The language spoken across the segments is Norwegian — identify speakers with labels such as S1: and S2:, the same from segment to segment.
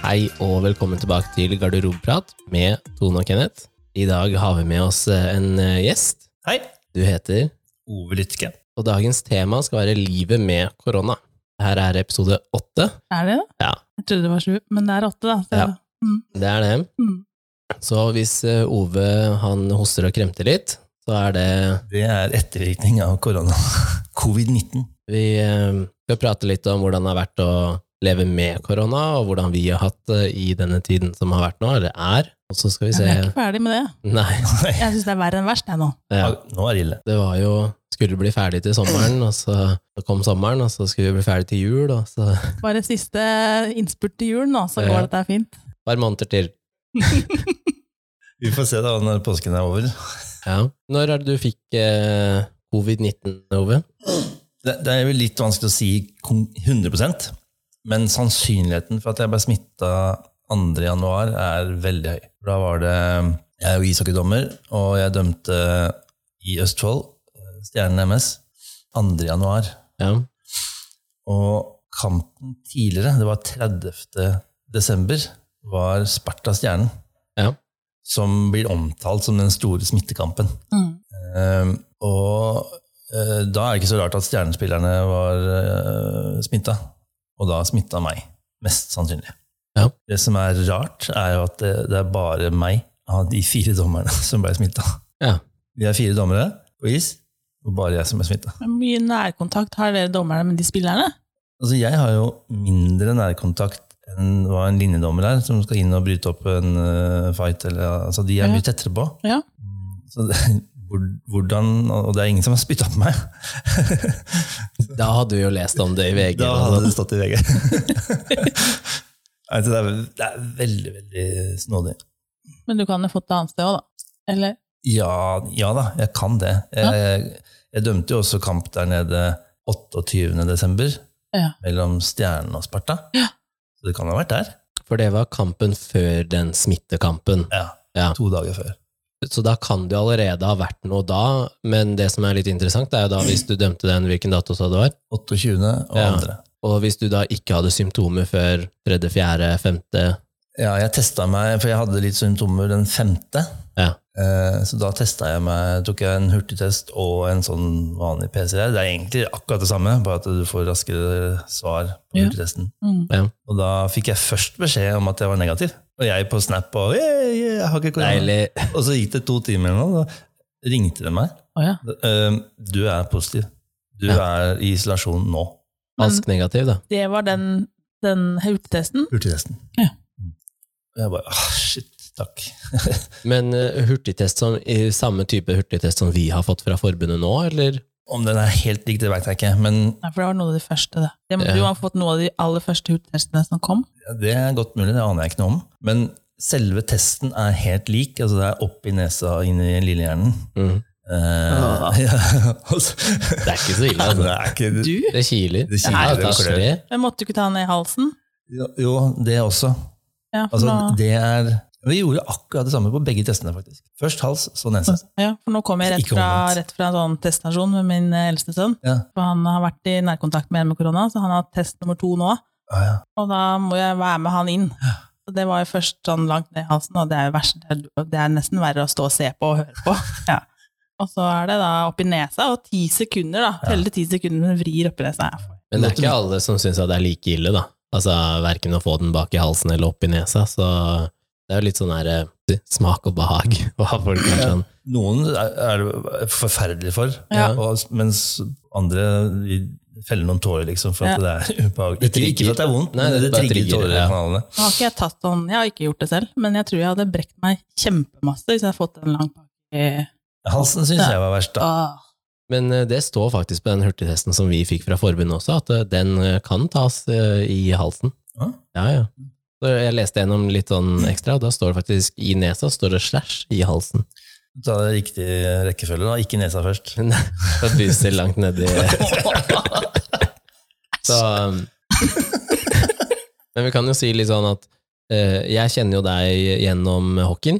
S1: Hei og velkommen tilbake til Garderobeprat med Tone og Kenneth. I dag har vi med oss eh, en eh, gjest.
S2: Hei,
S1: Du heter,
S2: Ove Lytke.
S1: og dagens tema skal være livet med korona. Her er episode åtte.
S3: Er det det?
S1: Ja.
S3: Jeg trodde det var sju, men det er åtte, da. Så,
S1: Ja. Det er det.
S3: Mm.
S1: Så hvis eh, Ove han hoster og kremter litt, så er det
S2: Det er ettervirkning av korona. Covid-19.
S1: Vi eh, skal prate litt om hvordan det har vært å leve med korona, og hvordan vi har hatt det i denne tiden som har vært nå, eller er. Og så skal vi
S3: Jeg
S1: se
S3: er ikke ferdig med det.
S1: Nei.
S2: Nei,
S3: Jeg syns det er verre enn verst, jeg nå.
S1: Ja.
S2: Nå er det ille.
S1: Det var jo Skulle bli ferdig til sommeren, og så kom sommeren, og så skulle vi bli ferdig til jul, og så et
S3: Bare siste innspurt til jul nå, så
S1: Ja.
S3: går dette fint.
S1: par måneder til.
S2: Vi får se da når påsken er over.
S1: Ja. Når er det du fikk eh, covid-19, Ove?
S2: Det, det er vel litt vanskelig å si kon- 100 men sannsynligheten for at jeg ble smitta 2. januar er veldig høy. Da var det Jeg er jo ishockeydommer, og jeg dømte i Østfold, eh, Stjernen MS, 2. januar.
S1: Ja.
S2: Og kampen tidligere, det var 30. desember, var Sparta Stjernen.
S1: Ja.
S2: Som blir omtalt som den store smittekampen.
S3: Mm.
S2: Ehm, og eh, da er det ikke så rart at stjernespillerne var uh, smitta. Og da smitta meg, mest sannsynlig.
S1: Ja.
S2: Det som er rart, er jo at det, det er bare meg av de fire dommerne som ble smitta.
S1: Ja.
S2: Vi er fire dommere på is, og bare jeg som er smitta.
S3: Hvor mye nærkontakt har dere dommerne med de spillerne?
S2: Altså, jeg har jo mindre nærkontakt enn hva en linjedommer er, som skal inn og bryte opp en eh, fight. Eller, altså, de er
S3: Ja.
S2: mye tettere på.
S3: Ja.
S2: Så det, hvor- hvordan, og det er ingen som har spytta på meg.
S1: Da hadde vi jo lest om det i VG.
S2: da
S1: og
S2: hadde
S1: sånn.
S2: det stått i VG. altså, det, er, det er veldig, veldig snodig.
S3: Men du kan jo fått det annet sted òg, da. Eller?
S2: Ja, ja da, jeg kan det. Jeg, jeg dømte jo også kamp der nede 28. desember
S3: Ja.
S2: mellom Stjernen og Sparta. Så det kan ha vært der.
S1: For det var kampen før den smittekampen.
S2: Ja,
S1: Ja.
S2: To dager før.
S1: Så da kan det jo allerede ha vært noe da, men det som er litt interessant, er jo da hvis du dømte den, hvilken dato sa det var?
S2: 28. og
S1: Ja.
S2: andre.
S1: Og hvis du da ikke hadde symptomer før 3., 4., 5.
S2: Ja, jeg testa meg, for jeg hadde litt symptomer den femte.
S1: Ja.
S2: Eh, Så da testa jeg meg, tok jeg en hurtigtest og en sånn vanlig PCR. Det er egentlig akkurat det samme, bare at du får raskere svar på
S3: Ja.
S2: hurtigtesten.
S3: Mm.
S2: Og da fikk jeg først beskjed om at jeg var negativ. Og jeg på Snap og «Yeah, yeah, jeg har ikke korona.
S1: Deilig.
S2: Og så gikk det to timer eller noe, da ringte de meg.
S3: Å ja.
S2: Eh, Du er positiv. Du er i isolasjon nå.
S3: Men
S1: Falsk negativ, da.
S3: det var den, den hurtigtesten.
S2: Hurtigtesten. Mm.
S3: Ja.
S2: Og jeg bare ah, shit, takk.
S1: Men eh, hurtigtest som, i samme type hurtigtest som vi har fått fra forbundet nå, eller?
S2: Om den er helt lik, det veit jeg ikke, men
S3: Nei, for det var noe av de første, det. det
S1: Ja.
S3: Du har fått noe av de aller første hurtigtestene som kom.
S2: Ja, Det er godt mulig, det aner jeg ikke noe om. Men selve testen er helt lik. altså Det er opp i nesa og inn i lillehjernen.
S1: Mm.
S2: Eh, ja, altså,
S1: Det er ikke så Ah. ille.
S2: det
S1: Altså.
S2: er ikke
S3: Du?
S1: Det kiler.
S2: Det kiler,
S1: Ja,
S2: det
S1: da
S2: klør.
S1: skjer det.
S3: Men måtte du ikke ta den ned i halsen?
S2: Jo, Jo, det også.
S3: Ja, for
S2: Altså,
S3: nå-
S2: det er Vi gjorde akkurat det samme på begge testene, faktisk. Først hals, så nese.
S3: Ja, for nå kommer jeg rett
S2: Ikke
S3: fra,
S2: omvendt.
S3: rett fra en sånn teststasjon med min eh, eldste sønn.
S2: Ja.
S3: For han har vært i nærkontakt med en med korona, så han har test nummer to nå.
S2: Ah, ja.
S3: Og da må jeg være med han inn. Så det var jo først sånn langt ned i halsen, og det er jo verst. Det er nesten verre å stå og se på og høre på. Ja. Og så er det da oppi nesa, og ti sekunder, da. Telle til ti sekunder men vrir oppi nesa.
S1: Men det er ikke alle som syns at det er like ille, da. Altså, Verken å få den bak i halsen eller opp i nesa. Så det er jo litt sånn her eh, smak og behag. Hva folk er sånn.
S2: Noen er er det forferdelig for,
S3: Ja.
S2: og, mens andre vi feller noen tårer, liksom, for at det er ubehagelig.
S1: Det
S2: Ikke, ikke for at det er vondt,
S1: Nei,
S2: men
S1: det
S2: det,
S1: bare
S2: trigger
S1: trigger,
S2: tårer i
S1: ja.
S2: kanalene.
S3: Nå har ikke jeg tatt sånn, jeg har ikke gjort det selv, men jeg tror jeg hadde brekt meg kjempemasse hvis jeg hadde fått den langt bak i
S2: Halsen syns jeg var verst, da.
S3: Åh.
S1: Men eh, det står faktisk på den hurtigtesten som vi fikk fra forbundet også, at eh, den eh, kan tas eh, i halsen.
S2: Ja.
S1: Ja, ja. Så jeg leste gjennom litt sånn ekstra, og da står det faktisk i nesa, står det slash i halsen.
S2: Ta det i riktig rekkefølge, da. Ikke nesa først.
S1: Så buser langt nedi Så um, Men vi kan jo si litt sånn at eh, jeg kjenner jo deg gjennom hockeyen,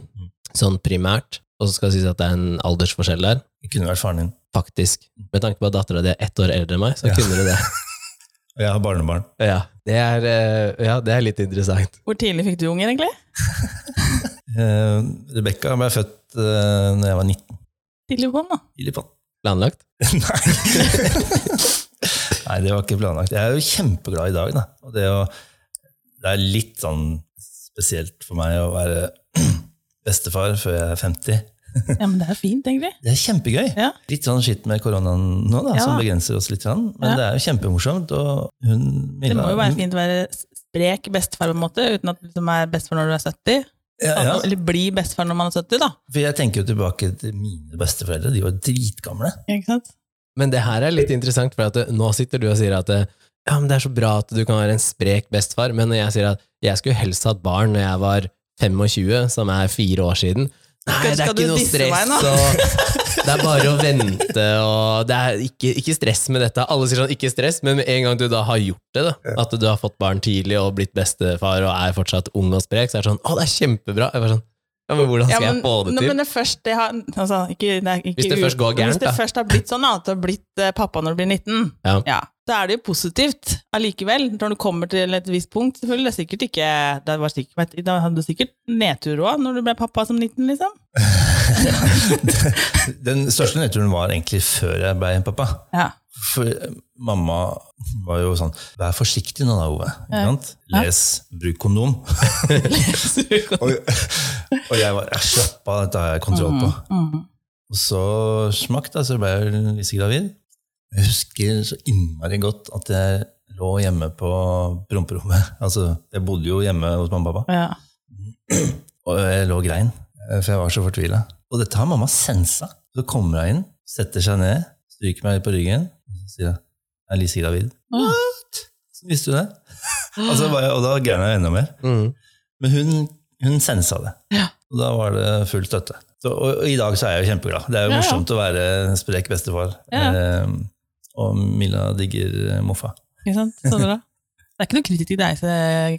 S1: sånn primært, og så skal det sies at det er en aldersforskjell der,
S2: Det kunne vært faren din.
S1: faktisk. Med tanke på at dattera di er ett år eldre enn meg, så
S2: Ja.
S1: kunne du det.
S2: Og jeg har barnebarn.
S1: Ja, det er, eh, ja, det er litt interessant.
S3: Hvor tidlig fikk du unger, egentlig?
S2: Eh, Rebekka ble født eh, når jeg var 19.
S3: Tidlig på'n, da.
S2: Tidlig på.
S1: Planlagt?
S2: Nei. Nei, det var ikke planlagt. Jeg er jo kjempeglad i dag, da. Og det, å, det er litt sånn spesielt for meg å være bestefar før jeg er 50.
S3: Ja, men det er fint, egentlig.
S2: Det er kjempegøy.
S3: Ja.
S2: Litt sånn skitt med koronaen nå, da,
S3: Ja
S2: som
S3: da.
S2: begrenser oss litt. Sånn. Men
S3: Ja.
S2: det er jo kjempemorsomt. Og hun
S3: Det må
S2: Milla-
S3: jo være fint å være sprek bestefar, på en måte, uten at du liksom er bestefar når du er 70.
S2: Ja, ja.
S3: Eller bli bestefar når man er 70, da.
S2: For jeg tenker jo tilbake til mine besteforeldre. De var dritgamle.
S3: Ikke sant?
S1: Men det her er litt interessant, for at eh, nå sitter du og sier at eh, ja, men det er så bra at du kan være en sprek bestefar, men når jeg sier at jeg skulle helst hatt barn når jeg var 25, som er fire år siden Nei,
S3: Skal-
S1: det er
S3: skal du
S1: ikke noe
S3: disse meg
S1: stress,
S3: nå?
S1: og det er bare å vente, og det er ikke, ikke stress med dette. Alle sier sånn 'ikke stress', men med en gang du da har gjort det, da, at du har fått barn tidlig og blitt bestefar og er fortsatt ung og sprek, så er det sånn 'å, det er kjempebra'. Jeg bare sånn, ja, men hvordan skal jeg få det
S3: nå-
S1: til?
S3: men det først, det har, altså, ikke, det er ikke,
S1: Hvis det først går gærent,
S3: Hvis det
S1: da.
S3: først har blitt sånn, da, at du har blitt eh, pappa når du blir 19,
S1: Ja.
S3: da er det jo positivt allikevel. Når du kommer til et visst punkt, selvfølgelig, det er sikkert ikke, det var sikkert, da hadde du sikkert nedtur òg når du ble pappa som 19, liksom.
S2: Den største nedturen var egentlig før jeg ble pappa.
S3: Ja.
S2: For eh, mamma var jo sånn Vær forsiktig nå da, Ove. Ikke
S3: Ja.
S2: sant? Les, bruk kondom. og, og jeg var «Ja, Slapp av, dette har jeg kontroll på.
S3: Mm.
S2: Og så smakk, da, så ble jeg vel Lise gravid. Jeg husker så innmari godt at jeg lå hjemme på promperommet. Altså, jeg bodde jo hjemme hos mamma og pappa.
S3: Ja.
S2: Og jeg lå og grein, eh, for jeg var så fortvila. Og dette har mamma sensa. Så kommer hun inn, setter seg ned, stryker meg på ryggen, og så sier hun er Lise gravid.
S3: Åh.
S2: Så visste du det? og, så var jeg, og da gærna jeg enda mer.
S1: Mm.
S2: Men hun, hun sensa det.
S3: Ja.
S2: Og da var det full støtte. Så, og, og i dag så er jeg jo kjempeglad. Det er jo
S3: Ja, ja.
S2: morsomt å være en sprek bestefar.
S3: Ja.
S2: Eh, og Milla digger eh, moffa.
S3: Ikke sant? Så bra. Det er ikke noe kritikk til deg, så-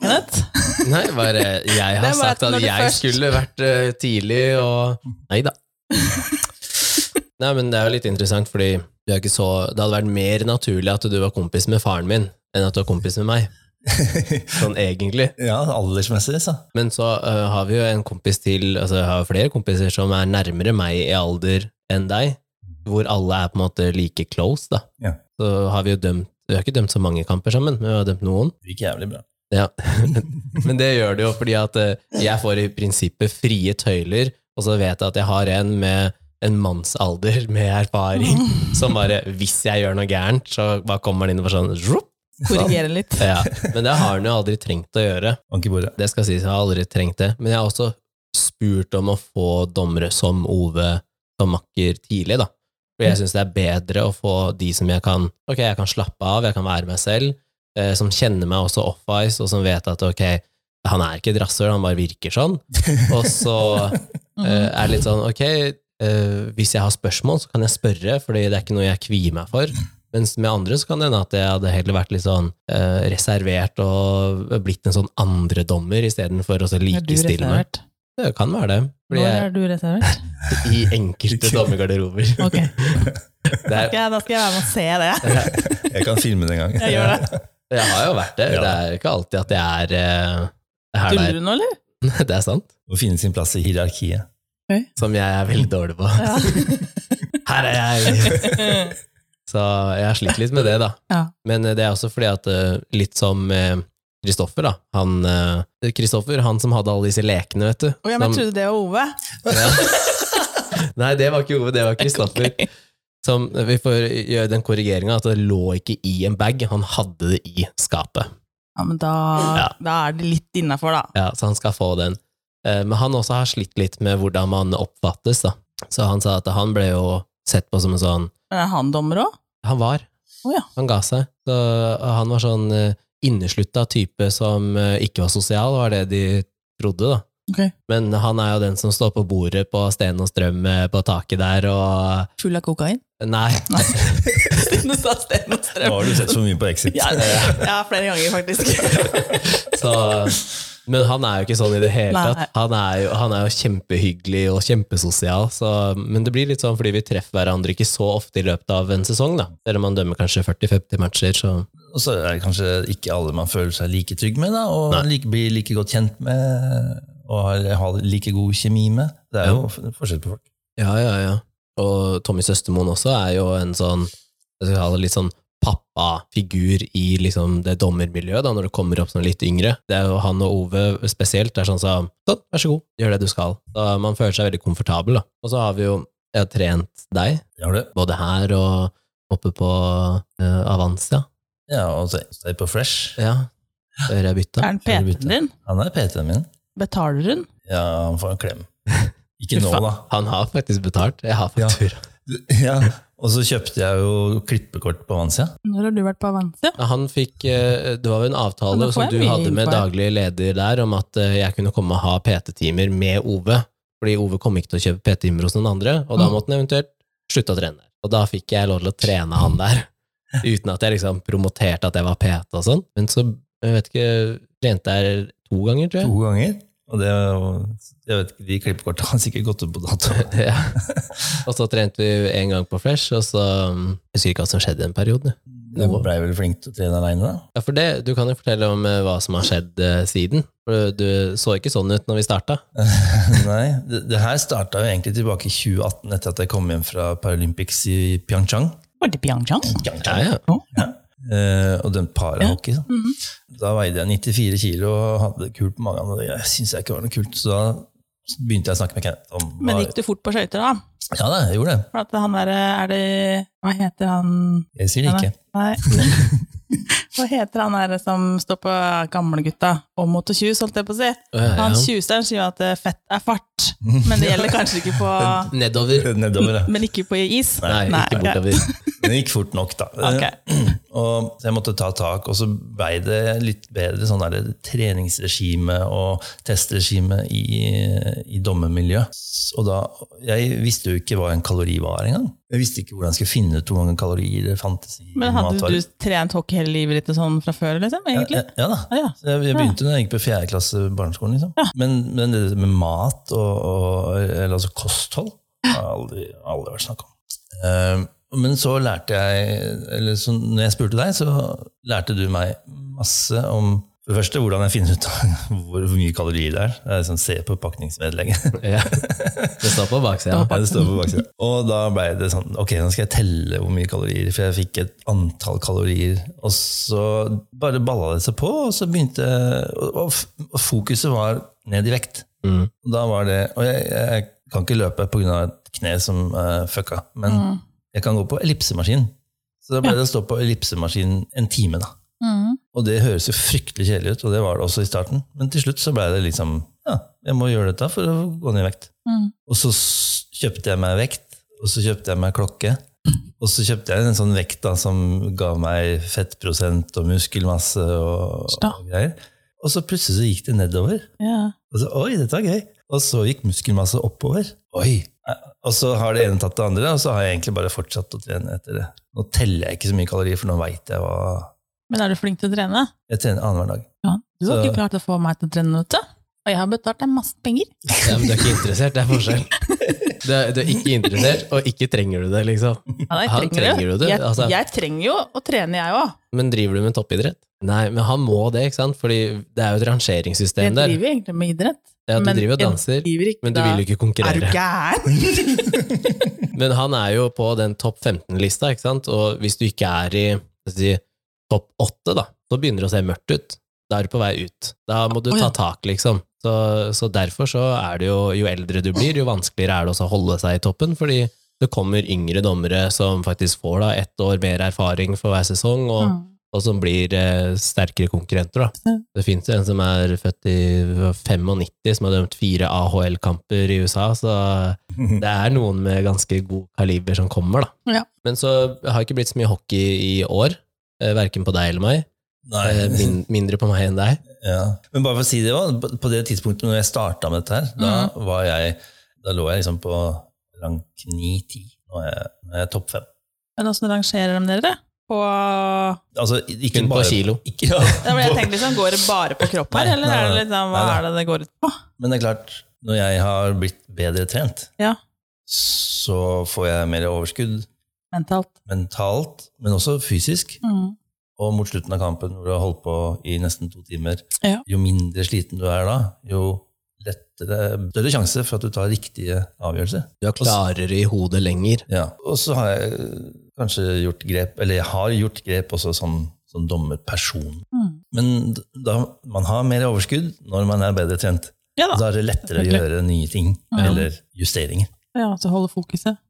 S3: Kenneth.
S1: Nei, bare jeg
S3: Det
S1: har
S3: er bare
S1: sagt
S3: at
S1: at
S3: når du
S1: jeg
S3: først-
S1: skulle vært eh, tidlig, og Nei da. Nei, men det er jo litt interessant, fordi du er ikke så Det hadde vært mer naturlig at du var kompis med faren min, enn at du var kompis med meg. Sånn egentlig.
S2: Ja, aldersmessig, så.
S1: Men så eh, har vi jo en kompis til, altså jeg har jo flere kompiser som er nærmere meg i alder enn deg, hvor alle er på en måte like close, da.
S2: Ja.
S1: Så har vi jo dømt Vi har ikke dømt så mange kamper sammen, men vi har dømt noen.
S2: Det gikk jævlig bra.
S1: Ja, men det gjør det jo fordi at eh, jeg får i prinsippet frie tøyler, og så vet jeg at jeg har en med en mannsalder med erfaring, som bare, hvis jeg gjør noe gærent, så bare kommer han inn og bare sånn, «Zhup!»
S3: Korrigere litt.
S1: ja. Men det har han jo aldri trengt å gjøre.
S2: Bank i bordet.
S1: Det skal sies, jeg har aldri trengt det. Men jeg har også spurt om å få dommere som Ove som makker tidlig, da. For jeg syns det er bedre å få de som jeg kan Ok, jeg kan slappe av, jeg kan være meg selv, eh, som kjenner meg også off-ice, og som vet at ok, han er ikke et rasshøl, han bare virker sånn. Og så
S3: Mhm.
S1: eh, er det litt sånn ok, eh, hvis jeg har spørsmål, så kan jeg spørre, fordi det er ikke noe jeg kvier meg for. Mens med andre så kan det hende at jeg hadde heller vært litt sånn eh, reservert og blitt en sånn andredommer istedenfor å så
S3: Er du
S1: likestille meg.
S3: reservert?
S1: Det kan være det. Fordi
S3: Når
S1: jeg
S3: er du reservert?
S1: er i enkelte dommergarderober.
S3: Ok,
S1: Det er,
S3: ja, da skal jeg være med og se det.
S2: Jeg kan filme det en gang.
S3: Jeg gjør det.
S1: jeg har jo vært det.
S2: Ja.
S1: Det er jo ikke alltid at jeg er eh, her der.
S3: Tuller du nå, eller?
S1: Det er sant.
S2: Å finne sin plass i hierarkiet.
S1: Som jeg er veldig dårlig på.
S3: Ja.
S1: Her er jeg! Så jeg har slitt litt med det, da.
S3: Ja.
S1: Men eh, det er også fordi at eh, litt som eh, Kristoffer, da. Han, eh, Kristoffer, han som hadde alle disse lekene, vet du.
S3: Å, ja, men jeg
S1: Som-
S3: trodde det var Ove.
S1: Ja. Nei, det var ikke Ove, det var Kristoffer. Som eh, Vi får gjøre den korrigeringa at det lå ikke i en bag, han hadde det i skapet.
S3: Ja, men da,
S1: Ja.
S3: da er det litt innafor, da.
S1: Ja, så han skal få den. Eh, Men han også har slitt litt med hvordan man oppfattes, da. Så han sa at han ble jo sett på som en sånn
S3: Men er han dommer òg?
S1: Han var.
S3: Å ja.
S1: Han ga seg. Så han var sånn eh, inneslutta type som eh, ikke var sosial, var det de trodde, da.
S3: Ok.
S1: Men han er jo den som står på bordet på Sten og Strøm eh, på taket der og
S3: Full av kokain?
S1: Nei.
S3: Nei. Stine sa Sten og
S2: Nå
S3: Strøm.
S2: har du sett så mye på Exit.
S3: Ja, ja, flere ganger, faktisk.
S1: Så Men han er jo ikke sånn i det hele
S3: Nei.
S1: tatt. Han er jo, han er jo kjempehyggelig og kjempesosial, så, men det blir litt sånn fordi vi treffer hverandre ikke så ofte i løpet av en sesong, da. Selv om man dømmer kanskje 40-50 matcher, så
S2: Og så er det kanskje ikke alle man føler seg like trygg med, da, og
S1: Nei.
S2: like, blir like godt kjent med, og har, har like god kjemi med. Det er
S1: Ja.
S2: jo f- forskjell på folk.
S1: Ja, ja, ja. Og Tommy Søstermoen også er jo en sånn jeg skal kalle det litt sånn pappafigur i liksom det dommermiljøet, da, når du kommer opp som litt yngre. Det er jo han og Ove spesielt er sånn som sånn, vær så god, gjør det du skal. Da man føler seg veldig komfortabel, da. Og så har vi jo jeg har trent deg,
S2: Har du?
S1: både her og oppe på eh, Avansia.
S2: Ja, og så Stay på Fresh.
S1: Ja, før jeg bytta.
S3: Er den
S2: Før du
S3: PT-en din?
S2: Han er PT-en min.
S3: Betaler hun?
S2: Ja, han får en klem. Ikke
S1: Fy
S2: nå,
S1: faen.
S2: da.
S1: Han har faktisk betalt. Jeg har
S2: Ja.
S1: faktura.
S2: Ja, og så kjøpte jeg jo klippekort på Vansia.
S3: Når har du vært på Avancia?
S1: Han fikk, eh, Det var jo en
S3: Men da
S1: avtale
S3: får
S1: som
S3: jeg
S1: du
S3: mye
S1: hadde med
S3: info her.
S1: daglig leder der, om at eh, jeg kunne komme og ha PT-timer med Ove. Fordi Ove kom ikke til å kjøpe PT-timer hos noen andre, og da
S3: Mm.
S1: måtte han eventuelt slutte å trene der. Og da fikk jeg lov til å trene han der, uten at jeg liksom promoterte at jeg var PT og sånn. Men så, jeg vet ikke, trente jeg to ganger, tror jeg.
S2: To ganger. Og det, er jo- jeg vet ikke, de klippekortene har sikkert gått ut på dato.
S1: Ja. Og så trente vi en gang på Fresh, og så mm, Jeg husker ikke hva som skjedde en periode.
S2: Du blei vel flink til å trene aleine, da?
S1: Ja, for det, Du kan jo fortelle om eh, hva som har skjedd eh, siden. For du du så ikke sånn ut når vi starta.
S2: Nei, det, det her starta jo egentlig tilbake i 2018, etter at jeg kom hjem fra Paralympics i Pyeongchang.
S3: Var det Pyeongchang?
S1: Ja, ja.
S2: Eh, og dømt parahockey. da.
S3: Mhm.
S2: Da veide jeg 94 kilo og hadde det kult på magen. Og det syntes jeg ikke var noe kult, så da begynte jeg å snakke med Kenneth om hva-
S3: Men gikk du fort på skøyter, da?
S2: Ja da, jeg gjorde det.
S3: For at han derre Er det Hva heter han
S2: Jeg sier det ikke.
S3: Nei. Hva heter han der som står på gamlegutta og motor 20, holdt jeg på å si?
S1: Ja, ja.
S3: Han tjuvsteren sier jo at eh, fett er fart, men det gjelder kanskje ikke på
S1: Nedover.
S2: Nedover, da.
S3: Men ikke på is.
S1: Nei, ikke
S3: ok.
S1: bortover.
S2: Men det gikk fort nok, da.
S3: Ok.
S2: Og så jeg måtte ta tak, og så vei det litt bedre sånn der, treningsregime og testregime i, i dommermiljø. S- Og da, jeg visste jo ikke hva en kalori var engang. Jeg visste ikke hvordan jeg skulle finne ut hvor mange kalorier det fantes i
S3: Men hadde
S2: matvarer.
S3: du trent hockey hele livet ditt og sånn fra før, liksom? egentlig?
S2: Ja, ja da.
S3: Ja, ja.
S2: Så Jeg, jeg begynte når jeg gikk på fjerde klasse barneskolen. Liksom. Men, men det med mat og, og eller, altså kosthold har aldri, aldri vært snakk om. Ehm, men så lærte jeg eller så Når jeg spurte deg, så lærte du meg masse om for det første hvordan jeg finner ut av hvor mye kalorier det er. Det er sånn, Se på pakningsvedlegget.
S1: Ja. Det står på baksida.
S2: Ja, det står på baksiden. Og da ble det sånn, ok, nå skal jeg telle hvor mye kalorier, for jeg fikk et antall kalorier. Og så bare balla det seg på, og så begynte og- Og f- og fokuset var ned i vekt.
S1: Mm.
S2: Og Da var det, og jeg, jeg kan ikke løpe pga. et kne som eh, fucka, men
S3: Mm.
S2: jeg kan gå på ellipsemaskin. Så da ble det å stå på ellipsemaskin en time, da.
S3: Mm.
S2: Og det høres jo fryktelig kjedelig ut, og det var det også i starten. Men til slutt så ble det liksom ja, jeg må gjøre dette for å gå ned i vekt.
S3: Mm.
S2: Og så s- kjøpte jeg meg vekt, og så kjøpte jeg meg klokke. Og så kjøpte jeg en sånn vekt da, som ga meg fettprosent og muskelmasse og,
S3: Sta.
S2: og greier. Og så plutselig så gikk det nedover.
S3: Ja.
S2: Og så, oi, dette var gøy. Og så gikk muskelmasse oppover. Oi. Og så har det ene tatt det andre, og så har jeg egentlig bare fortsatt å trene etter det. Nå teller jeg ikke så mye kalorier, for nå veit jeg hva
S3: Men er du flink til å trene?
S2: Jeg trener annenhver dag.
S3: Ja. Du har
S2: Så-
S3: ikke klart å få meg til å trene, vet du. Og jeg har betalt deg masse penger.
S1: Ja, men du er ikke interessert, det er forskjell. Du er, du er ikke interessert, og ikke trenger du det, liksom.
S3: Ja, jeg
S1: Han trenger jo det,
S3: Jeg,
S1: altså.
S3: jeg trenger jo å trene, jeg òg.
S1: Men driver du med toppidrett? Nei, men han må det, ikke sant? Fordi det er jo et
S3: Jeg
S1: rangeringssystem der.
S3: driver jo egentlig med idrett.
S1: Ja, du
S3: men
S1: driver og
S3: jeg
S1: danser,
S3: driver ikke
S1: men du
S3: da-
S1: vil jo ikke
S3: Er du
S1: konkurrere.
S3: gæren?
S1: Men han er jo på den topp 15-lista, ikke sant? Og hvis du ikke er i skal vi si, topp 8, da, så begynner det å se mørkt ut. Da er du på vei ut. Da må du
S3: Å,
S1: ta
S3: ja.
S1: tak, liksom. Så, så derfor så er det jo Jo eldre du blir, jo vanskeligere er det også å holde seg i toppen, fordi det kommer yngre dommere som faktisk får da ett år mer erfaring for hver sesong, og, og som blir eh, sterkere konkurrenter. da.
S3: Mm. Ja.
S1: Det fins jo en som er født i 95, som har dømt fire AHL-kamper i USA, så det er noen med ganske god kaliber som kommer, da.
S3: Ja.
S1: Men så har det ikke blitt så mye hockey i år. eh, Verken på deg eller meg. Eh,
S2: Nei,
S1: Min, mindre på meg enn deg.
S2: Ja. Men bare for å si det, også, på- på det tidspunktet når jeg starta med dette her,
S3: Mm.
S2: da, var jeg, da lå jeg liksom på rank 9-10. Nå er jeg, nå er jeg topp 5.
S3: Men åssen rangerer de dere? på Det
S2: Altså, ikke
S1: Kun på
S2: bare
S1: kilo.
S2: Ikke, ja.
S3: var det jeg tenkte, liksom, Går det bare på kropp her,
S2: Nei,
S3: eller
S2: nei,
S3: er det
S2: nei.
S3: liksom, hva
S2: Nei,
S3: er det det går ut på?
S2: Men det er klart, når jeg har blitt bedre trent,
S3: Ja.
S2: så får jeg mer overskudd
S3: Mentalt.
S2: mentalt, men også fysisk.
S3: Mm.
S2: Og mot slutten av kampen, hvor du har holdt på i nesten to timer,
S3: Ja.
S2: jo mindre sliten du er da, jo lettere, større sjanse for at du tar riktige avgjørelser.
S1: Du er klarere i hodet lenger.
S2: Ja. Og så har jeg øh, kanskje gjort grep, eller jeg har gjort grep også som, som dommerperson.
S3: Mm.
S2: Men d- da, man har mer overskudd når man er bedre trent.
S3: ja da.
S2: Da er det lettere å
S3: Selvfølgelig.
S2: gjøre nye ting,
S3: Ja.
S2: eller justeringer.
S3: Ja, så holde fokuset.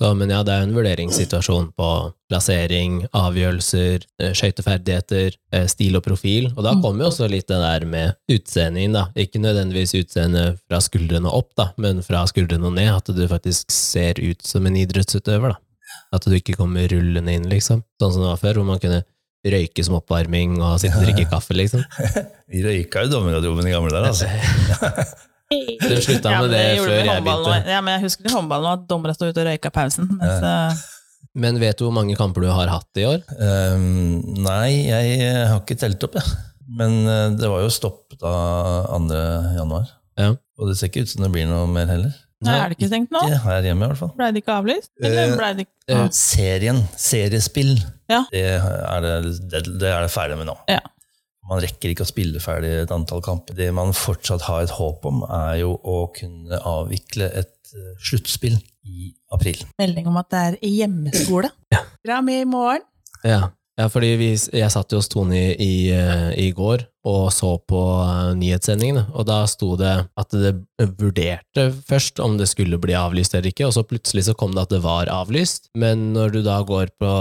S1: Så, men ja, det er jo en vurderingssituasjon på plassering, avgjørelser, eh, skøyteferdigheter, eh, stil og profil. Og da
S3: Mm.
S1: kommer jo også litt det der med utseendet inn, da. Ikke nødvendigvis utseendet fra skuldrene opp, da, men fra skuldrene og ned. At du faktisk ser ut som en idrettsutøver, da. At du ikke kommer rullende inn, liksom. Sånn som det var før, hvor man kunne røyke som oppvarming og sitte og drikke kaffe, liksom.
S2: Vi røyka jo dommergarderoben i gamle dager, altså.
S1: Du slutta med det
S3: gjorde
S1: før
S3: vi i
S1: jeg
S3: håndballen
S1: begynte.
S3: også. Ja, men jeg husker det i håndballen også, at dommere sto ute og røyka i pausen. Mens, eh,
S1: Men vet du hvor mange kamper du har hatt i år?
S2: Ehm, nei, jeg eh, har ikke telt opp, jeg. Men eh, det var jo stopp da 2. januar.
S1: Ja.
S2: Og det ser ikke ut som det blir noe mer heller.
S3: nei, er det ikke stengt nå?
S2: Det har jeg hjemme, i hvert fall.
S3: Blei det ikke avlyst? Eller
S2: Eh,
S3: blei det ikke
S1: eh,
S2: Serien, seriespill,
S3: Ja.
S2: det, er det, det, det er det ferdig med nå.
S3: Ja.
S2: Man rekker ikke å spille ferdig et antall kamper. Det man fortsatt har et håp om, er jo å kunne avvikle et eh, sluttspill i april.
S3: melding om at det er hjemmeskole? Bra med i morgen.
S1: Ja, ja fordi vi, jeg satt jo hos Tone i, i, eh, i går og så på eh, nyhetssendingen, og da sto det at det vurderte først om det skulle bli avlyst eller ikke, og så plutselig så kom det at det var avlyst, men når du da går på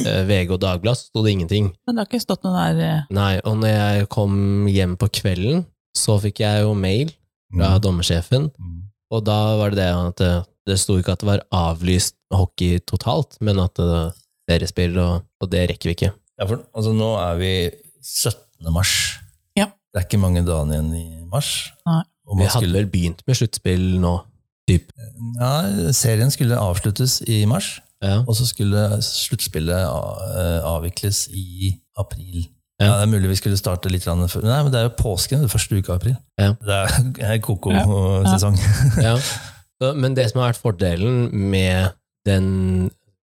S1: eh, VG og Dagbladet, så sto det ingenting.
S3: Men det har ikke stått noe der eh,
S1: Nei, og når jeg kom hjem på kvelden, så fikk jeg jo mail fra
S2: Mm.
S1: dommersjefen, og da var det det at det, det sto ikke at det var avlyst hockey totalt, men at det seriespill, og, og det rekker vi ikke.
S2: Ja, for altså, nå er vi 17. mars.
S3: Ja.
S2: Det er ikke mange dagene igjen i mars.
S3: Nei.
S2: Og
S1: Vi
S2: man
S1: hadde
S2: skulle,
S1: vel begynt med sluttspill nå, typ.
S2: ja, serien skulle avsluttes i mars,
S1: Ja.
S2: og så skulle sluttspillet eh, avvikles i april.
S1: Ja.
S2: Ja, Det er mulig vi skulle starte litt grann før. Nei, men det er jo påsken, det første uka i april.
S1: Ja.
S2: Det er- er koko-sesong.
S1: ja. Så, men det som har vært fordelen med den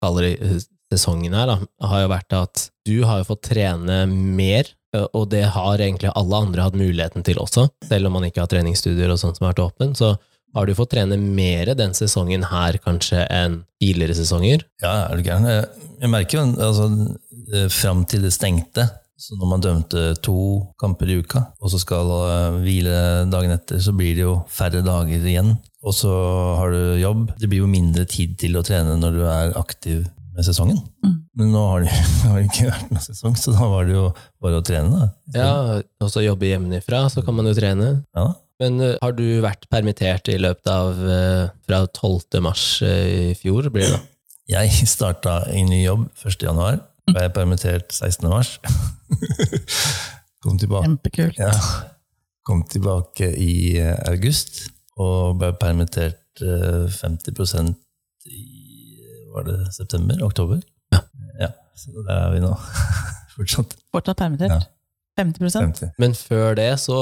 S1: kaller det, eh, sesongen her, da, har jo vært at du har jo fått trene mer, eh, og det har egentlig alle andre hatt muligheten til også, selv om man ikke har treningsstudier og sånt som har vært åpen, så har du fått trene mer den sesongen her kanskje enn tidligere sesonger?
S2: Ja, er du gæren? Jeg- Jeg merker jo altså, eh, fram til det stengte, så når man dømte to kamper i uka, og så skal eh, hvile dagen etter, så blir det jo færre dager igjen. Og så har du jobb. Det blir jo mindre tid til å trene når du er aktiv med sesongen.
S3: Mm.
S2: Men nå har det jo- har det ikke vært noen sesong, så da var det jo bare å trene, da.
S1: Ja, og så jobbe hjemmefra, så kan man jo trene.
S2: Ja.
S1: Men eh, har du vært permittert i løpet av eh, fra 12. mars eh, i fjor, blir det da?
S2: Jeg starta i ny jobb 1. januar. Ble permittert 16. mars. Kom tilbake
S3: Kjempekult.
S2: Ja. Kom tilbake i eh, august og ble permittert eh, 50 i var det september? Oktober? Ja. Så der er vi nå. Fortsatt
S3: Fortsatt permittert.
S2: Ja. 50.
S3: 50
S1: Men før det så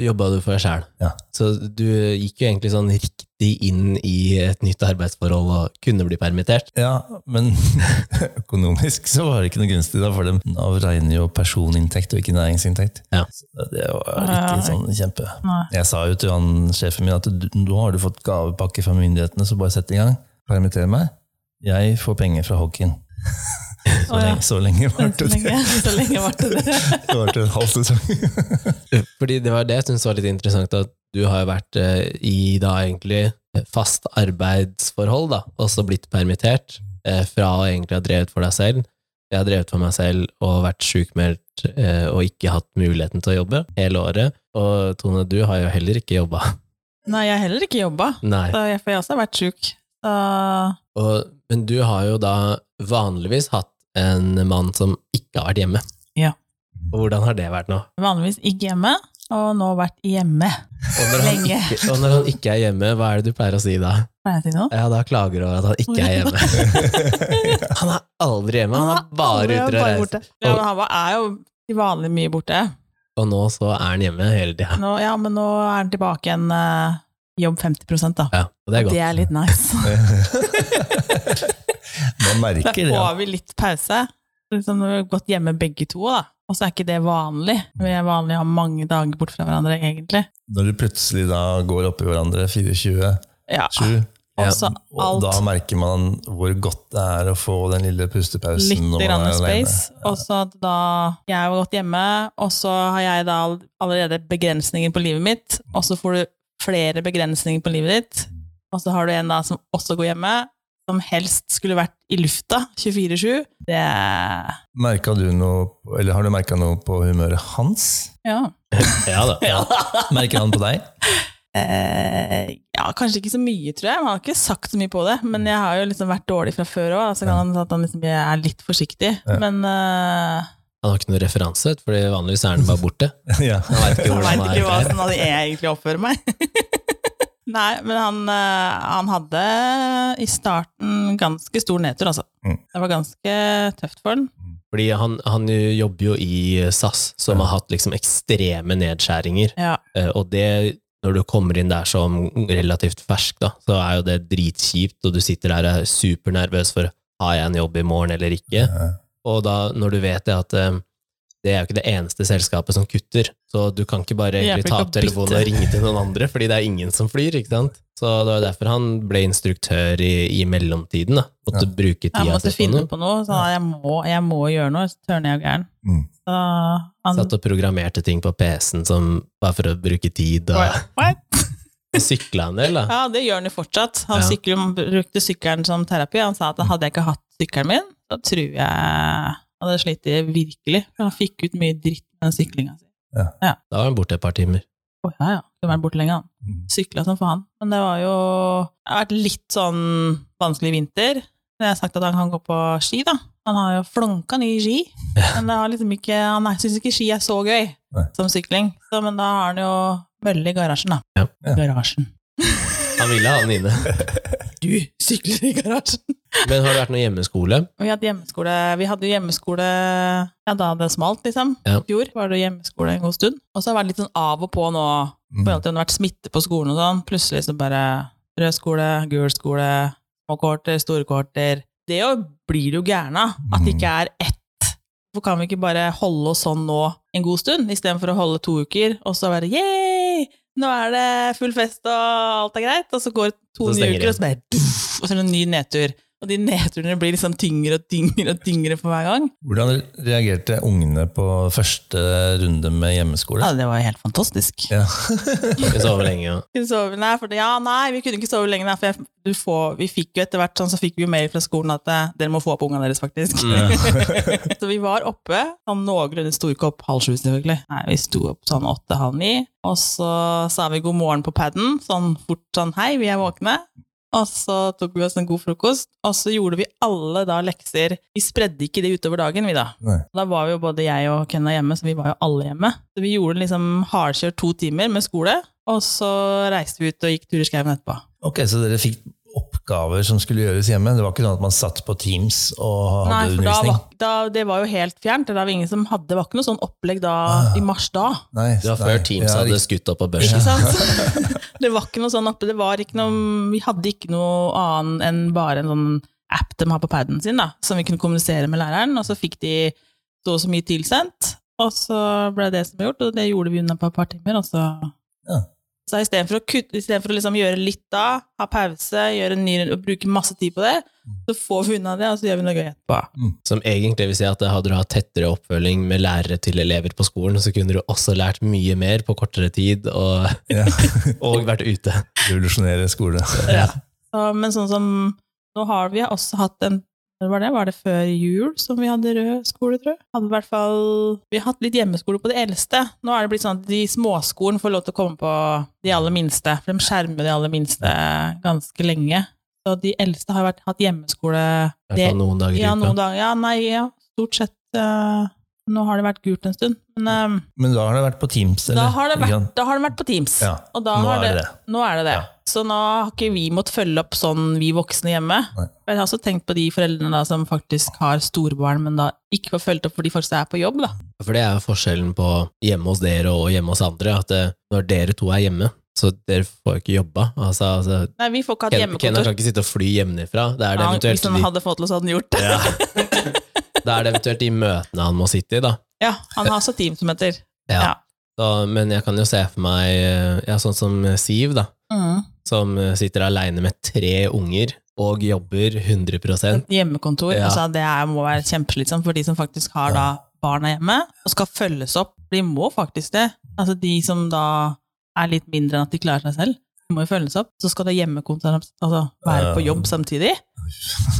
S1: jobba du for deg sjæl.
S2: Ja.
S1: Så du gikk jo egentlig sånn riktig inn i et nytt arbeidsforhold og kunne bli permittert.
S2: Ja, men økonomisk så var det ikke noe gunstig da for dem. Nav regner jo personinntekt og ikke næringsinntekt.
S1: Ja.
S2: Så det var
S3: Ja, ja.
S2: ikke sånn kjempe.
S3: Nei.
S2: Jeg sa jo til han, sjefen min at du- nå har du fått gavepakke fra myndighetene, så bare sett i gang. Permitter meg. Jeg får penger fra hockeyen. Så,
S3: Å, ja.
S2: lenge, så lenge var
S3: Så
S2: det det.
S3: lenge, så lenge var det det.
S2: Det var til en halv sesong.
S1: Fordi det var det jeg syntes var litt interessant, at du har jo vært eh, i da egentlig fast arbeidsforhold, da, og så blitt permittert eh, fra å egentlig ha drevet for deg selv. Jeg har drevet for meg selv og vært sjukmeldt eh, og ikke hatt muligheten til å jobbe hele året. Og Tone, du har jo heller ikke jobba.
S3: Nei, jeg har heller ikke jobba.
S1: Nei.
S3: Så jeg, for jeg også har vært sjuk. Så
S1: Og, men du har jo da vanligvis hatt en mann som ikke har vært hjemme.
S3: Ja.
S1: Og hvordan har det vært nå?
S3: vanligvis ikke hjemme. og nå vært hjemme.
S1: Og når, han
S3: Lenge.
S1: ikke, og når han ikke er hjemme, hva er det du pleier å si da?
S3: Pleier jeg å si noe?
S1: Ja, da klager du over at han ikke er hjemme. Han er aldri hjemme, han er bare ute og reiser.
S3: Ja, men han var- er jo til vanlig mye borte.
S1: Og nå så er han hjemme hele tida.
S3: Nå, ja, men nå er han tilbake igjen eh, jobb 50 da.
S1: Ja, og det er
S3: Det
S1: godt.
S3: er litt nice.
S2: Man
S3: Da
S2: merker det. ja.
S3: får vi litt pause. Liksom når vi har gått hjemme begge to, da. Og så er ikke det vanlig. Vi er vanlig å ha mange dager bort fra hverandre, egentlig.
S2: Når du plutselig da går oppi hverandre 24-7,
S3: Ja.
S1: Ja,
S3: Også
S2: og da
S3: alt.
S2: merker man hvor godt det er å få den lille pustepausen
S3: Litt
S2: når man
S3: grann
S2: er alene.
S3: space. Og så at da Jeg har gått hjemme, og så har jeg da all- allerede begrensninger på livet mitt, og så får du flere begrensninger på livet ditt, og så har du en da som også går hjemme, som helst skulle vært i lufta 24-7. Det
S2: Merka du noe, eller har du merka noe på humøret hans?
S3: Ja.
S1: Ja da.
S2: Ja. Merker han på deg?
S3: Eh, ja, kanskje ikke så mye, tror jeg. Man har ikke sagt så mye på det. Men jeg har jo liksom vært dårlig fra før òg, så kan han at han liksom er litt forsiktig.
S2: Ja.
S3: Men eh,
S1: Han har ikke noen referanse, fordi vanligvis er han bare borte.
S2: ja.
S1: Han vet ikke
S3: jeg
S1: hvordan
S3: veit
S1: han
S3: ikke hva
S1: er.
S3: sånn at jeg egentlig oppfører meg. Nei, men han, eh, han hadde eh, i starten ganske stor nedtur, altså.
S2: Mm.
S3: Det var ganske tøft for han.
S1: Fordi han, han jobber jo i SAS, som
S2: Ja.
S1: har hatt liksom ekstreme nedskjæringer.
S3: Ja.
S1: Eh, Og det, når du kommer inn der som relativt fersk, da, så er jo det dritkjipt, og du sitter der og er supernervøs for har jeg en jobb i morgen eller ikke. Og da, når du vet det at eh, det er jo ikke det eneste selskapet som kutter, så du kan ikke bare
S3: Det hjelper
S1: egentlig ta
S3: ikke
S1: opp
S3: å
S1: telefonen
S3: bytte.
S1: og ringe til noen andre, fordi det er ingen som flyr, ikke sant? Så det var derfor han ble instruktør i, i mellomtiden, da. Måtte bruke tida
S3: Jeg måtte
S1: si på
S3: finne
S1: noe.
S3: på noe, så jeg må, jeg må gjøre noe, så tørner jeg jo gæren.
S2: Mm.
S3: Så han
S1: Satt og programmerte ting på PC-en som bare for å bruke tid, og
S3: What?
S1: sykla en del, da.
S3: Ja, det gjør han jo fortsatt. Han
S1: Ja.
S3: sykler- han brukte sykkelen som terapi. Han sa at hadde jeg ikke hatt sykkelen min, da tror jeg han hadde slitt virkelig. For han fikk ut mye dritt med den syklinga si.
S1: Da var han borte et par timer.
S3: Å ja, ja. Skulle vært borte lenge, han.
S2: Mm.
S3: Sykla som faen. Men det var jo Det har vært litt sånn vanskelig vinter. Men Jeg har sagt at han kan gå på ski, da. Han har jo flunka nye ski. Men det har liksom ikke, han syns ikke ski er så gøy
S2: Nei.
S3: som sykling. Så, men da har han jo mølle i garasjen, da.
S1: Ja.
S2: Ja.
S3: Garasjen.
S1: Han ville ha den inne.
S3: Du sykler i garasjen!
S1: Men har det vært noe hjemmeskole?
S3: Og Vi hadde hjemmeskole, vi hadde jo hjemmeskole ja, da det smalt, liksom. I
S1: Ja.
S3: fjor var det hjemmeskole en god stund. Og så har det vært litt sånn av og på nå, i
S2: Mm.
S3: forhold til om det har vært smitte på skolen og sånn. Plutselig så bare rød skole, gul skole, små kohorter, store kohorter. Det jo blir du jo gæren av, at det ikke er ett. Hvorfor kan vi ikke bare holde oss sånn nå en god stund, istedenfor å holde to uker, og så bare yeah! Nå er det full fest, og alt er greit. Og så går det to
S1: Så
S3: nye
S1: stenger
S3: uker, og så bare duff, og så er det en ny nedtur. Og de nedturene blir liksom tyngre og tyngre og tyngre for hver gang.
S2: Hvordan reagerte ungene på første runde med hjemmeskole?
S3: Ja, det var jo helt fantastisk.
S2: Ja.
S1: Ikke sove lenge. og-
S3: Skulle sove, nei, for det, ja, nei, vi kunne ikke sove lenge, nei, for jeg, du får, vi fikk jo etter hvert sånn, så fikk vi jo mail fra skolen at eh, dere må få opp ungene deres, faktisk.
S1: Mm.
S3: så vi var oppe, sånn noenlunde sto ikke opp halv sju, selvfølgelig. Nei, vi sto opp sånn åtte-halv ni, og så sa vi god morgen på padden, sånn fort sånn hei, vi er våkne. Og så tok vi oss en god frokost, og så gjorde vi alle da lekser. Vi spredde ikke det utover dagen, vi da.
S2: Nei.
S3: Da var vi jo både jeg og Kenna hjemme, så vi var jo alle hjemme. Så vi gjorde liksom hardkjørt to timer med skole, og så reiste vi ut og gikk tur i skauen etterpå.
S2: Ok, Så dere fikk oppgaver som skulle gjøres hjemme? Det var ikke sånn at man satt på Teams og hadde
S3: Nei, for da
S2: undervisning?
S3: var, da, det var jo helt fjernt. Det var ingen som hadde, det var ikke noe sånn opplegg da
S2: Ah.
S3: i mars da.
S2: Nei,
S1: Det var
S2: nei,
S1: før Teams
S2: ja,
S1: hadde
S2: riktig.
S1: skutt opp på
S3: Ikke
S1: børsen.
S3: sant? det var ikke noe sånn oppe, det var ikke noe, vi hadde ikke noe annet enn bare en sånn app de har på paden sin, da, som vi kunne kommunisere med læreren, og så fikk de så og så mye tilsendt, og så ble det som ble gjort, og det gjorde vi unna på et par timer, og så...
S2: Ja.
S3: Så i stedet for å, kutte, i stedet for å liksom gjøre litt da, ha pause, gjøre en ny, og bruke masse tid på det, så får vi unna det, og så gjør vi noe gøy etterpå.
S1: Som egentlig vil si at hadde du hatt tettere oppfølging med lærere til elever på skolen, så kunne du også lært mye mer på kortere tid og,
S2: Ja.
S1: og vært ute.
S2: Revolusjonere skole.
S3: Så, men sånn som nå har vi også hatt en når var det? Var det før jul som vi hadde rød skole, tror jeg? Hadde i hvert fall, vi har hatt litt hjemmeskole på det eldste. Nå er det blitt sånn at de småskolen får lov til å komme på de aller minste, for de skjermer de aller minste ganske lenge. Så de eldste har vært, hatt hjemmeskole
S2: sånn
S1: I hvert fall noen dager i
S3: ja, noen
S1: uka.
S3: dager. Ja, nei, ja, stort sett eh, Nå har det vært gult en stund, men ehm,
S2: Men da har det vært på Teams, eller?
S3: da, har det
S2: Ikke
S3: vært,
S2: sant?
S3: da har det vært på Teams.
S2: Ja,
S3: Og da
S2: nå
S3: har
S2: er
S3: det,
S2: det
S3: Nå er det det.
S2: Ja.
S3: Så nå har ikke vi måttet følge opp sånn vi voksne hjemme.
S2: Nei.
S3: Og Jeg har også tenkt på de foreldrene da, som faktisk har storbarn, men da ikke får fulgt opp fordi folk er på jobb. Da.
S1: For det er jo forskjellen på hjemme hos dere og hjemme hos andre, at eh, når dere to er hjemme, så dere får jo ikke jobba. Altså, altså,
S3: Nei, vi får ikke hatt
S1: Ken- Kenner
S3: hjemmekontor.
S1: kan ikke sitte og fly hjemmefra. Det er det
S3: Ja, hvis
S1: eventuelt
S3: han
S1: de,
S3: hadde fått til, så hadde han gjort det.
S1: ja. det er det eventuelt de møtene han må sitte i, da.
S3: Ja, han har også team som heter.
S1: Ja.
S3: Ja.
S1: Så, men jeg kan jo se for meg eh, ja, sånn som Siv, da.
S3: Mm.
S1: Som eh, sitter aleine med tre unger og jobber 100
S3: Et hjemmekontor.
S1: Ja.
S3: Altså, det er, må være kjempeslitsomt for de som faktisk har da barna hjemme, og skal følges opp. De må faktisk det. Altså de som da er litt mindre enn at de klarer seg selv, de må jo følges opp. Så skal det hjemmekontor altså, være på
S2: Ja.
S3: jobb samtidig.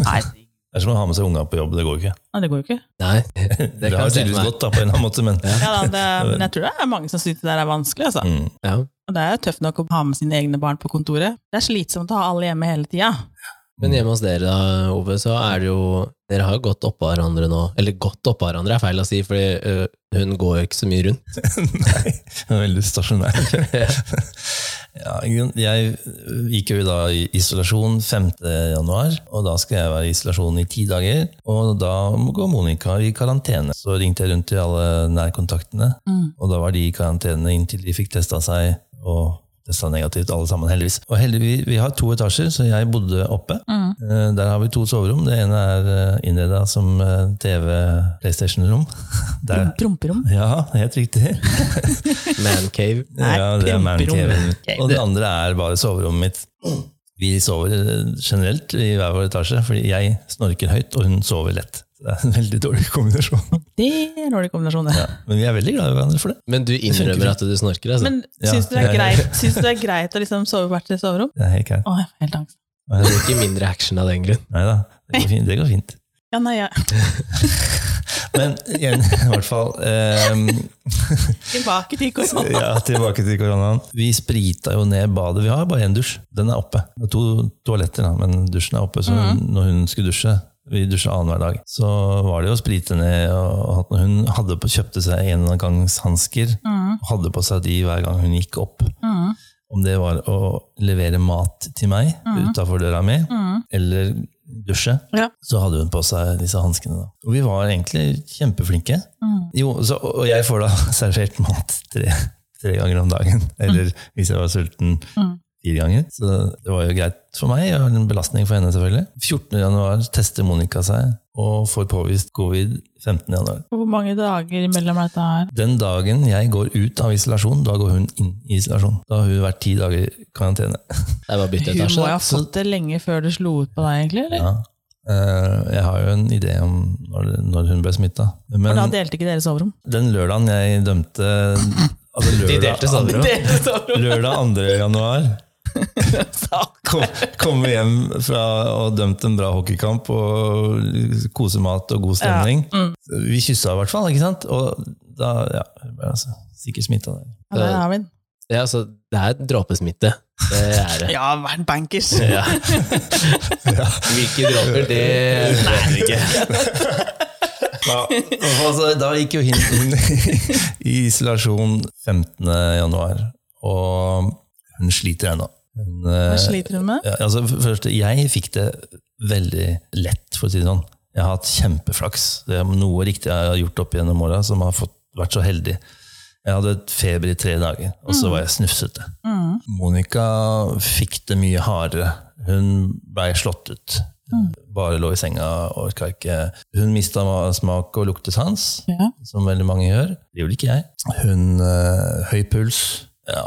S3: Nei,
S2: Det er som å ha med seg unga på jobb, det går jo ikke.
S3: nei, det går jo ikke.
S1: Nei,
S2: Det,
S1: det kan
S2: har
S1: jeg se
S2: tydeligvis
S1: for meg.
S2: gått da, på en eller annen måte, men
S3: Ja, da, det, men jeg tror det er mange som syns det der er vanskelig, altså.
S2: mm.
S1: Ja.
S3: Og det er jo tøft nok å ha med sine egne barn på kontoret. Det er slitsomt å ha alle hjemme hele tida.
S1: Men hjemme hos dere da, Ove, så er det jo Dere har jo gått oppå hverandre nå. Eller gått oppå hverandre er feil å si, for hun går jo ikke så mye rundt.
S2: Nei, jeg er veldig stasjonær. ja, i grunn- jeg gikk jo da i isolasjon 5. januar, og da skal jeg være i isolasjon i ti dager. Og da går Monica i karantene. Så ringte jeg rundt til alle nærkontaktene,
S3: Mm.
S2: og da var de i karantene inntil de fikk testa seg. og testa negativt alle sammen, heldigvis. Og heldigvis, Vi har to etasjer, så jeg bodde oppe. Eh, Der har vi to soverom. Det ene er innreda som eh, TV-PlayStation-rom. Der
S3: Promperom.
S2: ja, helt riktig.
S1: Mancave.
S2: ja, det er man
S3: promperommet.
S2: caven.
S3: Ok,
S2: Og
S1: det-
S2: det andre er bare soverommet mitt. Vi sover eh, generelt i hver vår etasje, fordi jeg snorker høyt, og hun sover lett. Det er en veldig dårlig kombinasjon.
S3: Det er en dårlig kombinasjon, det.
S2: Men vi er veldig glad i hverandre for det.
S1: Men du innrømmer at du snorker, altså?
S3: Men
S2: Ja.
S3: syns du det er
S2: Ja, ja.
S3: greit, syns du det er greit å liksom sove hvert sitt soverom?
S2: Det er helt greit.
S3: Å, jeg får helt angst.
S1: Det blir ikke mindre action av den grunn.
S2: Nei da, det går fint. Det går fint.
S3: Ja, nei, jeg
S2: Men igjen, i hvert fall eh,
S3: Tilbake til korona.
S2: Ja, tilbake til koronaen. Vi sprita jo ned badet. Vi har bare én dusj. Den er oppe. Det er to toaletter, da, men dusjen er oppe. Så når hun skulle dusje vi dusja annenhver dag. Så var det jo å sprite ned. og at Hun hadde på, kjøpte seg engangshansker. og Hadde på seg de hver gang hun gikk opp. Om det var å levere mat til meg utafor døra mi, eller dusje,
S3: Ja.
S2: så hadde hun på seg disse hanskene. da. Og vi var egentlig kjempeflinke.
S3: Mm.
S2: Jo, så, og jeg får da servert mat tre, tre ganger om dagen. Eller hvis jeg var sulten,
S3: Mm.
S2: fire ganger. Så det var jo greit for meg, og en belastning for henne selvfølgelig. 14. januar tester Monica seg, og får påvist covid 15. januar.
S3: Hvor mange dager imellom er dette her?
S2: Den dagen jeg går ut av isolasjon, da går hun inn i isolasjon. Da har hun vært ti dager i karantene.
S1: Det er bare å bytte
S3: Hun må
S1: etasje.
S3: jo
S1: da.
S3: ha fått det lenge før du slo ut på deg, egentlig? eller?
S2: Ja. Eh, Jeg har jo en idé om når, når hun ble smitta.
S3: For da
S2: Men
S3: delte ikke dere soverom.
S2: den lørdagen jeg dømte altså lørdag,
S1: De delte soverom.
S3: Dere soverom,
S2: Lørdag 2. januar kom, kom vi hjem fra og dømt en bra hockeykamp og kosemat og god stemning.
S1: mm.
S2: Vi kyssa i hvert fall, ikke sant? Og da ja, jeg ble altså, sikkert smitta der.
S3: Ja, der har vi den.
S1: Ja, så det er dråpesmitte. Det er det.
S3: Ja, vært bankers.
S1: Ja. Hvilke dråper, det vet vi ikke.
S2: Ja, og altså, da gikk jo hun inn i isolasjon 15. januar, og hun sliter ennå. Hun, eh,
S3: Hva sliter hun med?
S2: Ja, altså, for det første, jeg fikk det veldig lett, for å si det sånn. Jeg har hatt kjempeflaks. Det er noe riktig jeg har gjort opp gjennom åra, som har fått, vært så heldig. Jeg hadde et feber i tre dager, og så var jeg snufsete. Monica fikk det mye hardere. Hun blei slått ut. Bare lå i senga, orka ikke. Hun mista smak og luktesans
S3: Ja.
S2: som veldig mange gjør. Det gjorde ikke jeg. Hun eh, høy puls, ja,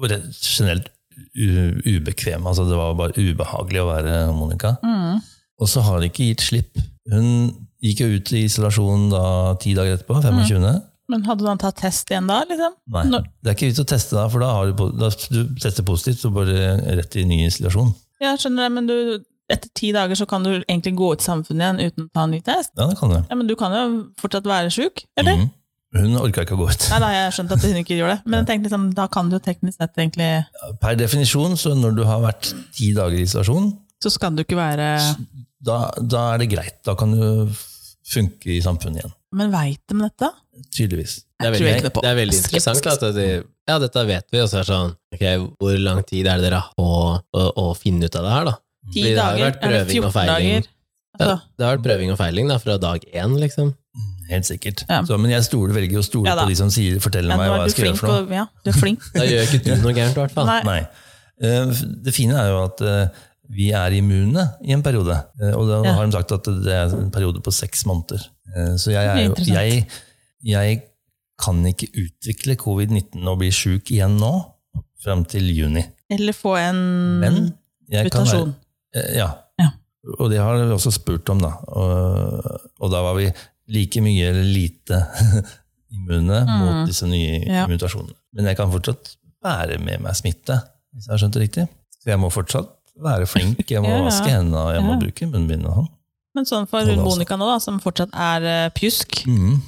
S2: u- rett- generelt u ubekvem. Altså det var bare ubehagelig å være Monica.
S3: Mm.
S2: Og så har det ikke gitt slipp. Hun gikk jo ut i isolasjon da ti dager
S3: Mhm.
S2: etterpå, 25.
S3: Men hadde han tatt test igjen da, liksom?
S2: Nei,
S3: Når-
S2: det er ikke vits å teste da, for da har du, po- da du tester positivt, så bare rett i ny isolasjon.
S3: Ja, skjønner jeg, men du, etter ti dager så kan du egentlig gå ut i samfunnet igjen uten å ta en ny test?
S2: Ja, det kan du.
S3: Ja, men du kan jo fortsatt være sjuk, eller?
S2: Mhm. Hun orka ikke å gå ut.
S3: Nei, da har jeg skjønt at hun ikke gjør det. Men jeg tenkte liksom, da kan du jo teknisk sett egentlig
S2: Per definisjon, så når du har vært ti dager i isolasjon,
S3: Så skal du ikke være
S2: da, da er det greit. Da kan du funke i samfunnet igjen.
S3: Men veit de dette?
S2: Tydeligvis.
S1: Det er
S3: Jeg tror
S1: veldig,
S3: ikke noe på.
S1: det er veldig interessant
S2: altså,
S1: at de, ja, dette vet vi, og så er det sånn, ok, hvor lang tid er det dere har på å, å finne ut av det her da?
S3: Ti
S1: Fordi det har jo
S3: dager?
S1: vært
S3: Er det
S1: prøving og
S3: 14
S1: feiling.
S3: dager? Altså,
S1: Det har vært prøving og feiling da, fra dag 1 liksom.
S2: Helt sikkert.
S3: Ja.
S2: Så, men jeg stoler, velger å stole
S3: Ja da.
S2: på de som sier, forteller
S3: ja, nå
S2: meg hva
S3: er
S2: jeg
S3: du
S2: skal gjøre
S3: flink.
S2: for noe.
S3: Og, ja, du er flink.
S1: Da gjør ikke du noe gærent i hvert fall.
S3: Nei.
S2: Nei. Eh, f- Det fine er jo at eh, vi er immune i en periode. Eh, Og da
S3: Ja.
S2: har de sagt at det er en periode på seks måneder. Eh, Så jeg, er
S3: Det
S2: jo,
S3: blir
S2: jeg, jeg kan ikke utvikle covid-19 og bli sjuk igjen nå, frem til juni.
S3: Eller få en
S2: Men jeg kan være
S3: Mm. mutasjon.
S2: Eh, Ja.
S3: Ja.
S2: Og det har vi også spurt om, da. Og, og da var vi like mye eller lite immune mot
S3: Mm.
S2: disse nye
S3: Ja.
S2: mutasjonene. Men jeg kan fortsatt bære med meg smitte, hvis jeg har skjønt det riktig. Så jeg må fortsatt være flink. Jeg må
S3: Ja, ja.
S2: vaske hendene, og jeg må
S3: Ja.
S2: bruke munnbind og sånn.
S3: Men sånn for
S2: Hold
S3: hun
S2: avstand.
S3: Monica nå, da, som fortsatt er eh, pjusk
S2: Mm.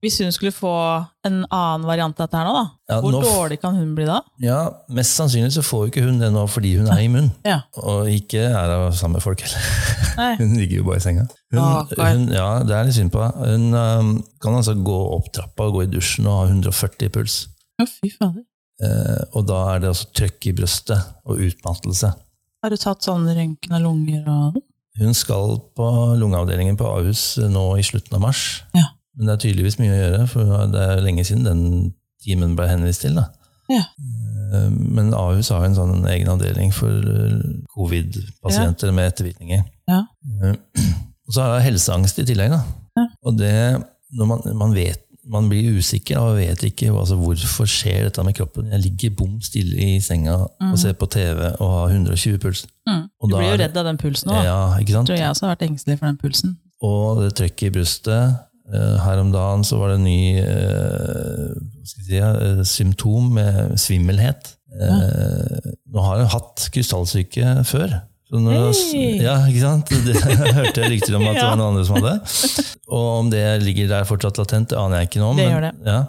S3: Hvis hun skulle få en annen variant av dette her nå, da,
S2: Ja,
S3: hvor
S2: nå f-
S3: dårlig kan hun bli da?
S2: Ja, mest sannsynlig så får jo ikke hun det nå fordi hun er immun.
S3: Ja.
S2: Og ikke er av samme folk heller.
S3: Nei.
S2: Hun ligger jo bare i senga. Hun,
S3: Stakkar.
S2: hun, ja, det er litt synd på henne. Hun øhm, kan altså gå opp trappa og gå i dusjen og ha 140 i puls.
S3: Å, fy fader.
S2: Eh, og da er det altså trøkk i brøstet og utmattelse.
S3: Har du tatt sånn røntgen av lunger og
S2: Hun skal på lungeavdelingen på Ahus eh, nå i slutten av mars.
S3: Ja.
S2: Men det er tydeligvis mye å gjøre, for det er lenge siden den timen ble henvist til. Da.
S3: Ja.
S2: Eh, Men Ahus har jo en sånn egen avdeling for eh, covid-pasienter med ettervirkninger.
S3: Ja.
S2: Eh, Og så er det helseangst i tillegg. Da.
S3: Ja.
S2: Og det, når man, man, vet, man blir usikker og vet ikke altså, hvorfor skjer dette med kroppen. Jeg ligger bom stille i senga
S3: Mhm.
S2: og ser på TV og har 120 puls. Og
S3: Mm. Du
S2: da
S3: blir
S2: er
S3: jo
S2: det-
S3: redd av den pulsen òg.
S2: Ja, ikke sant?
S3: Jeg tror jeg også har vært engstelig for den pulsen.
S2: og det trøkket i brystet. Eh, Her om dagen så var det en ny eh, hva skal jeg si, eh, symptom med svimmelhet. Eh, Nå har jeg hatt krystallsyke før. Så når
S3: Hei!
S2: ja, ikke sant? Det hørte jeg rykter om at det
S3: Ja.
S2: var noen andre som hadde. Og om det ligger der fortsatt latent, det aner jeg ikke nå.
S3: Det
S2: men-
S3: gjør det. Mm.
S2: Ja.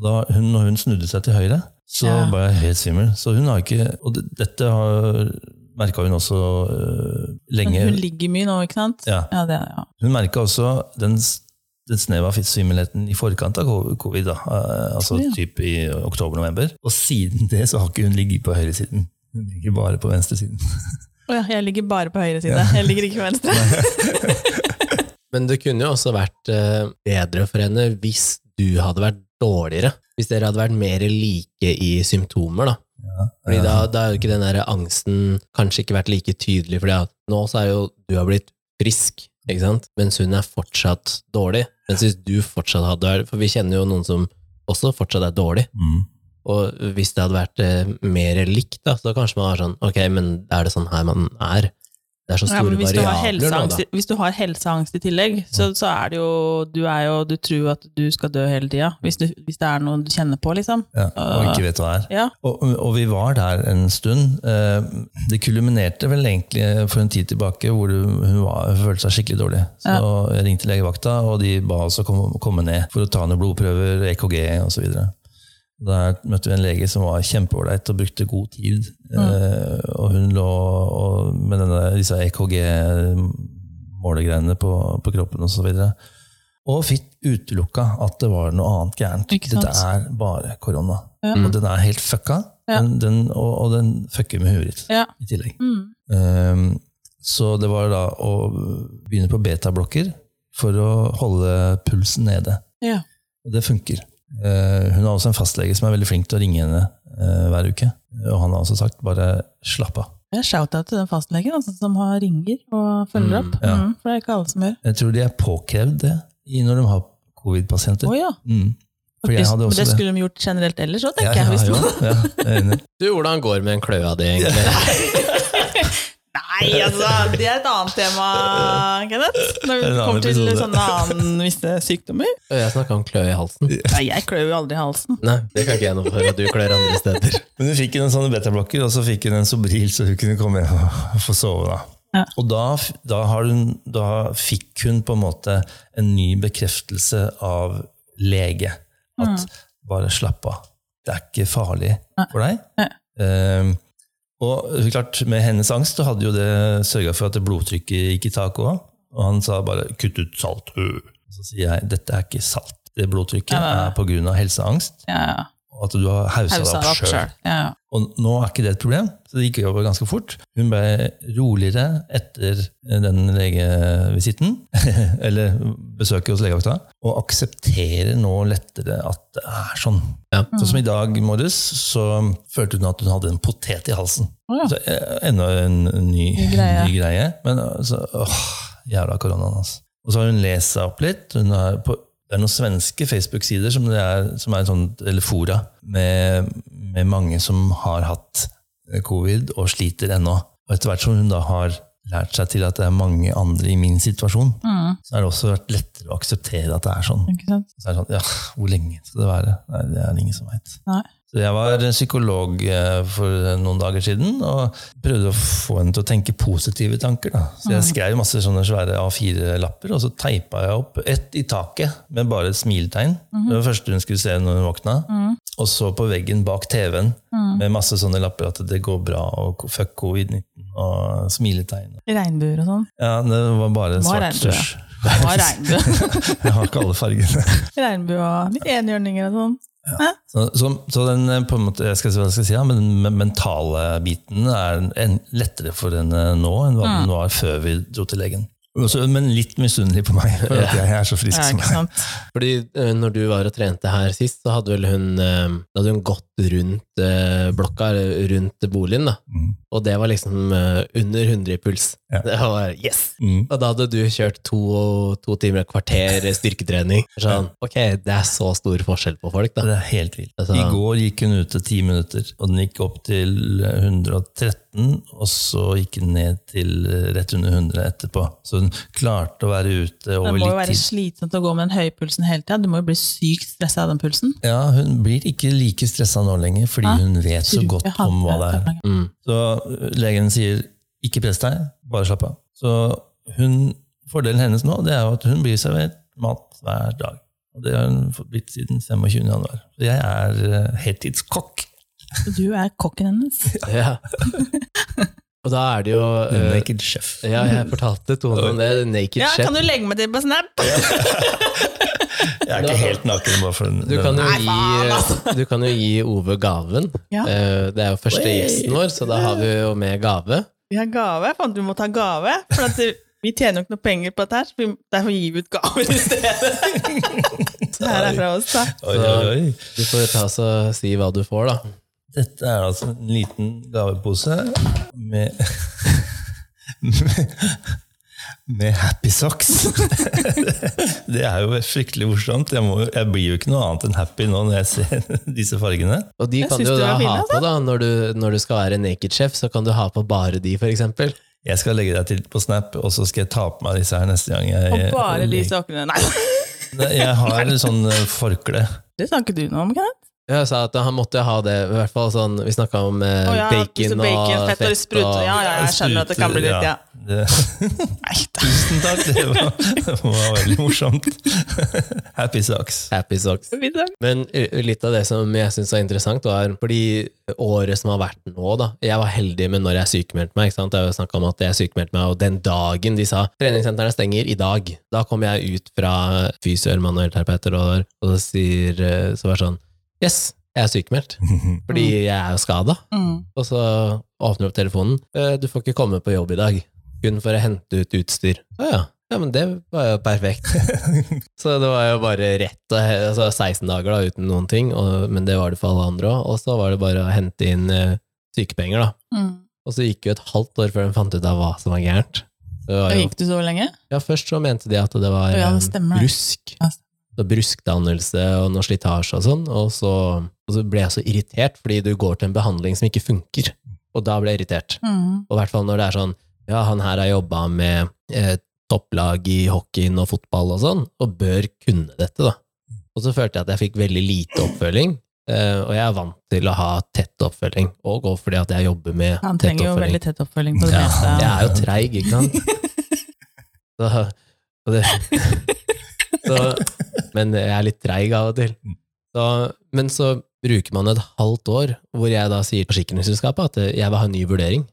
S2: Da hun, når hun snudde seg til høyre, så
S3: Ja.
S2: ble jeg helt svimmel. Så hun har ikke, og det, dette har merka hun også eh,
S3: Men
S2: lenge.
S3: hun ligger mye nå, ikke sant?
S2: Ja.
S3: Ja, det, ja.
S2: Hun merka også den, s- den snev av svimmelheten i forkant av ko- covid, da. Eh, altså
S3: Ja.
S2: typ i oktober-november. Og siden det så har ikke hun ligget på høyresiden. Hun ligger bare på venstresiden.
S3: Å ja, jeg ligger bare på høyre side. Jeg ligger ikke på venstre.
S1: Men det kunne jo også vært eh, bedre for henne hvis du hadde vært dårligere. Hvis dere hadde vært mer like i symptomer, da. Fordi da, da er jo ikke den der angsten kanskje ikke vært like tydelig, fordi at nå så er jo du har blitt frisk, ikke sant? Mens hun er fortsatt dårlig. Mens hvis du fortsatt hadde vært For vi kjenner jo noen som også fortsatt er dårlig.
S2: Mm.
S1: Og hvis det hadde vært eh, mer likt, da, så kanskje man var sånn Ok, men er det sånn her man er? Det er så
S3: Ja,
S1: store
S3: men hvis, du har
S1: variabler nå,
S3: helseangst,
S1: da.
S3: hvis du har helseangst i tillegg, så, så er det jo Du er jo Du tror at du skal dø hele tida, hvis, du- hvis det er noe du kjenner på, liksom.
S2: Ja, og ikke vet hva det er.
S3: Ja.
S2: Og, og vi var der en stund. Eh, Det kulminerte vel egentlig eh, for en tid tilbake hvor du- hun, var, hun følte seg skikkelig dårlig. Så jeg ringte legevakta, og de ba oss å komme, komme ned for å ta noen blodprøver, E EKG osv. Der møtte vi en lege som var kjempeålreit og brukte god tid.
S3: Mm.
S2: Eh, Og hun lå og, med denne, disse EKG-målegreiene på, på kroppen osv. Og fikk utelukka at det var noe annet gærent.
S3: Ikke sant?
S2: Dette er bare korona.
S3: Ja.
S2: Og den er helt fucka,
S3: Mm. Ja.
S2: den, den, og, og den fucker med huet ditt
S3: Ja.
S2: i tillegg.
S3: Mm.
S2: Ehm, så det var da å begynne på betablokker for å holde pulsen nede.
S3: ja.
S2: Og det funker. Eh, hun har også en fastlege som er veldig flink til å ringe henne eh, hver uke. Og han har også sagt bare slapp av.
S3: Jeg shout-out til den fastlegen altså, som har ringer og følger
S1: Mm,
S3: opp.
S2: ja.
S3: Mm, for det er ikke alle som gjør.
S2: Jeg tror de er påkrevd det i når de har
S3: Å
S2: covid-pasienter.
S3: ja.
S2: Mm. For jeg
S3: Hvis-
S2: hadde
S3: men
S2: også
S3: det
S2: det.
S3: skulle de gjort generelt ellers òg,
S2: Ja, ja,
S3: tenker jeg. Hvis
S2: jo,
S3: man...
S2: ja, jeg er enig.
S1: Du, hvordan går det med en kløe av det, egentlig?
S3: Nei, altså, det er et annet tema, Kenneth. Når vi
S2: En annen
S3: kommer til
S2: episode.
S3: sånne annen visse sykdommer.
S1: Jeg snakka om kløe i halsen.
S3: Nei, jeg klør jo aldri i halsen.
S1: Nei, det kan ikke jeg noe for at du klør andre steder.
S2: Men hun fikk en sånn betablokker, og så fikk hun en Sobril, så hun kunne komme hjem og få sove. Da.
S3: Ja.
S2: Og da, f- da, har hun, da fikk hun på en måte en ny bekreftelse av lege. At bare slapp av. Det er ikke farlig for deg.
S3: Mm. Nei.
S2: Ehm, og klart, med hennes angst så hadde jo det sørga for at blodtrykket gikk i taket òg. Og han sa bare 'kutt ut salt'. øh. Og så sier jeg dette er ikke salt. Det blodtrykket
S3: Ja, ja, ja.
S2: er på grunn av helseangst,
S3: Ja, ja.
S2: og at du har hausa
S3: Hausa
S2: deg
S3: deg
S2: opp
S3: opp
S2: sjøl.
S3: sjøl. Ja, ja.
S2: Og nå er ikke det et problem, så det gikk jo over ganske fort. Hun ble roligere etter den legevisitten, eller besøket hos legevakta, og aksepterer nå lettere at det er sånn.
S1: Ja.
S2: Sånn som i dag morges, så følte hun at hun hadde en potet i halsen.
S3: Å ja.
S2: Så eh, enda en ny,
S3: Ny
S2: ny,
S3: greie.
S2: greie. Men altså, åh, jævla koronaen, altså. Og så har hun lest seg opp litt. Hun er på, det er noen svenske Facebook-sider som, det er- som er en sånn, eller fora med, med mange som har hatt eh, covid og sliter ennå. Og etter hvert som hun da har lært seg til at det er mange andre i min situasjon,
S3: Mm,
S2: så har det også vært lettere å akseptere at det er sånn.
S3: ikke sant?
S2: Så er det sånn, ja, hvor lenge skal det være? Nei, det er det ingen som vet.
S3: Nei.
S2: Så jeg var psykolog eh, for noen dager siden, og prøvde å få henne til å tenke positive tanker. Da. Så jeg skrev masse sånne svære A4-lapper, og så teipa jeg opp ett i taket med bare et smiletegn. Det var det første hun skulle se når hun våkna. Og så på veggen bak TV-en med masse sånne lapper at det går bra, og fuck covid-19, og smiletegn.
S3: Regnbuer og sånn.
S2: Ja, det var bare
S3: Hva
S2: svart
S3: regner du?
S2: tusj.
S3: Hva er regnbue?
S2: Jeg har ikke alle fargene.
S3: regnbue og litt enhjørninger og sånn.
S2: Så, så, så den eh, på en måte, jeg skal si hva jeg skal si, ja, men den me- mentale biten er en, lettere for henne nå enn
S3: Mm.
S2: hva den var før vi dro til legen. Så, men litt misunnelig på meg, for at jeg er så frisk
S3: Ja,
S2: som
S3: ikke
S2: jeg er.
S3: sant?
S1: Fordi eh, når du var og trente her sist, så hadde vel hun, eh, da hadde hun gått rundt eh, blokka, eller rundt boligen, da.
S2: Mm.
S1: Og det var liksom eh, under 100 i puls.
S2: Ja.
S1: Det var yes!
S2: Mm.
S1: Og da hadde du kjørt to, to timer og et kvarter eh, styrketrening. Sånn, ok, det er så stor forskjell på folk, da.
S2: Det er helt vilt.
S1: Altså-
S2: I går gikk hun ute ti minutter, og den gikk opp til 113, og så gikk den ned til eh, rett under 100 etterpå. Så hun klarte å være ute
S3: Det
S2: over
S3: må jo
S2: litt
S3: være
S2: tid.
S3: slitsomt å gå med den høye pulsen hele tida. Du må jo bli sykt stressa av den pulsen.
S2: Ja, hun blir ikke like stressa nå lenger, fordi
S3: Hæ?
S2: hun vet så godt
S3: Jeg hadde-
S2: om hva det er.
S1: Mm.
S2: Så legen sier ikke press deg, bare slapp av. Så hun, fordelen hennes nå det er jo at hun blir servert mat hver dag. Og det har hun fått blitt siden 25. januar. Så jeg er eh, heltidskokk.
S3: Du er kokken hennes.
S1: Ja. Og da er det jo eh,
S2: Naked chef.
S1: Ja, jeg fortalte Tone om det. Naked
S3: Ja,
S1: Chef.
S3: kan du legge meg til på Snap?
S2: Jeg er ikke helt naken. bare for den.
S1: Du kan, jo
S3: Nei, faen, altså.
S1: gi, du kan jo gi Ove gaven.
S3: Ja.
S1: Eh, Det er jo første
S2: Oi.
S1: gjesten vår, så da har vi jo med gave.
S3: Vi har gave. Faen, du må ta gave. For at vi tjener jo ikke noe penger på dette, her, så vi, derfor gir vi ut gaver i stedet. Så her er fra oss, da.
S2: Oi, oi, oi.
S1: Du får ta oss og si hva du får, da.
S2: Dette er altså en liten gavepose med med, med happy socks. det er jo fryktelig morsomt. Jeg, må, jo- jeg blir jo ikke noe annet enn happy nå når jeg ser disse fargene.
S1: Og de
S3: Jeg
S1: kan
S3: syns
S1: du jo
S3: de
S1: da
S3: var fine,
S1: ha
S3: altså.
S1: på da, når du, når du skal være naked chef, så kan du ha på bare de, for eksempel.
S2: Jeg skal legge deg til på Snap, og så skal jeg ta på meg disse her neste gang. Jeg,
S3: Og bare de sokkene. Nei,
S2: Nei, Jeg har sånn eh, forkle.
S3: det sa ikke du noe om, Kenneth.
S1: Jeg sa at han måtte ha det, i hvert fall sånn Vi snakka om eh,
S3: Å ja,
S1: bacon,
S3: så bacon, fett og sprut.
S1: og
S3: Ja, ja, jeg skjønner at det kan bli litt, ja.
S2: Det,
S3: Nei, da.
S2: tusen takk, det var, det var veldig morsomt. Happy socks.
S1: happy socks.
S3: Vi da.
S1: Men eh, litt av det som jeg syns var interessant, var fordi året som har vært nå, da Jeg var heldig med når jeg sykemeldte meg. ikke sant? Jeg har jo snakket om at jeg sykemeldte meg, og den dagen de sa treningssentrene stenger i dag, da kom jeg ut fra fysio eller manuellterapeuter, og, og så sier eh, så var det sånn Yes, jeg er sykemeldt. Fordi jeg er jo skada.
S3: Mm.
S1: Og så åpner du opp telefonen. «Eh, Du får ikke komme på jobb i dag. Kun for å hente ut utstyr. Å ja. Ja, men det var jo perfekt. så det var jo bare rett og he- altså 16 dager da, uten noen ting, og, men det var det for alle andre òg. Og så var det bare å hente inn eh, sykepenger, da.
S3: Mm.
S1: Og så gikk det jo et halvt år før de fant ut av hva som var gærent. Det var
S3: Og
S1: jo,
S3: gikk du så lenge?
S1: ja, først så mente de at det var
S3: Ja, det
S1: eh,
S3: stemmer.
S1: brusk.
S3: Ja.
S1: Så bruskdannelse og noe slitasje og sånn. Og så, og så ble jeg så irritert, fordi du går til en behandling som ikke funker. Og da ble jeg irritert.
S3: Mm.
S1: Og i hvert fall når det er sånn Ja, han her har jobba med eh, topplag i hockeyen og fotball og sånn, og bør kunne dette, da. Og så følte jeg at jeg fikk veldig lite oppfølging. Eh, og jeg er vant til å ha tett oppfølging, og også fordi at jeg jobber med
S3: Han
S1: tett
S3: trenger jo
S1: oppfølging.
S3: veldig tett oppfølging på det
S2: Ja,
S3: meste.
S1: Jeg er jo treig, ikke sant? Så, og det, så, men jeg er litt treig av og til. Så, men så bruker man et halvt år hvor jeg da sier til forsikringsselskapet at jeg vil ha en ny vurdering.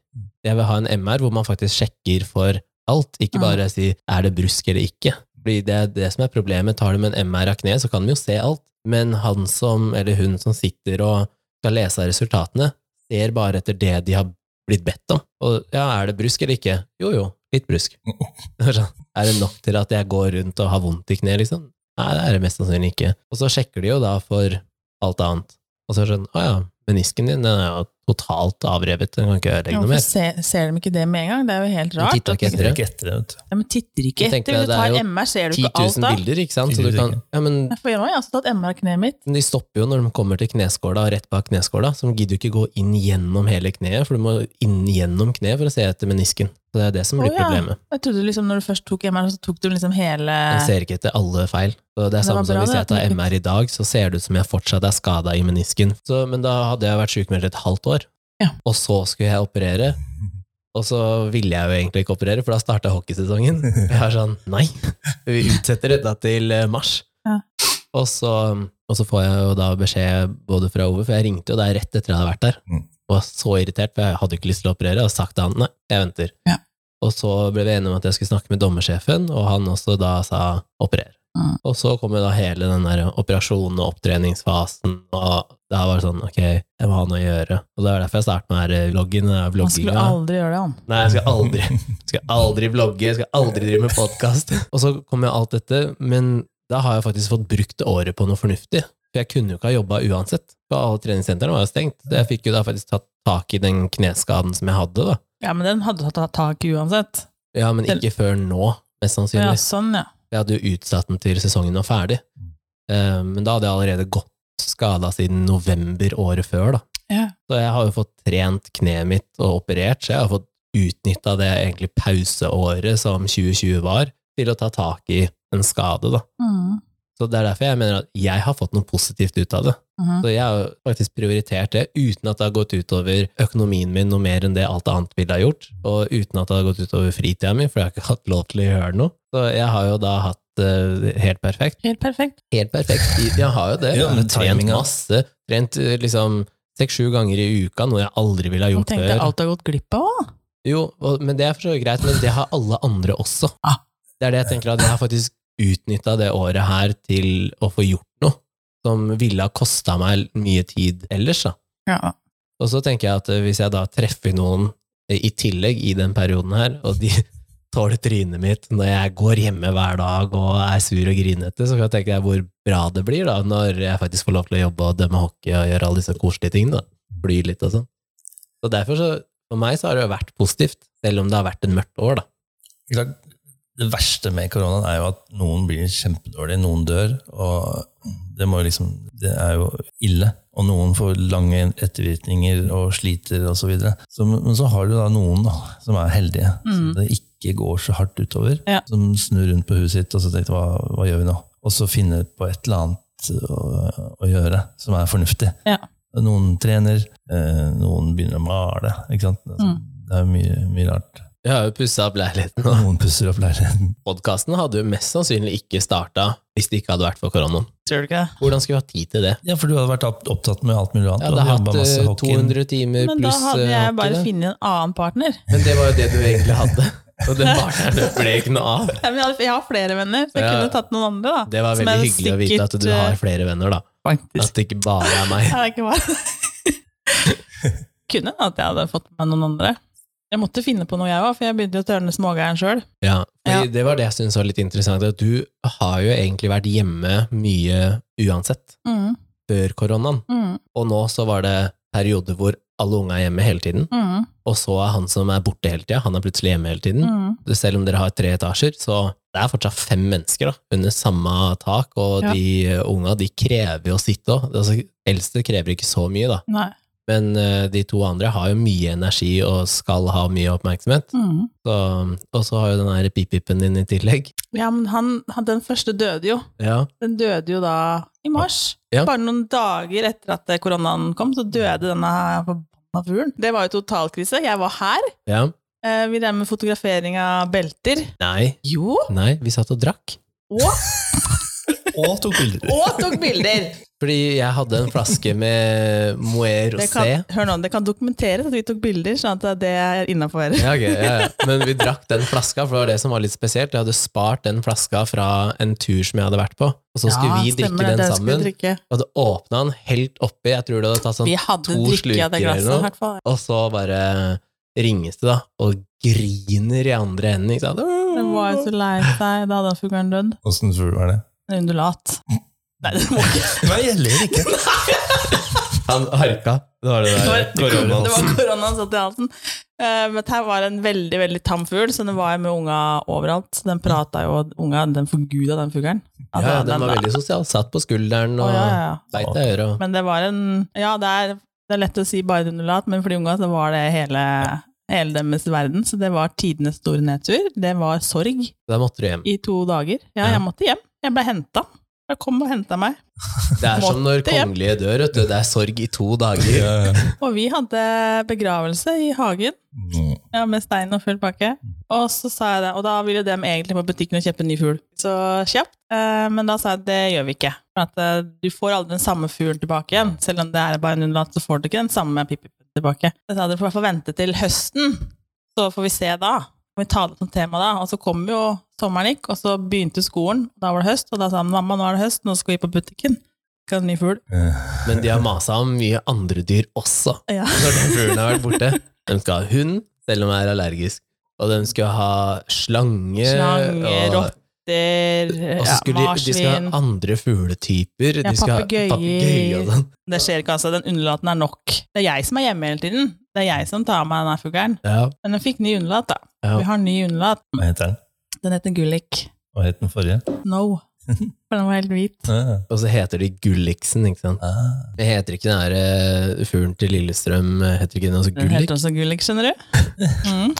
S1: Jeg vil ha en MR hvor man faktisk sjekker for alt, ikke bare si er det brusk eller ikke. Fordi det er det som er problemet. Tar du med en MR av kneet, så kan vi jo se alt. Men han som, eller hun som sitter og skal lese av resultatene, ser bare etter det de har blitt bedt om. Og ja, er det brusk eller ikke? Jo jo, litt brusk. Det Er sånn, er det nok til at jeg går rundt og har vondt i kneet, liksom? Nei, det er det mest sannsynlig ikke. Og så sjekker de jo da for alt annet. Og så er det sånn, å ja, menisken din den er jo totalt avrevet, den kan ikke ødelegge noe
S3: Hvorfor
S1: mer.
S3: ser, ser de ikke det med en gang? Det er jo helt
S1: De
S3: rart.
S1: titter ikke
S2: Det
S1: etter
S2: er
S1: det.
S2: ikke etter det, vet du.
S3: Ja, men titter ikke
S1: Jeg tenkte
S3: etter. Hvis
S1: det
S3: du
S1: er
S3: tar
S1: jo
S3: MR, ser du
S1: 10
S3: ikke alt
S1: 000
S3: da?
S1: bilder, ikke sant? Så du kan, ja, men
S3: Ja, For nå har jeg også tatt MR av kneet mitt.
S1: Men de stopper jo når de kommer til kneskåla, og rett bak kneskåla, så de gidder jo ikke gå inn gjennom hele kneet, for du må inn gjennom kneet for å se etter menisken. Så det er det som blir
S3: Å, ja.
S1: problemet.
S3: Jeg trodde liksom når du først tok MR, så tok du liksom hele
S1: Jeg ser ikke etter alle feil. Så det er
S3: Det var
S1: samme som
S3: bra
S1: hvis
S3: det
S1: jeg
S3: at den
S1: tar
S3: ikke-
S1: MR i dag, så ser det ut som jeg fortsatt er skada i menisken. Så, men da hadde jeg vært sjukmeldt et halvt år,
S3: Ja.
S1: og så skulle jeg operere. Og så ville jeg jo egentlig ikke operere, for da starta hockeysesongen. Jeg er sånn nei, vi utsetter dette til eh, mars.
S3: Ja.
S1: Og, så, og så får jeg jo da beskjed både fra Ove, for jeg ringte jo der rett etter jeg hadde vært der.
S2: Mm.
S1: Og var så irritert, for jeg hadde ikke lyst til å operere, og sagt til han nei, jeg venter.
S3: Ja.
S1: Og så ble vi enige om at jeg skulle snakke med dommersjefen, og han også da sa operer.
S3: Mm.
S1: Og så kom jo da hele den der operasjonen og opptreningsfasen, og da var det sånn, ok, jeg må ha noe å gjøre. Og det var derfor jeg startet med her vloggen, den her
S3: Man skulle
S1: vlogginga.
S3: aldri gjøre det, han.
S1: Nei, jeg skal aldri skal aldri vlogge, jeg skal aldri drive med podkast. Og så kom jo alt dette, men da har jeg faktisk fått brukt året på noe fornuftig. For jeg kunne jo ikke ha jobba uansett, for alle treningssentrene var jo stengt. Så jeg fikk jo da faktisk tatt tak i den kneskaden som jeg hadde, da.
S3: Ja, men den hadde du tatt tak i uansett.
S1: Ja, men ikke før nå, mest
S3: Ja,
S1: sannsynlig.
S3: sånn, ja.
S1: Jeg hadde jo utsatt den til sesongen var ferdig. Eh, Men da hadde jeg allerede gått skada siden november året før, da.
S3: ja.
S1: Så jeg har jo fått trent kneet mitt og operert, så jeg har fått utnytta det egentlig pauseåret som 2020 var, til å ta tak i en skade, da.
S3: Mm.
S1: Så det er derfor jeg mener at jeg har fått noe positivt ut av det.
S3: Mhm.
S1: Så jeg har jo faktisk prioritert det, uten at det har gått utover økonomien min noe mer enn det alt annet ville ha gjort, og uten at det har gått utover fritida mi, for jeg har ikke hatt lov til å gjøre noe. Så jeg har jo da hatt det helt perfekt
S3: Helt perfekt.
S1: helt perfekt. De- Jeg har jo det.
S2: Ja,
S1: Jeg har
S2: men
S1: trent
S2: timinga.
S1: masse. Trent eh, liksom seks-sju ganger i uka, noe jeg aldri ville ha
S3: Og
S1: gjort
S3: tenkte
S1: før.
S3: alt du har gått glipp av òg.
S1: Jo, og, men det er for så vidt greit, men det har alle andre også.
S3: Ah.
S1: Det er det jeg tenker at jeg har faktisk utnytta det året her til å få gjort noe som ville ha kosta meg mye tid ellers, da.
S3: Ja.
S1: Og så tenker jeg at eh, hvis jeg da treffer noen eh, i tillegg i den perioden her, og de tåler trynet mitt når jeg går hjemme hver dag og er sur og grinete, så kan jeg tenke hvor bra det blir da, når jeg faktisk får lov til å jobbe og dømme hockey og gjøre alle disse koselige tingene. da. Fly litt og sånn. Så derfor så, for meg så har det jo vært positivt, selv om det har vært en mørkt år da.
S2: Det er klart, Det verste med koronaen er jo at noen blir kjempedårlig, noen dør, og det, må jo liksom, det er jo ille. Og noen får lange ettervirkninger og sliter osv. Så videre. så, men så har du da noen da, som er heldige, som
S3: Mm.
S2: det ikke går så hardt utover.
S3: Ja.
S2: Som snur rundt på huet sitt og så tenker hva, hva gjør vi nå? Og så finner på et eller annet å, å gjøre som er fornuftig.
S3: Ja.
S2: Noen trener, eh, noen begynner å male. Ikke sant? Altså,
S3: Mm.
S2: Det er mye, mye rart.
S1: Jeg har jo pussa opp leiligheten, og
S2: Noen pusser opp leiligheten.
S1: podkasten hadde jo mest sannsynlig ikke starta hvis det ikke hadde vært for koronaen.
S3: Tror du ikke det?
S1: Hvordan skulle vi ha tid til det?
S2: Ja, for du hadde vært opp- opptatt med alt mulig annet.
S1: Jeg
S2: Du
S1: hadde
S2: hadde
S1: hatt
S2: jobbet masse
S1: eh,
S2: hockey.
S1: 200 timer
S3: Men da
S1: pluss
S3: hadde
S1: eh,
S3: jeg
S1: hockey,
S3: bare
S1: da.
S3: funnet en annen partner.
S1: Men det var jo det du egentlig hadde. Og den partneren ble ikke noe av.
S3: Ja, men jeg, hadde, jeg har flere venner, så jeg
S1: Ja.
S3: kunne tatt noen andre. da.
S1: Det var
S3: Som
S1: veldig
S3: jeg
S1: hyggelig å vite at du
S3: sikkert, eh,
S1: har flere venner, da.
S3: Faktisk.
S1: At det ikke bare er meg.
S3: Ja, det er ikke bare Kunne at jeg hadde fått med meg noen andre. Jeg måtte finne på noe, jeg òg, for jeg begynte jo å tørne smågæren sjøl.
S1: Ja, fordi
S3: Ja.
S1: Det var det jeg syntes var litt interessant. At du har jo egentlig vært hjemme mye uansett
S3: Mm,
S1: før koronaen.
S3: mm,
S1: Og nå så var det perioder hvor alle unge er hjemme hele tiden,
S3: mm,
S1: og så er han som er borte hele tida, han er plutselig hjemme hele tiden.
S3: mm.
S1: Selv om dere har tre etasjer, så det er fortsatt fem mennesker da, under samme tak, og
S3: Ja.
S1: de unga de krever jo sitt òg. Altså, eldste krever ikke så mye, da.
S3: Nei.
S1: Men eh, de to andre har jo mye energi og skal ha mye oppmerksomhet.
S3: Mm.
S1: Så, og så har jo den her pip-pipen din i tillegg.
S3: Ja, men han, han, den første døde jo.
S1: Ja.
S3: Den døde jo da i mars.
S1: Ja.
S3: Bare noen dager etter at koronaen kom, så døde denne forbanna fuglen. Det var jo totalkrise. Jeg var her.
S1: ja.
S3: Eh, Vi drev med fotografering av belter.
S1: Nei.
S3: Jo!
S1: Nei, vi satt og drakk.
S3: Og
S2: Og tok bilder.
S3: Og tok bilder!
S1: Fordi jeg hadde en flaske med Moët
S3: Det
S1: Rosé.
S3: kan, hør nå, det kan dokumenteres at vi tok bilder, sånn at det er innafor.
S1: Ja, ok, ja, ja. Men vi drakk den flaska, for det var det som var litt spesielt. Jeg hadde spart den flaska fra en tur som jeg hadde vært på, og så skulle vi drikke den sammen. Og hadde åpna den helt oppi, jeg tror det hadde tatt sånn
S3: Vi hadde
S1: to
S3: drikke av det
S1: sluker eller
S3: glasset,
S1: noe.
S3: i hvert fall.
S1: Og så bare ringes det, da, og griner i andre enden, ikke sant.
S3: Den var jo så lei seg, da hadde fuglen dødd.
S2: Åssen fugl var det?
S3: En undulat. Nei, det var ikke
S2: Nei, jeg ler ikke.
S1: Han harka. Det var det
S3: det var,
S1: der koronaen.
S3: det var koronaen satt i halsen. Eh, men her var en veldig veldig tam fugl, så den var med unga overalt. Så den prata jo, og unga den forguda den fuglen.
S1: Ja,
S3: Altså,
S1: ja, den var veldig sosial. Satt på skulderen
S3: Å,
S1: og
S3: ja, ja, ja.
S1: beit deg i øret. og-
S3: Men det var en Ja, det er, det er lett å si bare undulat, men for de unga så var det hele, hele deres verden. Så det var tidenes store nedtur. Det var sorg
S1: Da måtte du hjem.
S3: i to dager. Ja,
S1: Ja.
S3: jeg måtte hjem. Jeg ble henta. Jeg kom og henta meg.
S1: Det er som når
S3: Måtte hjem.
S1: kongelige dør, vet du. Det er sorg i to dager.
S2: Ja, ja.
S3: Og vi hadde begravelse i hagen.
S2: Mm.
S3: Ja, med stein og full pakke.
S1: Mm.
S3: Og så sa jeg det, og da ville de egentlig på butikken og kjøpe en ny fugl. Så kjapt. Eh, men da sa jeg det gjør vi ikke. For at eh, du får aldri den samme fuglen tilbake igjen. Selv om det er bare en undulat, så får du ikke den samme pipipen tilbake. Jeg sa dere får i hvert fall vente til høsten, så får vi se da. Får Vi ta det som tema da. Og så kom jo sommeren gikk, og så begynte skolen. Da var det høst, og da sa han mamma, nå er det høst, nå skal vi på butikken. Skal ha en ny fugl.
S2: Eh,
S1: Men de har masa om mye andre dyr også.
S3: Ja.
S1: Når den fuglen har vært borte. De skal ha hund, selv om den er allergisk. Og de skal ha slange. og-
S3: Slange, rotter,
S1: Og
S3: ja,
S1: så skulle de, de skal
S3: marsvin.
S1: ha andre fugletyper.
S3: Ja,
S1: de skal ha
S3: papegøyer.
S1: papegøyer og sånn.
S3: Det skjer ikke, altså. Den underlaten er nok. Det er jeg som er hjemme hele tiden. Det er jeg som tar meg av denne fuglen.
S1: Ja.
S3: Men den fikk ny underlat, da.
S1: Ja.
S3: Vi har ny underlat.
S2: Hva heter den?
S3: Den heter Gullik.
S2: Hva het den forrige?
S3: No. For den var helt hvit.
S2: Ah.
S1: Og så heter de Gulliksen, ikke sant.
S2: Ah.
S1: Det heter ikke den der eh, fuglen til Lillestrøm eh, heter ikke den også
S3: Den
S1: Gullik?
S3: heter også Gullik, skjønner du. Mm.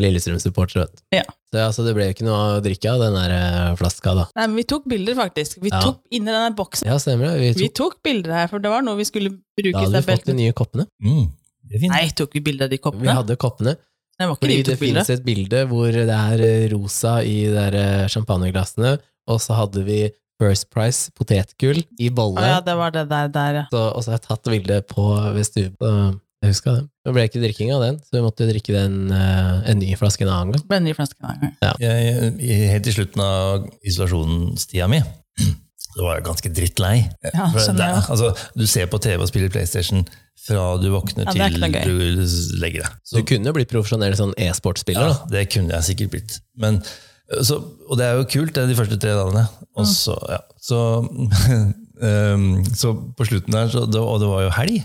S1: Lillestrøm-supporter, vet du.
S3: Ja.
S1: Så altså, det ble jo ikke noe å drikke av den der eh, flaska, da.
S3: Nei, men vi tok bilder, faktisk. Vi
S1: Ja.
S3: tok inni denne boksen.
S1: Ja, stemmer det. Vi
S3: Vi
S1: tok,
S3: tok bilder her, for det var noe vi skulle
S1: da
S3: bruke
S1: hadde vi fått de
S3: istedenfor
S1: nye koppene.
S2: Mm. Det er fint.
S3: Nei, tok vi bilder av de
S1: Vi
S3: koppene?
S1: hadde koppene.
S3: Det var ikke
S1: Fordi
S3: de vi
S1: det
S3: tok bilder
S1: finnes
S3: av.
S1: et bilde hvor det er eh, rosa i de der eh, champagneglassene, og så hadde vi First Price potetgull i bolle,
S3: Å ja, det var det der, der, ja.
S1: så, og så har jeg tatt bilde på ved stuen. så Jeg husker det. Det ble ikke drikking av den, så vi måtte drikke den, eh, en ny flaske en annen gang.
S3: Ble en ny flaske hver gang.
S2: jeg, jeg, helt til slutten av isolasjonstida mi, så var jeg ganske drittlei.
S3: Ja,
S2: For det,
S3: skjønner jeg.
S2: altså, du ser på TV og spiller PlayStation fra du våkner
S3: Ja, det er ikke
S2: til
S3: noe
S2: du legger deg.
S1: Du
S2: Så,
S1: kunne blitt profesjonell sånn e-sportspiller,
S2: ja,
S1: da.
S2: det kunne jeg sikkert blitt. Men, eh, så, og det er jo kult, det er de første tre dagene. Og så, ja. så, ehm, så på slutten der, så, det- og det var jo helg.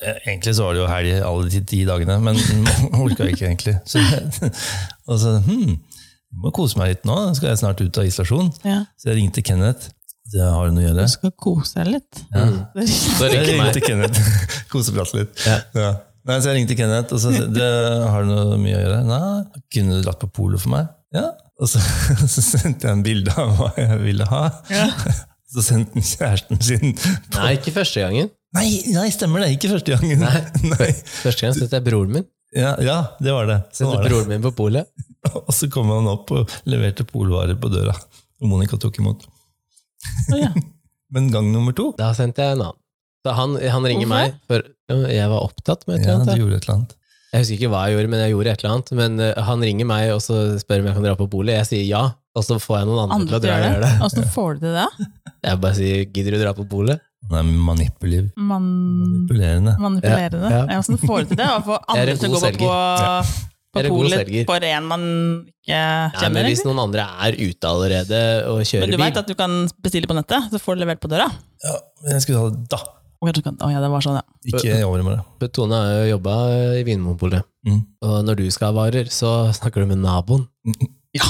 S2: Egentlig så var det jo helg alle de ti dagene, men orka ikke egentlig. Så, og så hm, må kose meg litt nå, skal jeg snart ut av isolasjon.
S3: Ja.
S2: Så jeg ringte Kenneth. Så jeg har du noe å gjøre?
S3: Du skal kose deg litt.
S2: Ja.
S3: Det er riktig.
S1: Så
S2: Jeg
S1: ringer
S2: ringte
S1: meg.
S2: Kenneth. Koseprate litt. Ja. Nei, så jeg ringte Kenneth, og så sa jeg, «Du, har du noe mye å gjøre? Nei, kunne du dratt på polo for meg? Ja. Og så, så sendte jeg en bilde av hva jeg ville ha. Så sendte han kjæresten sin på
S1: Nei, ikke første gangen.
S2: Nei, nei, stemmer det! Ikke første gangen.
S1: Nei.
S2: Nei.
S1: Første gang sendte jeg broren min.
S2: Ja, ja, det var det. Sånn
S1: Sendte
S2: var det.
S1: broren min på polet.
S2: Og så kom han opp og leverte polvarer på døra. Og Monica tok imot.
S3: Å, ja.
S2: Men gang nummer to
S1: Da sendte jeg en annen. Så han, han ringer
S3: Hvorfor?
S1: meg, for jeg var opptatt med et eller
S2: Ja,
S1: annet.
S2: du
S1: jeg.
S2: gjorde et eller annet.
S1: Jeg husker ikke hva jeg gjorde, men jeg gjorde et eller annet. Men eh, han ringer meg og så spør om jeg kan dra på bolig. Jeg sier ja, og så får jeg noen andre,
S3: Andre
S1: til å dra og
S3: gjør
S1: gjøre det.
S3: Åssen får du det da?
S1: Jeg bare sier 'gidder du dra på bolig'?
S2: Han er manipulativ.
S3: Man...
S2: Manipulerende.
S3: Manipulerende.
S1: Ja,
S3: Ja,
S1: ja.
S3: Hvordan får du til det? Å få
S1: Jeg er
S3: andre
S1: en
S3: til å
S1: god
S3: gå på,
S1: selger.
S3: på,
S1: Jeg
S3: på
S1: er en god
S3: polet
S1: selger.
S3: på en man ikke
S1: Nei,
S3: kjenner?
S1: men hvis
S3: egentlig.
S1: noen andre er ute allerede og
S3: men
S1: kjører
S3: du
S1: bil
S3: veit at du kan bestille på nettet, så får du levert på døra?
S2: Ja, men jeg skulle ha det da.
S3: Å ja, du kan, å ja, det var sånn, ja.
S2: Ikke i overmorgen.
S1: For Tone har jo jobba i Vinmonopolet,
S2: Mm.
S1: og når du skal ha varer, så snakker du med naboen.
S3: Ja.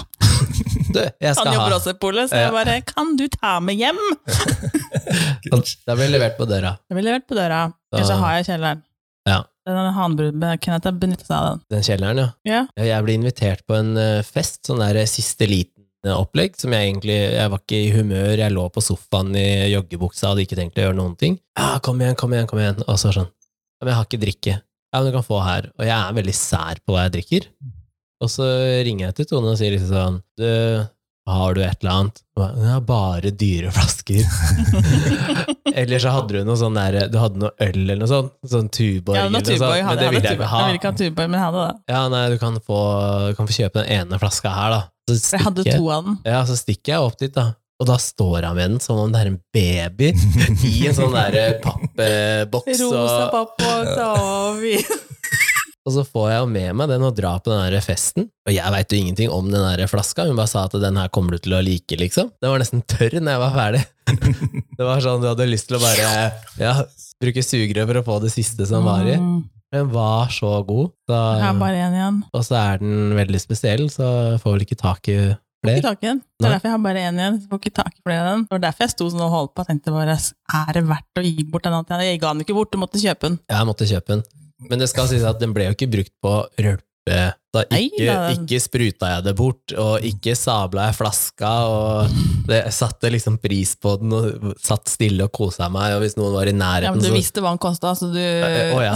S1: Du, jeg
S3: Han
S1: skal
S3: jobber
S1: ha
S3: også i polet, så
S1: Ja.
S3: jeg bare Kan du ta med hjem?
S1: Da blir det levert på døra.
S3: Jeg vil levert på døra.
S1: Da-
S3: Kanskje har jeg kjelleren.
S1: Ja.
S3: Den hanbruden Kenneth har benytta seg av den.
S1: Den kjelleren, ja.
S3: Ja.
S1: Ja, Jeg ble invitert på en eh, fest, sånn der eh, siste liten eh, opplegg, som jeg egentlig, jeg var ikke i humør, jeg lå på sofaen i joggebuksa, hadde ikke tenkt å gjøre noen ting. Ja, kom igjen, kom igjen, kom igjen, og så sånn. Ja, men jeg har ikke drikke. Ja, men du kan få her. Og jeg er veldig sær på hva jeg drikker. Og så ringer jeg til Tone og sier liksom sånn, du, Har du et eller annet? Og jeg, Ja, bare dyre flasker. Eller så hadde du noe sånn der, du hadde noe øl eller noe sånt. Sånn Tuborg
S3: Ja,
S1: eller
S3: noe
S1: noe sånt.
S3: Tuborg
S1: Men
S3: hadde
S1: det
S3: jeg.
S1: ville jeg
S3: hadde Tuborg.
S1: ikke ha.
S3: Jeg ville ikke ha Tuborg, men jeg hadde det.
S1: Ja, nei, du kan få, du kan få kjøpe den ene flaska her, da. Så
S3: For Jeg hadde
S1: stikker-
S3: to av den.
S1: Ja, så stikker jeg opp dit, da. Og da står han med den som om det er en baby i en sånn derre pappboks.
S3: Rosa
S1: Og,
S3: papp og Tavi.
S1: og så får jeg jo med meg den og drar på den der festen. Og jeg veit jo ingenting om den der flaska, hun bare sa at den her kommer du til å like, liksom. Den var nesten tørr når jeg var ferdig. Det var sånn du hadde lyst til å bare ja, bruke sugerør for å få det siste som Sånn var
S3: Mm.
S1: i. Den var så god. Da,
S3: Jeg har bare én igjen.
S1: og så er den veldig spesiell, så jeg får vel ikke tak i
S3: Får ikke
S1: flere.
S3: tak i den. Det er
S1: Nei.
S3: derfor jeg har bare én igjen. så Får ikke tak i flere av den. Det var derfor jeg sto sånn og holdt på og tenkte bare er det verdt å gi bort den? andre? Jeg ga den ikke bort, du måtte kjøpe den.
S1: Jeg måtte kjøpe den. Men det skal sies at den ble jo ikke brukt på rølpe. Da
S3: Nei,
S1: ikke,
S3: da-
S1: ikke spruta jeg det bort, og ikke sabla jeg flaska, og det, jeg satte liksom pris på den, og satt stille og kosa meg, og hvis noen var i
S3: Ja,
S1: nærheten,
S3: men du
S1: så
S3: visste hva den kosta, så du
S1: Eh, Å ja.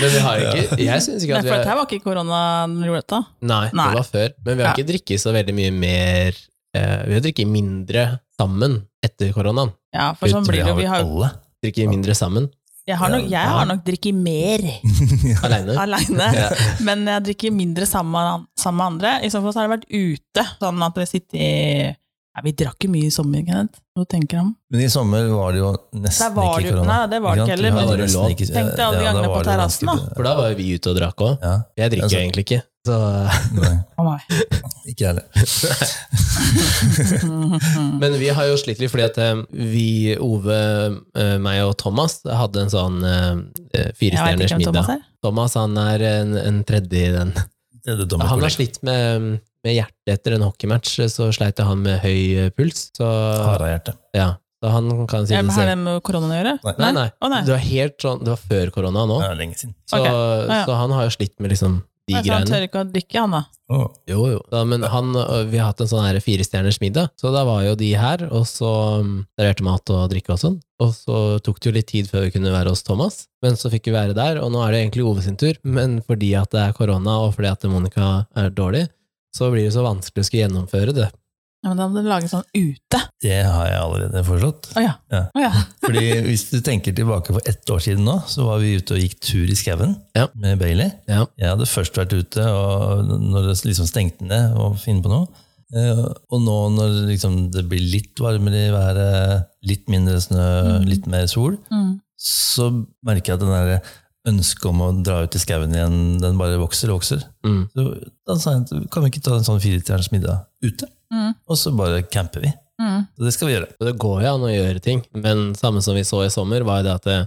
S1: Men vi har jo ikke Jeg syns ikke
S3: Nei,
S1: at vi
S3: for dette
S1: har
S3: her var ikke korona når du gjorde dette.
S1: Nei, det
S3: Nei.
S1: var før. Men vi har ikke drikket så veldig mye mer eh, Vi har drikket mindre sammen etter koronaen.
S3: Ja, for sånn blir det jo. Vi har,
S2: alle.
S1: Drikket mindre sammen
S3: jeg, har nok, jeg har nok drikket mer
S1: aleine.
S3: aleine, men jeg drikker mindre sammen, sammen med andre. I så fall så har det vært ute, sånn at det sitter i ja, Vi drakk jo mye i sommer, Kenneth. Hva tenker du om?
S2: Men i sommer var det jo nesten
S3: Der var
S2: ikke
S3: det jo-
S2: korona.
S3: nei, det var det
S2: Ikke
S3: ikke
S2: sant?
S3: heller,
S1: men det
S2: Ja, det var nesten
S1: lov.
S2: ikke-
S3: Tenk deg alle de
S2: ja, da
S3: gangene
S2: var
S3: på
S2: det
S3: terrassen,
S2: ganske-
S1: For da var jo vi ute og drakk òg.
S2: Ja,
S1: Jeg drikker jo
S2: Altså- eh,
S1: egentlig ikke. Så,
S2: nei,
S3: Å, nei.
S2: ikke jeg heller.
S1: men vi har jo slitt litt fordi at eh, vi, Ove, eh, meg og Thomas, hadde en sånn eh,
S3: Jeg vet
S1: firestjerners
S3: ikke hvem Thomas
S1: middag.
S3: er.
S1: Thomas han er en, en tredje i den.
S2: Det er det dumme
S1: Han har
S2: kollegaen.
S1: slitt med, med hjertet etter en hockeymatch, så sleit han med høy eh, puls. Så,
S2: Harehjerte.
S1: ja. så han kan si
S3: Ja,
S1: det
S3: men Har det
S1: selv.
S3: med koronaen å gjøre?
S2: Nei.
S1: Nei, nei.
S3: Å, nei.
S1: Det var, helt sånn, det var før korona nå,
S2: Det er lenge siden.
S1: så,
S3: Ok. ja.
S1: så han har jo slitt med liksom de
S3: Nei, så han
S1: greiene.
S3: tør ikke å drikke, han da.
S2: Åh.
S1: Jo, jo. Da, men han, og vi har hatt en sånn her firestjerners middag, så da var jo de her, og så um, serverte mat og drikke og sånn. Og så tok det jo litt tid før vi kunne være hos Thomas, men så fikk vi være der, og nå er det egentlig Ove sin tur, men fordi at det er korona, og fordi at Monica er dårlig, så blir det så vanskelig å skulle gjennomføre det.
S3: Ja, men da må du lage sånn ute.
S2: Det har jeg allerede foreslått.
S3: Å ja.
S2: Ja.
S3: Å, ja.
S2: Fordi Hvis du tenker tilbake for ett år siden nå, så var vi ute og gikk tur i skauen
S1: Ja.
S2: med Bailey.
S1: Ja.
S2: Jeg hadde først vært ute og når det liksom stengte ned og finne på noe. Eh, Og nå når liksom det blir litt varmere i været, litt mindre snø, litt mer sol,
S3: Mm.
S2: så merker jeg at den der ønsket om å dra ut i skauen igjen, den bare vokser og vokser.
S1: Mm.
S2: Så da sa jeg at kan vi ikke ta en sånn firestjerners middag ute?
S3: Mm.
S2: Og så bare camper vi.
S3: Mm.
S2: Så det skal vi gjøre.
S1: Og det går jo an å gjøre ting, men samme som vi så i sommer, var jo det at det,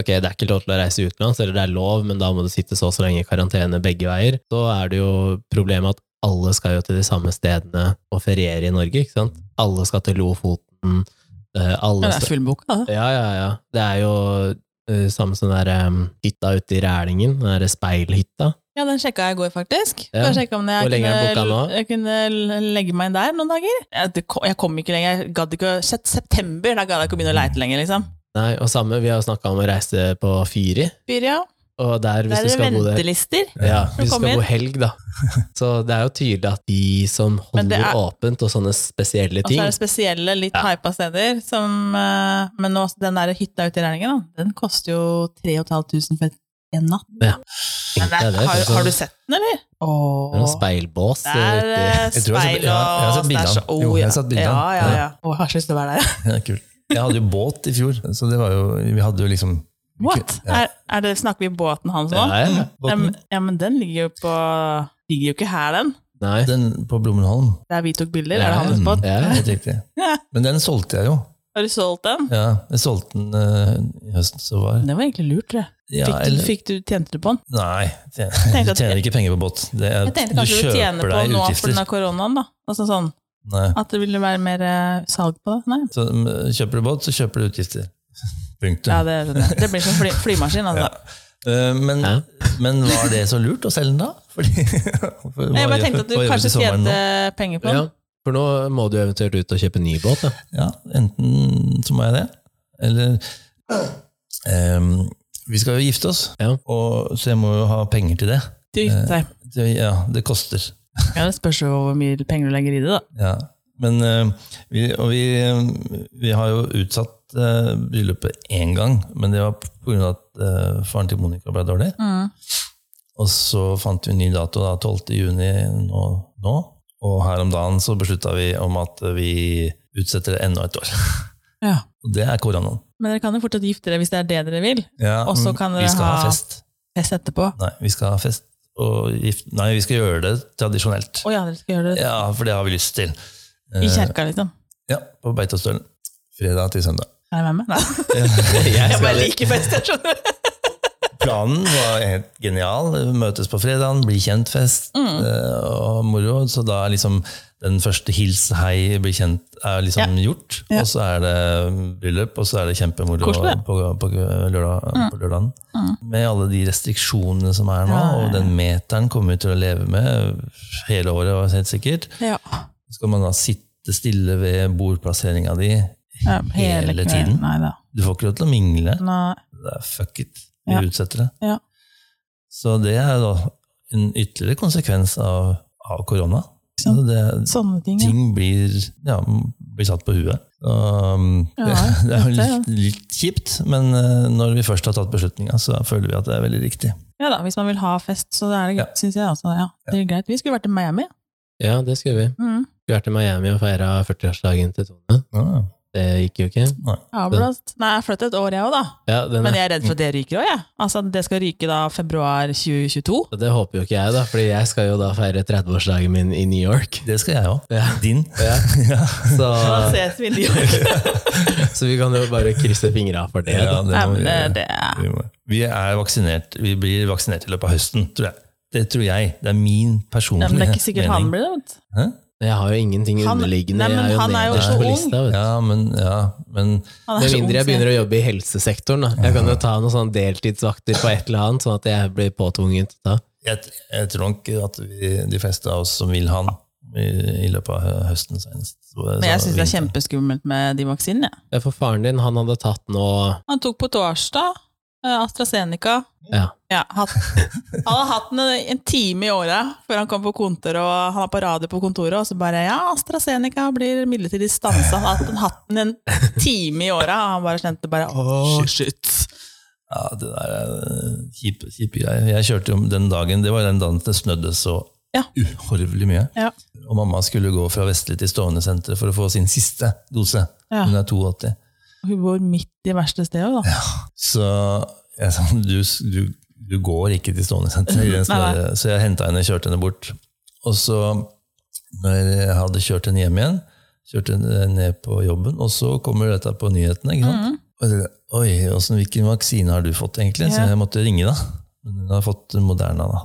S1: ok, det er ikke lov til å reise utenlands, eller det er lov, men da må du sitte så og så lenge i karantene begge veier. Så er det jo problemet at alle skal jo til de samme stedene og feriere i Norge, ikke sant? Alle skal til Lofoten, eh,
S3: Ja,
S1: alle
S3: det er fullboka, da.
S1: ja, ja, ja. Det er jo eh, samme som den der eh, hytta ute i Rælingen, den der speilhytta.
S3: Ja, den sjekka jeg i går, faktisk.
S1: Ja.
S3: For Jeg sjekket om jeg
S1: Hvor lenge er den boka
S3: kunne,
S1: nå?
S3: jeg kunne l- legge meg inn der noen dager. Jeg, det, ko- jeg kom ikke lenger. Jeg gadd ikke å Sett september, da gadd jeg ikke å begynne å leite lenger, liksom.
S1: Nei, og samme, vi har jo snakket om å reise på Fyri,
S3: Byria.
S1: og der hvis
S3: Der
S1: du
S3: er det
S1: skal bo der.
S3: ventelister.
S1: Ja,
S3: Hun
S1: Eh, hvis du
S3: kom
S1: skal
S3: inn.
S1: bo helg, da. Så det er jo tydelig at de som
S3: Men det
S1: holder
S3: er-
S1: åpent og sånne spesielle
S3: Og så
S1: ting
S3: er det spesielle, litt
S1: Ja.
S3: hypa steder som eh, Men nå, den der hytta ute i Rælingen, da, den koster jo 3500 for en natt. Men det,
S1: tenkte jeg det,
S3: har,
S1: sånn-
S3: har du sett den, eller?
S1: det er noen
S3: Åh.
S1: speilbås.
S3: Det er
S1: vet
S3: eh,
S2: Jeg tror jeg har sett-
S3: speil
S2: ja, jeg har
S3: og
S2: sett bildene.
S3: stæsj.
S2: Jo, jeg
S3: oh, ja.
S2: har sett bildene.
S3: Ja, ja, ja. Åh, jeg har så lyst til å være der.
S2: Ja, kult. Jeg hadde jo båt i fjor, så det var jo, vi hadde jo liksom
S3: What? Um,
S2: Ja.
S3: Er, er det, snakker vi båten hans
S1: du.
S3: nå?
S1: Ja, ja.
S3: Ja,
S2: båten,
S3: men- ja, men den ligger jo på Ligger jo ikke her, den.
S1: Nei.
S2: Den på Blommenholm.
S3: Der vi tok bilder,
S1: Ja,
S3: er det hans
S2: Mm,
S3: båt.
S1: Ja.
S2: Helt riktig. Men den solgte jeg jo.
S3: Har du solgt den?
S2: Ja, jeg solgte den eh, i høsten som var.
S3: Det var egentlig lurt, det.
S2: Ja,
S3: Fikk du,
S2: eller-
S3: fikk du tjente du på den?
S2: Nei, tjener,
S3: tenkte
S2: du
S3: at-
S2: tjener ikke penger på båt. Det er,
S3: Jeg tenkte kanskje du, tjener på nå for den av koronaen, da. Altså sånn,
S2: Nei.
S3: At det ville være mer eh, salg på det. Nei.
S2: Så, mm, kjøper du båt, så kjøper du utgifter. Punktum.
S3: Ja, det, skjønner jeg. det blir som fly, flymaskin, altså.
S2: Eh, men,
S1: Ja.
S2: men var det så lurt å selge den da? Fordi, for, hva
S3: Nei, Jeg bare
S2: gjør-
S3: tenkte at du
S2: hva gjør vi
S3: kanskje
S2: til sommeren
S3: tjente
S2: nå?
S3: penger på
S1: ja.
S3: den.
S1: For nå må du eventuelt ut og kjøpe ny båt, da.
S2: Ja, enten så må jeg det, eller ehm, Vi skal jo gifte oss,
S1: Ja.
S2: og, så jeg må jo ha penger til det.
S3: Du giftet deg.
S2: det ja, det koster.
S3: Eh. Ja, det spørs jo hvor mye penger du legger i det, da.
S2: Ja. Men eh, vi, og vi, eh, vi har jo utsatt eh, bryllupet én gang, men det var pga. at eh, faren til Monica ble dårlig.
S3: Mm.
S2: Og så fant vi en ny dato, da, 12. juni nå, nå. Og her om dagen så beslutta vi om at vi utsetter det enda et år.
S3: Ja.
S2: Og det er koronaen.
S3: Men dere kan jo fortsatt gifte dere hvis det er det dere vil.
S2: Ja, mm.
S3: Og så
S2: men
S3: kan
S2: vi
S3: dere
S2: skal ha
S3: ha-
S2: fest.
S3: Fest etterpå.
S2: Nei, vi skal ha fest. Og gift... Nei, vi skal gjøre det tradisjonelt.
S3: Å ja, dere skal gjøre det
S2: Ja, for det har vi lyst til.
S3: i
S2: Eh,
S3: kjerka, liksom.
S2: Ja, på Beitostølen. Fredag til søndag.
S3: Er jeg med meg? Nei.
S1: Jeg
S3: Jeg
S1: skal
S3: bare liker fest, jeg skjønner.
S2: Planen var helt genial. Møtes på fredagen, bli kjent-fest
S3: Mm.
S2: eh, og moro. Så da er liksom den første hils, hei, bli kjent er liksom gjort.
S3: Ja.
S2: Og så er det bryllup, og så er det kjempemoro på,
S3: Koselig. Mm.
S2: på, lørdag, på lørdagen. Med alle de restriksjonene som er nå,
S3: Ja, ja, ja.
S2: og den meteren kommer vi til å leve med hele året, helt sikkert.
S3: Ja.
S2: Så skal man da sitte stille ved bordplasseringa di.
S3: Ja,
S2: Hele tiden?
S3: Nei da.
S2: Du får ikke lov til å mingle.
S3: Nei.
S2: det er fuck it, vi
S3: Ja.
S2: utsetter det.
S3: Ja.
S2: Så det er da en ytterligere konsekvens av, av korona. Så
S3: Sant.
S2: det,
S3: Sånne ting. ja.
S2: ting blir, ja, blir satt på huet. Um,
S3: Ja,
S2: det, det er jo
S3: det er
S2: litt, litt kjipt, men eh, når vi først har tatt beslutninga, så føler vi at det er veldig riktig.
S3: Ja da, hvis man vil ha fest, så er det
S2: Ja.
S3: greit, synes jeg. Altså, ja. Det er greit. Vi skulle vært i Miami.
S1: Ja, det skulle vi.
S3: Mm.
S1: Skulle vært i Miami og feira 40-årsdagen til Tone.
S2: Ja,
S1: Det gikk jo ikke.
S3: Avblåst. Nei, jeg flyttet et år, jeg òg, da.
S1: Ja, den
S3: Men
S1: er.
S3: jeg er redd for at det ryker òg, jeg. Altså, det skal ryke da februar 2022.
S1: Så Det håper jo ikke jeg, da, fordi jeg skal jo da feire 30-årsdagen min i New York.
S2: det skal jeg òg.
S1: Ja.
S2: Din.
S1: Ja.
S2: Ja.
S1: Så,
S3: Da ses vi i New York.
S1: så vi kan jo bare krysse fingra for det.
S2: Ja,
S1: Da.
S2: det
S3: Nei,
S2: må
S3: men
S2: vi
S3: det,
S2: gjøre.
S3: det er
S2: Vi må- Vi er vaksinert. Vi blir vaksinert i løpet av høsten, tror jeg. Det tror jeg. Det er min
S3: ja,
S2: personlige
S3: men det er ikke sikkert han
S2: mening.
S3: blir det. vet du.
S2: Hæ?
S1: Jeg har jo ingenting
S3: Han-
S1: underliggende.
S3: Nei,
S1: jeg
S3: men
S1: er jo
S3: han er jo
S1: nederst
S3: så
S1: på
S3: ung.
S1: lista. Vet. du.
S2: Ja, men, ja, men
S3: Han er
S1: Med
S3: så
S1: mindre jeg
S3: ung, så-
S1: begynner å jobbe i helsesektoren. Da. Jeg kan jo ta noen sånne deltidsvakter på et eller annet, sånn at jeg blir påtvunget. Da.
S2: jeg, jeg tror nok at vi, de fleste av oss som vil han i, i løpet av høsten senest. Så-
S3: Men jeg
S1: Altså,
S2: så-
S3: syns det er kjempeskummelt med de vaksinene. jeg.
S1: Ja, For faren din, han hadde tatt nå
S3: Han tok på torsdag eh, AstraZeneca.
S1: ja.
S3: Ja, hatt, han har hatt den en en time i året før han kom på kontor, og han er på radio på kontoret, og så bare ja, AstraZeneca blir midlertidig stansa. Han har hatt den hatten en time i året, og han bare kjente bare åh, shit.
S2: Ja, det der er eh, kjipe kjipe greier. Jeg kjørte jo den dagen, det var den dagen det snødde så
S3: Ja.
S2: uhorvelig mye.
S3: Ja.
S2: Og mamma skulle gå fra Vestli til Stovner senter for å få sin siste dose.
S3: Ja.
S2: Hun er 82.
S3: Hun bor midt i verste stedet, da.
S2: Så jeg sa, du, du, du går ikke til Stovner senter. i den
S3: Nei, nei.
S2: snø- Så jeg henta henne og kjørte henne bort. Og så, når jeg hadde kjørt henne hjem igjen, kjørte henne ned på jobben, og så kommer dette på nyhetene. ikke
S3: Mm.
S2: sant? Og jeg, tenkte, Oi, hvordan, hvilken vaksine har du fått, egentlig? Så
S3: Ja.
S2: jeg måtte ringe, da. Men hun har fått Moderna, da.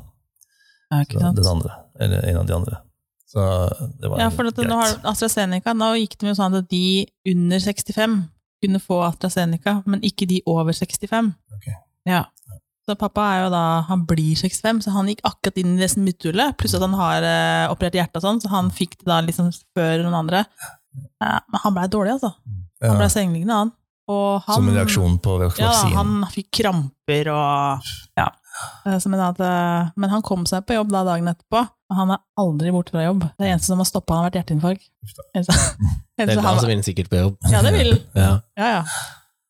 S3: Ja, ikke
S2: Så
S3: sant?
S2: den andre. Eller en av de andre. Så det var
S3: Ja, for at nå har AstraZeneca, nå gikk det jo sånn at de under 65 kunne få AstraZeneca, men ikke de over 65.
S2: Ok.
S3: Ja. Så pappa er jo da, han blir 65, så han gikk akkurat inn i det smutthullet, pluss at han har eh, operert hjertet og sånn, så han fikk det da liksom før noen andre. Ja, men han ble dårlig, altså. Han
S2: ja,
S3: ble sengeliggende, han. Og han
S2: Som en reaksjon på vak-
S3: ja,
S2: vaksinen.
S3: han fikk kramper og ja. Eh, så Men, at, eh, men han kom seg på jobb da dagen etterpå, og han er aldri borte fra jobb. Det eneste som har stoppa han, har vært hjerteinfarkt. Ellers-
S1: Det
S3: ellers
S1: er altså. han
S3: han-
S1: som vil sikkert på jobb.
S3: Ja, det vil han.
S1: Ja.
S3: Ja, ja.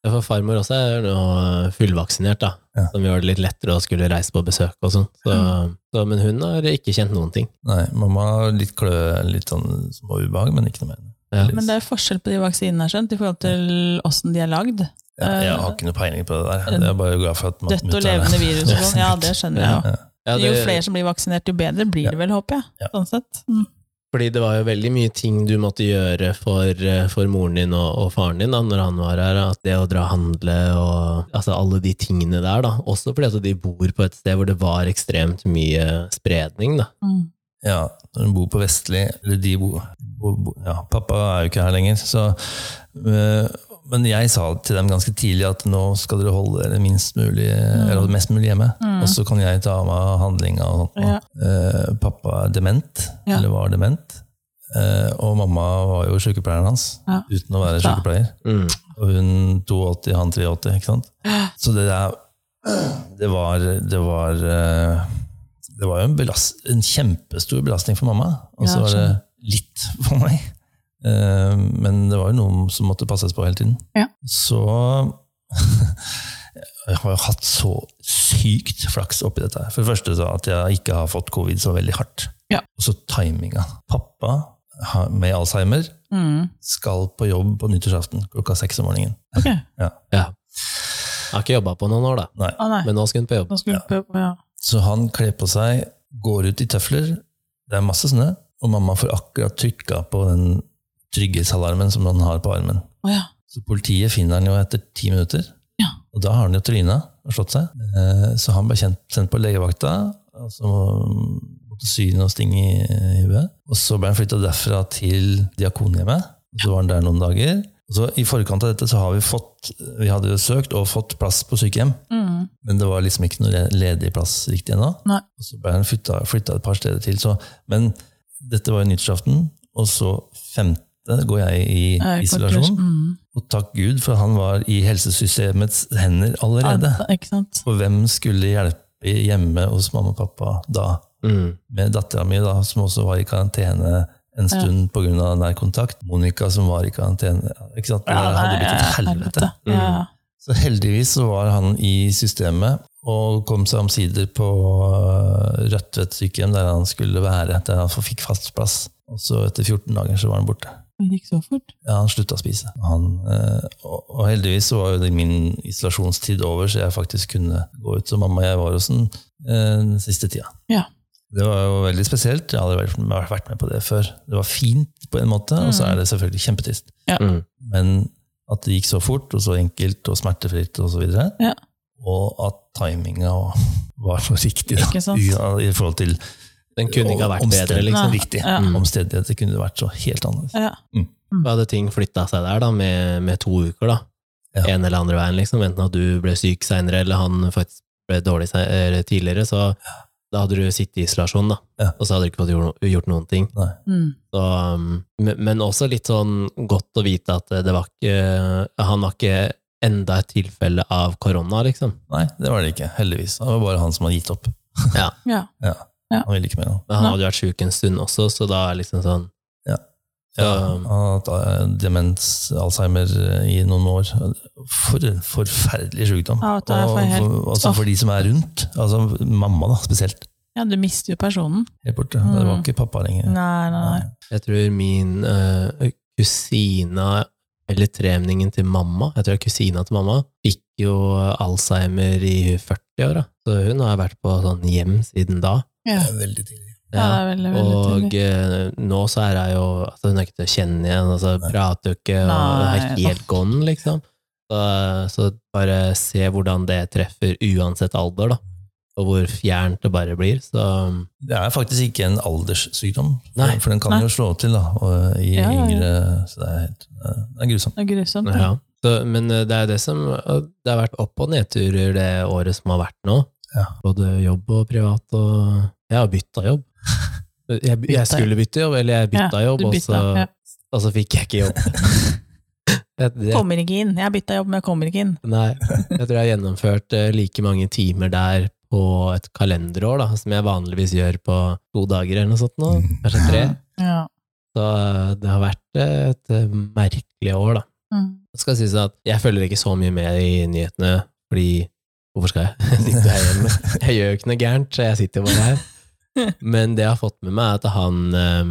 S1: Ja, for farmor også er nå fullvaksinert, da.
S2: Ja.
S1: Som gjør det litt lettere å skulle reise på besøk og sånn. Så,
S3: Mm.
S1: så, men hun har ikke kjent noen ting.
S2: Nei, mamma har litt klø, litt sånn små ubehag, men ikke noe mer.
S1: Ja.
S2: Heldigvis.
S3: Men det er jo forskjell på de vaksinene, har jeg skjønt, i forhold til åssen de er lagd.
S2: Ja, jeg
S3: Eh,
S2: har ikke noe peiling på det der. Jeg er bare glad for at man-
S3: Dødt og levende virus og sånn. Ja, det skjønner jeg jo.
S1: Ja,
S3: Jo
S1: det-
S3: flere som blir vaksinert, jo bedre blir det vel, håper
S2: Ja.
S3: jeg. Sånn sett. Mm.
S1: Fordi det var jo veldig mye ting du måtte gjøre for, eh, for moren din og, og faren din da når han var her. At det å dra og handle og altså alle de tingene der. da. Også fordi at de bor på et sted hvor det var ekstremt mye spredning. da.
S3: Mm.
S2: Ja, når hun bor på Vestli, eller de bor bo, bo, Ja, pappa er jo ikke her lenger, så øh, Men jeg sa til dem ganske tidlig at nå skal dere holde dere minst mulig,
S3: Mm.
S2: eller mest mulig hjemme. Og så kan jeg ta meg av handlinga og sånt. nå. Eh, pappa er dement,
S3: Ja.
S2: eller var dement. Eh, og mamma var jo sykepleieren hans,
S3: Ja.
S2: uten å være
S3: Da.
S2: sykepleier.
S1: Mm.
S2: Og hun 82, han 83, ikke sant? Så det der Det var, det var eh, det var jo en, belast, en kjempestor belastning for mamma, og så
S3: Ja,
S2: var det
S3: skjønner.
S2: litt for meg. Eh, Men det var jo noen som måtte passes på hele tiden.
S3: Ja.
S2: Så jeg har jo hatt så sykt flaks oppi dette. her. For det første så at jeg ikke har fått covid så veldig hardt.
S3: Ja.
S2: Og så timinga. Pappa har- med alzheimer
S3: Mm.
S2: skal på jobb på nyttårsaften klokka seks om morgenen.
S3: Ok.
S1: Ja. Jeg har ikke jobba på noen år, da,
S2: Nei.
S3: Å nei,
S1: men nå skal hun på jobb.
S3: nå skulle vi prøve på ja.
S2: Så han kler på seg, går ut i tøfler, det er masse snø, og mamma får akkurat trykka på den trygghetsalarmen som han har på armen.
S3: Å ja.
S2: Så politiet finner han jo etter ti minutter,
S3: Ja.
S2: og da har han jo tryna og slått seg. Eh, Så han ble kjent, sendt på legevakta, og så måtte sy noen sting i eh, i huet. Og så ble han flytta derfra til Diakonhjemmet, og så var han der noen dager. Og så I forkant av dette så har vi fått, vi hadde jo søkt og fått plass på sykehjem.
S3: Mm.
S2: Men det var liksom ikke noe le- ledig plass riktig ennå.
S3: Nei.
S2: Og så ble han flytta, flytta et par steder til. Så, men dette var jo nyttårsaften, og så femte går jeg i
S3: Eh,
S2: isolasjon.
S3: Mm.
S2: Og takk Gud, for han var i helsesystemets hender allerede.
S3: Ja, Ikke sant?
S2: For hvem skulle hjelpe hjemme hos mamma og pappa da?
S1: Mm.
S2: Med dattera mi, da, som også var i karantene en stund pga. nær kontakt. Monica, som var i karantene. Ikke sant? Det
S3: Ja,
S2: der hadde
S3: nei,
S2: blitt et helvete.
S1: Mm.
S3: Ja, ja.
S2: Så heldigvis så var han i systemet og kom seg omsider på øh, Rødtvet sykehjem, der han skulle være, der han fikk fast plass. Og så etter 14 dager så var han borte.
S3: Men det gikk så fort.
S2: Ja, han slutta å spise. Han, øh, og, og heldigvis så var jo det min isolasjonstid over, så jeg faktisk kunne gå ut som mamma og jeg var hos den øh, den siste tida.
S3: Ja.
S2: Det var jo veldig spesielt. Jeg har aldri vært- vært med på det før. Det var fint på en måte, og
S3: Mm.
S2: så er det selvfølgelig kjempetrist.
S1: Mm.
S2: Men at det gikk så fort, og så enkelt, og smertefritt, og så videre.
S3: Ja.
S2: Og at timinga var så riktig, da.
S3: Ikke sant?
S2: Ja, I forhold til
S1: Den kunne ikke ha vært
S2: omstendigheter.
S1: bedre, liksom.
S3: Nei.
S2: Riktig.
S3: Ja.
S2: Mm. Omstendigheter kunne det vært så helt annerledes.
S3: Ja.
S1: Da hadde ting flytta seg der, da, med, med to uker, da.
S2: Ja.
S1: En eller andre veien, liksom. Enten at du ble syk seinere, eller han faktisk ble dårlig se- eller tidligere, så da hadde du sittet i isolasjon, da.
S2: Ja.
S1: Og så hadde du ikke fått gjort, gjort noen ting.
S2: Nei.
S3: Mm.
S1: Så, um, men, men også litt sånn godt å vite at det var ikke Han var ikke enda et tilfelle av korona, liksom.
S2: Nei, det var det ikke. Heldigvis. Det var bare han som hadde gitt opp.
S3: ja.
S2: Ja.
S3: Ja.
S2: Han ville ikke mer. han.
S1: Men han
S3: Nei.
S1: hadde vært sjuk en stund også, så da er liksom sånn
S2: Ja.
S1: Så,
S2: Ja, han har hatt eh, demens, alzheimer, eh, i noen år. For en forferdelig sykdom.
S3: Ja, det er for
S2: og
S3: helt-
S2: for, altså for de som er rundt. Altså mamma, da, spesielt.
S3: ja, du mister jo personen.
S2: Helt borte. Det var
S3: Mm.
S2: ikke pappa lenger.
S3: Nei, nei, nei.
S1: Jeg tror min eh, kusina, eller tremningen til mamma, jeg tror det er kusina til mamma, fikk jo Alzheimer i 40-åra. Så hun har vært på sånn hjem siden da.
S3: Ja.
S2: Det er Veldig tidlig.
S3: ja, det er veldig, veldig
S1: og
S3: tidlig.
S1: eh, nå så er hun jo altså Hun er ikke til å kjenne igjen, altså
S2: Nei.
S1: prater jo ikke, og hun er
S3: Nei,
S1: helt gone, liksom. Så, så bare se hvordan det treffer uansett alder, da. Og hvor fjernt det bare blir. Så
S2: Det er faktisk ikke en alderssykdom,
S1: Nei.
S2: for den kan
S3: Nei.
S2: jo slå til da, og eh, i
S3: Ja, ja, ja.
S2: yngre Så det er, helt, eh, det er grusomt.
S3: Det er grusomt.
S1: Ja. Så, men eh, det er det som eh, Det har vært opp- og nedturer det året som har vært nå.
S2: Ja.
S1: Både jobb og privat, og jeg har bytta jobb. Jeg, jeg skulle bytte jobb, eller jeg bytta jobb,
S3: du
S1: og,
S3: bytta,
S1: så,
S3: ja.
S1: og så fikk jeg ikke jobb. Det, det,
S3: Kommer ikke inn. Jeg har bytta jobb, men jeg kommer ikke inn.
S1: nei, jeg tror jeg har gjennomført eh, like mange timer der på et kalenderår, da, som jeg vanligvis gjør på to dager eller noe sånt nå. Kanskje tre.
S3: Mm. Ja.
S1: Så eh, det har vært eh, et eh, merkelig år, da.
S3: Mm.
S1: Det skal sies at jeg følger ikke så mye med i nyhetene, fordi hvorfor skal jeg? Jeg sitter her hjemme. Jeg gjør jo ikke noe gærent, så jeg sitter jo bare her. Men det jeg har fått med meg, er at han eh,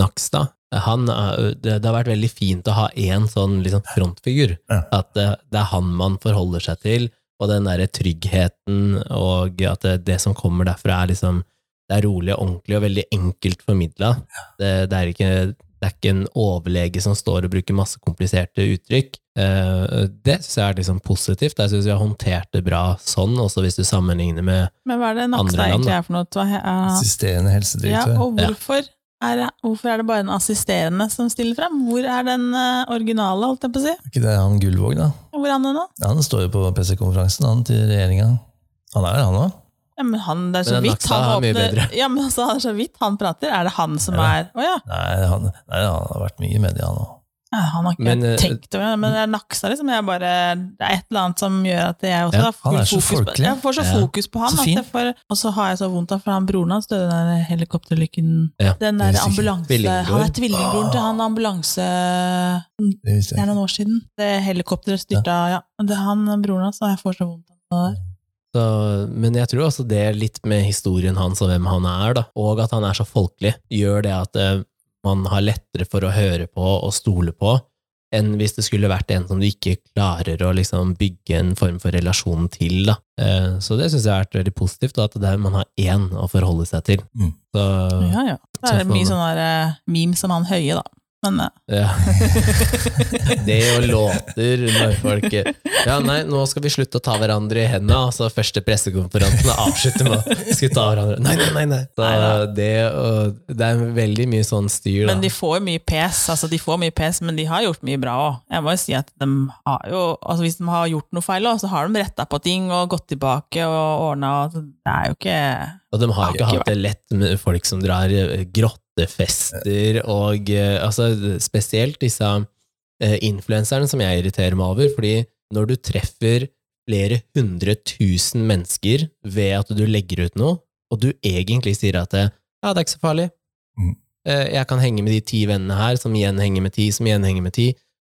S1: Nakstad han, er- det, det har vært veldig fint å ha én sånn liksom, frontfigur.
S2: Ja.
S1: At det, det er han man forholder seg til, og den derre tryggheten, og at det, det som kommer derfra, er liksom det er rolig og ordentlig og veldig enkelt formidla. Det, det, er ikke, det er ikke en overlege som står og bruker masse kompliserte uttrykk. Eh, Det syns jeg er liksom positivt. Jeg syns vi har håndtert det bra sånn, også hvis du sammenligner med
S3: Men hva er det
S1: Andre
S3: Nakstad
S1: land,
S3: egentlig
S1: da.
S3: er for noe? Hva he- er-
S2: Assisterende
S3: Ja,
S2: helsedirektør.
S3: og hvorfor er, det, hvorfor er det bare en assisterende som stiller frem? Hvor er den eh, originale, holdt jeg på å si?
S2: Er ikke det han Gullvåg, da?
S3: Hvor er han nå?
S2: Han står jo på pressekonferansen han til regjeringa. Han er det, han òg.
S3: Ja, men han, det er så
S1: Men den
S3: vidt
S1: laksa
S3: han
S1: er mye
S3: åpner
S1: bedre.
S3: Ja, men altså, det er så vidt han prater. Er det han som
S2: Ja.
S3: er Å ja.
S2: Nei, han- nei, han har vært mye i media, han òg.
S3: Ja, han har ikke
S1: Men, eh,
S3: tenkt over det, men jeg naksa liksom. Jeg bare, det er et eller annet som gjør at jeg også
S1: Ja,
S3: har
S2: han er
S3: fokus
S2: så
S3: på,
S2: folkelig.
S3: jeg får så
S1: Ja.
S3: fokus på han.
S2: Så
S3: at
S2: fin.
S3: jeg får, og så har jeg så vondt av for han broren hans døde i den der helikopterulykken.
S1: Ja,
S2: det
S3: Den der
S2: visste jeg ikke.
S3: ambulanse...
S1: Tvillingbror.
S3: Han er tvillingbroren til han ambulanse...
S2: Det visste jeg
S3: Det
S2: ikke.
S3: er noen år siden. Det helikopteret styrta, ja. Men Det er han broren hans, og jeg får så vondt av det der.
S1: Så, men jeg tror også det litt med historien hans og hvem han er, da, og at han er så folkelig, gjør det at eh, man har lettere for å høre på og stole på enn hvis det skulle vært en som du ikke klarer å liksom bygge en form for relasjon til. Da. Eh, Så det syns jeg har vært veldig positivt, da, at det er, man har én å forholde seg til.
S2: Mm.
S1: Så,
S3: Ja, ja. Det
S1: Så
S3: er mye
S1: får-
S3: sånn der eh, memes om han høye, da. Men eh,
S1: Ja. Det og låter når folk Ja, nei, nå skal vi slutte å ta hverandre i hendene, og så første pressekonferansen og avslutte med å skulle ta hverandre Nei, nei, nei! nei. Så det, og, det er veldig mye sånn styr,
S3: Men
S1: da.
S3: de får jo mye pes, altså de får mye pes, men de har gjort mye bra òg. Jeg må jo si at de har jo altså Hvis de har gjort noe feil, også, så har de retta på ting og gått tilbake og ordna. Det er jo ikke
S1: Og de har ikke
S3: Har ikke
S1: hatt det lett med folk som drar eh, grottefester, og eh, altså spesielt disse eh, influenserne som jeg irriterer meg over, fordi når du treffer flere hundre tusen mennesker ved at du legger ut noe, og du egentlig sier at eh, ja, det er ikke så farlig,
S2: Mm.
S1: Eh, jeg kan henge med de ti vennene her, som igjen henger med ti, som igjen henger med ti,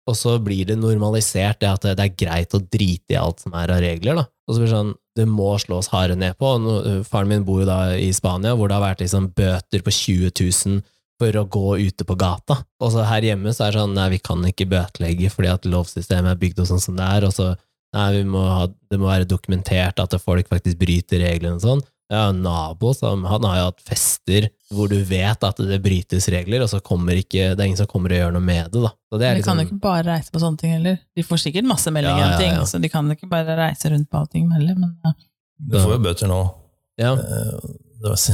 S1: og så blir det normalisert det at det er greit å drite i alt som er av regler. Da. Og så blir det sånn, det må slås harde ned på. Og nå, øh, faren min bor jo da i Spania, hvor det har vært liksom bøter på 20 000 for å gå ute på gata. Og så her hjemme så er det sånn, nei, vi kan ikke bøtelegge fordi at lovsystemet er bygd og sånn som det er, og så nei, vi må ha, det må være dokumentert at folk faktisk bryter reglene og sånn. Jeg har en nabo som han har jo hatt fester hvor du vet at det brytes regler, og så kommer ikke, det er ingen som kommer og gjør noe med det. da. Så det er
S3: De kan
S1: liksom-
S3: jo ikke bare reise på sånne ting heller. De får sikkert masse meldinger
S1: Ja,
S3: om ting,
S1: ja, ja.
S3: så de kan jo ikke bare reise rundt på allting heller. Men eh,
S2: Du får jo bøter nå.
S1: Ja,
S2: Eh, Det var,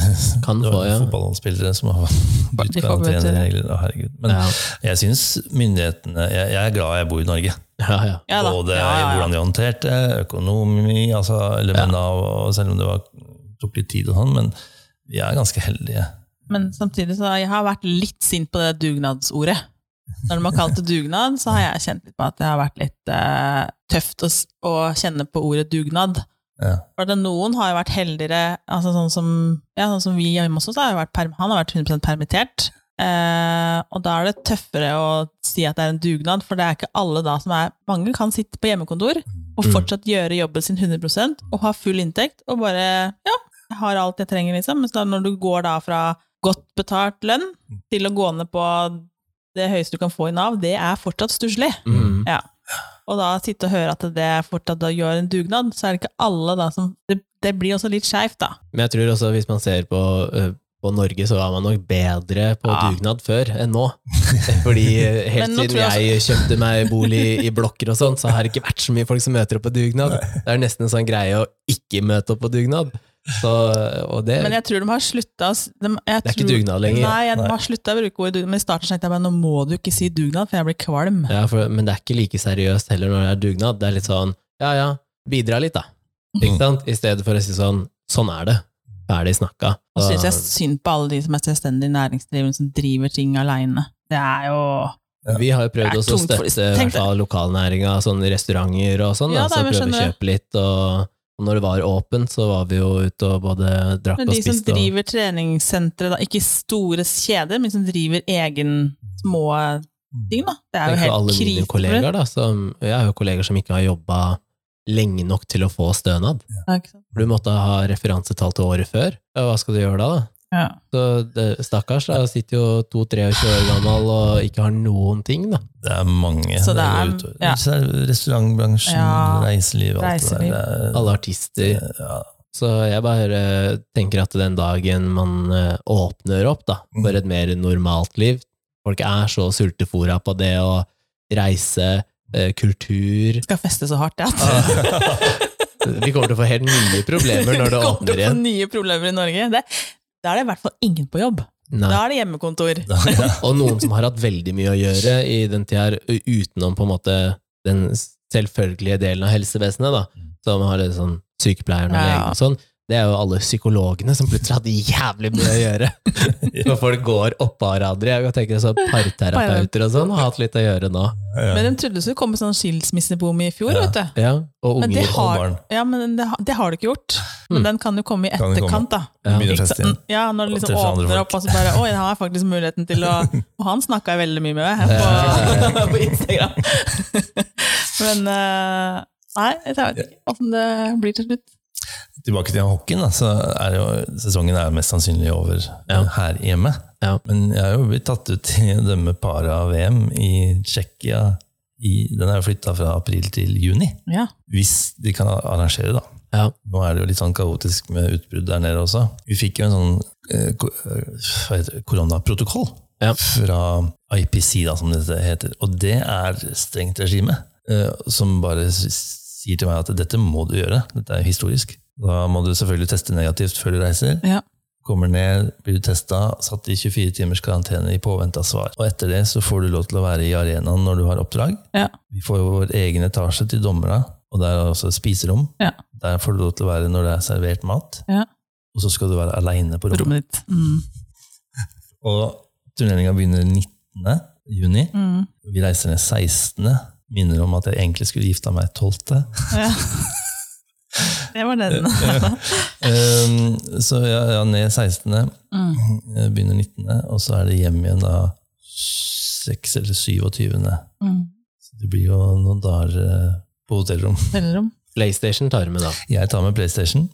S1: Kan
S2: det
S1: få,
S2: var
S1: ja.
S2: fotballspillere som har brutt
S3: De får bøter, ja.
S2: karanteneregler. Å, herregud. Men
S1: ja,
S2: jeg syns myndighetene jeg, jeg er glad jeg bor i Norge.
S1: ja, ja.
S3: ja da.
S2: Både i
S3: ja, ja, ja.
S2: hvordan de håndterte økonomi, altså
S1: Ja.
S2: elementene av og Selv om det var, tok litt tid og sånn, men vi er ganske heldige.
S3: Men samtidig så har jeg har vært litt sint på det dugnadsordet. Når de har kalt det dugnad, så har jeg kjent litt på at det har vært litt eh, tøft å, s- å kjenne på ordet dugnad.
S2: Ja.
S3: For det, noen har jo vært heldigere, altså sånn som, ja, sånn som vi hjemme hos oss, har jo vært perm, han har vært 100 permittert. Eh, og da er det tøffere å si at det er en dugnad, for det er ikke alle da som er Mange kan sitte på hjemmekontor og
S1: Mm.
S3: fortsatt gjøre jobben sin 100 og ha full inntekt og bare Ja, jeg har alt jeg trenger, liksom. Mens da når du går da fra godt betalt lønn til å gå ned på det høyeste du kan få i Nav, det er fortsatt stusslig.
S1: Mm.
S3: Og da sitte og høre at det fortsatt da gjør en dugnad, så er det ikke alle da som Det, det blir også litt skeivt, da.
S1: Men jeg tror også hvis man ser på, eh, på Norge, så var man nok bedre på
S3: Ja.
S1: dugnad før enn nå. Fordi eh, helt
S3: Men nå
S1: siden
S3: tror jeg
S1: jeg kjøpte meg bolig i blokker og sånn, så har det ikke vært så mye folk som møter opp på dugnad. Det er nesten en sånn greie å ikke møte opp på dugnad. Så, eh, og det,
S3: Men jeg tror de har slutta å s- de, jeg
S1: det er ikke
S3: tror-
S1: dugnad lenger.
S3: Nei, jeg, de
S2: Nei.
S3: har slutta å bruke ordet dugnad. Men i starten tenkte jeg bare nå må du ikke si dugnad, for jeg blir kvalm.
S1: Ja, for, men det er ikke like seriøst heller når det er dugnad. Det er litt sånn ja ja, bidra litt, da. Ikke
S2: Mm.
S1: sant? I stedet for å si sånn sånn er det. Ferdig snakka.
S3: Og så syns jeg
S1: Så-
S3: synd på alle de som er selvstendig næringsdrivende som driver ting aleine. Det er jo
S1: Vi har jo prøvd
S3: Det er
S1: også å
S3: tungt for-
S1: støtte i
S3: Tenk
S1: hvert fall lokalnæringa, sånne restauranter og sånn.
S3: Ja,
S1: da,
S3: da,
S1: så prøver
S3: men
S1: vi å
S3: skjønner
S1: kjøpe litt, og og når det var åpent, så var vi jo ute og både drakk
S3: Men
S1: og
S3: de som
S1: spiste. Og,
S3: driver treningssentre, da, ikke store kjeder, men som driver egen små ting, da. Det er jo
S1: tenk på
S3: helt
S1: alle mine
S3: krise. for det.
S1: kollegaer, da. Som, jeg har jo kolleger som ikke har jobba lenge nok til å få stønad.
S3: Ja, ikke sant?
S1: For Du måtte ha referansetall til året før. Ja, hva skal du gjøre da, da?
S3: Ja.
S1: Så det, stakkars, da sitter jo 2-23 år gammel og ikke har noen ting, da.
S2: Det er mange.
S3: Så det
S2: går
S3: er-
S2: utover.
S3: ja.
S2: Så er det Restaurantbransjen,
S3: Ja,
S2: reiseliv, alt
S3: reiseliv.
S2: det der. Det er-
S1: Alle artister.
S2: Ja,
S1: Så jeg bare eh, tenker at den dagen man eh, åpner opp da,
S3: Mm.
S1: for et mer normalt liv Folk er så sultefora på det å reise, eh, kultur
S3: Skal feste så hardt, ja.
S1: Vi kommer til å få helt nye problemer når det
S3: kommer
S1: åpner
S3: til å få
S1: igjen.
S3: nye problemer i Norge. Det, da er det i hvert fall ingen på jobb.
S1: Nei.
S3: Da er det hjemmekontor.
S1: Og noen som har hatt veldig mye å gjøre i den tida her, u- utenom på en måte den selvfølgelige delen av helsevesenet, da, som har litt sånn sykepleieren og
S3: Ja.
S1: legen og sånn, Det er jo alle psykologene som plutselig hadde jævlig mye å gjøre. Når folk går oppå hverandre. Jeg tenker sånn Parterapeuter og sånn har hatt litt å gjøre nå.
S3: Men de trodde det skulle komme sånn skilsmisseboom i fjor,
S2: Ja.
S3: vet du.
S1: Ja, og
S3: Men det
S1: unger.
S2: og
S3: har,
S2: barn.
S3: ja, men det, har- det har det ikke gjort. Men den kan jo komme i
S2: Kan den
S3: etterkant, da.
S1: Ja.
S2: Begynner å feste inn.
S3: Ja, når det
S2: Og
S3: liksom
S2: treffe andre
S3: åpner
S2: folk.
S3: opp, og så bare Oi, her har jeg faktisk muligheten til å Og han snakka jeg veldig mye med her på, på Instagram. Men eh, nei, jeg vet ikke åssen det blir til slutt.
S2: Tilbake til hockeyen, da, så er jo, sesongen er mest sannsynlig over eh, her hjemme.
S1: Ja.
S2: Men jeg har jo blitt tatt ut til å dømme para-VM i Tsjekkia. I, den er jo flytta fra april til juni,
S3: Ja.
S2: hvis de kan arrangere, da.
S1: Ja.
S2: Nå er det jo litt sånn kaotisk med utbrudd der nede også. Vi fikk jo en sånn eh, ko- eh, hva heter det, koronaprotokoll
S1: Ja.
S2: fra IPC, da, som dette heter. Og det er strengt regime, eh, som bare s- sier til meg at dette må du gjøre. Dette er historisk. Da må du selvfølgelig teste negativt før du reiser.
S3: Ja.
S2: Kommer ned, blir du testa, satt i 24 timers karantene i påvente av svar. Og etter det så får du lov til å være i arenaen når du har oppdrag.
S3: Ja.
S2: Vi får jo vår egen etasje til dommerne, og der er også spiserom.
S3: Ja.
S2: Der får du lov til å være når det er servert mat.
S3: Ja.
S2: Og så skal du være aleine på rommet.
S3: Rommet ditt. Mm.
S2: Og turneringa begynner 19. juni.
S3: Mm.
S2: Vi reiser ned 16. Minner om at jeg egentlig skulle gifta meg 12.
S3: Ja. Det var den.
S2: Um, så ja, ja, ned 16.
S3: Mm.
S2: Begynner 19., og så er det hjem igjen da 6. eller 27.
S3: Mm.
S2: Så det blir jo noen dager eh, på hotellrom.
S3: Hotellrom.
S1: PlayStation tar med, da.
S2: Jeg tar med PlayStation,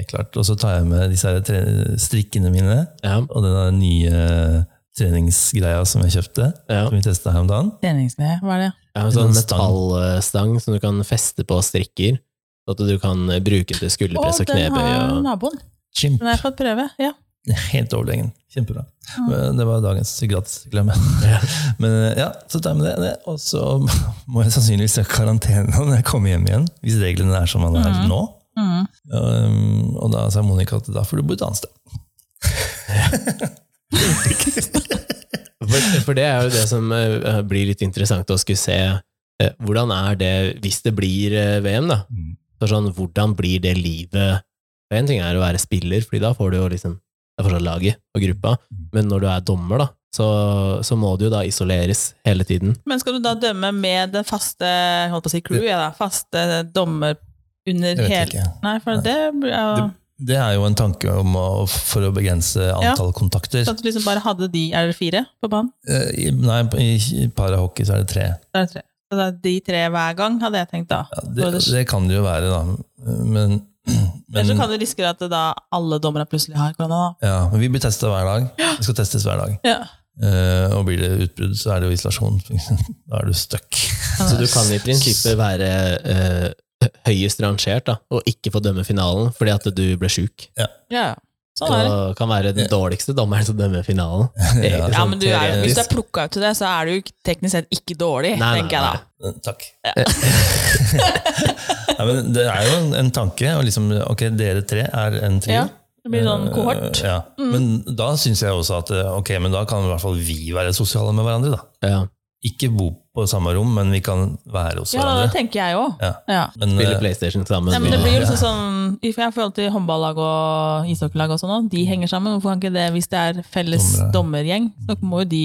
S2: helt klart. Og så tar jeg med disse her tre- strikkene mine.
S1: Ja,
S2: Og den der nye eh, treningsgreia som jeg kjøpte,
S1: ja.
S2: som vi testa her om dagen.
S3: Treningsgreie, hva er det?
S1: ja en sånn
S2: En stang.
S1: metallstang som du kan feste på strikker, så at du kan bruke den til
S3: Å,
S1: skulderpress og
S3: den
S1: knebøy.
S3: har
S1: Og...
S3: naboen.
S2: Chimp.
S3: Den har jeg fått prøve. Ja.
S2: Helt overlegen. Kjempebra.
S3: Mm.
S2: Men Det var dagens gratisreklame. Men eh, ja, så tar jeg med det, det. Og så må jeg sannsynligvis ha karantene når jeg kommer hjem igjen, hvis reglene er som man er
S3: Mhm.
S2: nå.
S3: Mm.
S2: Um, og da sa Monica at da får du bo et annet sted.
S1: For, for det er jo det som eh, blir litt interessant å skulle se. eh, Hvordan er det hvis det blir eh, VM, da?
S2: Mm.
S1: For sånn, hvordan blir det livet For En ting er å være spiller, Fordi da får du jo liksom Det er fortsatt laget og gruppa, men når du er dommer, da, så, så må du jo da isoleres hele tiden.
S3: Men skal du da dømme med den faste holdt på å si crewet, da? Faste dommer
S2: Jeg
S3: under
S2: vet
S3: hele
S2: ikke.
S3: Nei, for
S2: Nei.
S3: det blir jo
S2: Det er jo en tanke om å, for å begrense antall kontakter.
S3: Så at du liksom bare hadde de Er det fire på banen?
S2: Eh, i- Nei, i parahockey så er det tre.
S3: Da er det tre. Så det er de tre hver gang, hadde jeg tenkt da.
S2: Ja,
S3: Og
S2: det,
S3: ellers-
S2: det kan det jo være, da. Men,
S3: Ellers
S2: men,
S3: så kan du risikere at det da alle dommerne plutselig har korona. da.
S2: ja, men vi blir testa hver dag. Vi skal testes hver dag.
S3: Ja.
S2: Eh, og blir det utbrudd, så er det jo isolasjon. da er du stuck.
S1: Så du kan i prinsippet være eh, høyest rangert da, og ikke få dømme finalen fordi at du ble sjuk.
S3: ja. Sånn er det.
S1: Og kan være den dårligste dommeren som dømmer finalen.
S2: Ja.
S1: sånn
S3: Ja, men du er, jo- hvis
S1: teoretisk.
S3: du er plukka ut til det, så er du jo ikke- teknisk sett ikke dårlig,
S1: Nei, nei,
S3: tenker jeg da.
S2: Eh, Takk. Nei, men det er jo en, en tanke. Og liksom, ok, dere tre er en trio.
S3: Ja, det blir sånn kohort.
S2: Mm. Eh, ja. Men da syns jeg også at eh, ok, men da kan i hvert fall vi være sosiale med hverandre. da.
S1: Ja.
S2: Ikke bo på samme rom, men vi kan være hos
S3: Ja, det
S2: hverandre.
S3: tenker jeg òg.
S2: Ja.
S3: Ja.
S2: Men,
S1: Spille
S2: eh,
S1: PlayStation sammen.
S3: Nei, men det
S1: og-
S3: blir jo liksom sånn I for- i forhold til håndballag og ishockeylag og sånn også, de henger sammen. Hvorfor kan ikke det, hvis det er felles
S2: Dommere.
S3: dommergjeng, så må jo de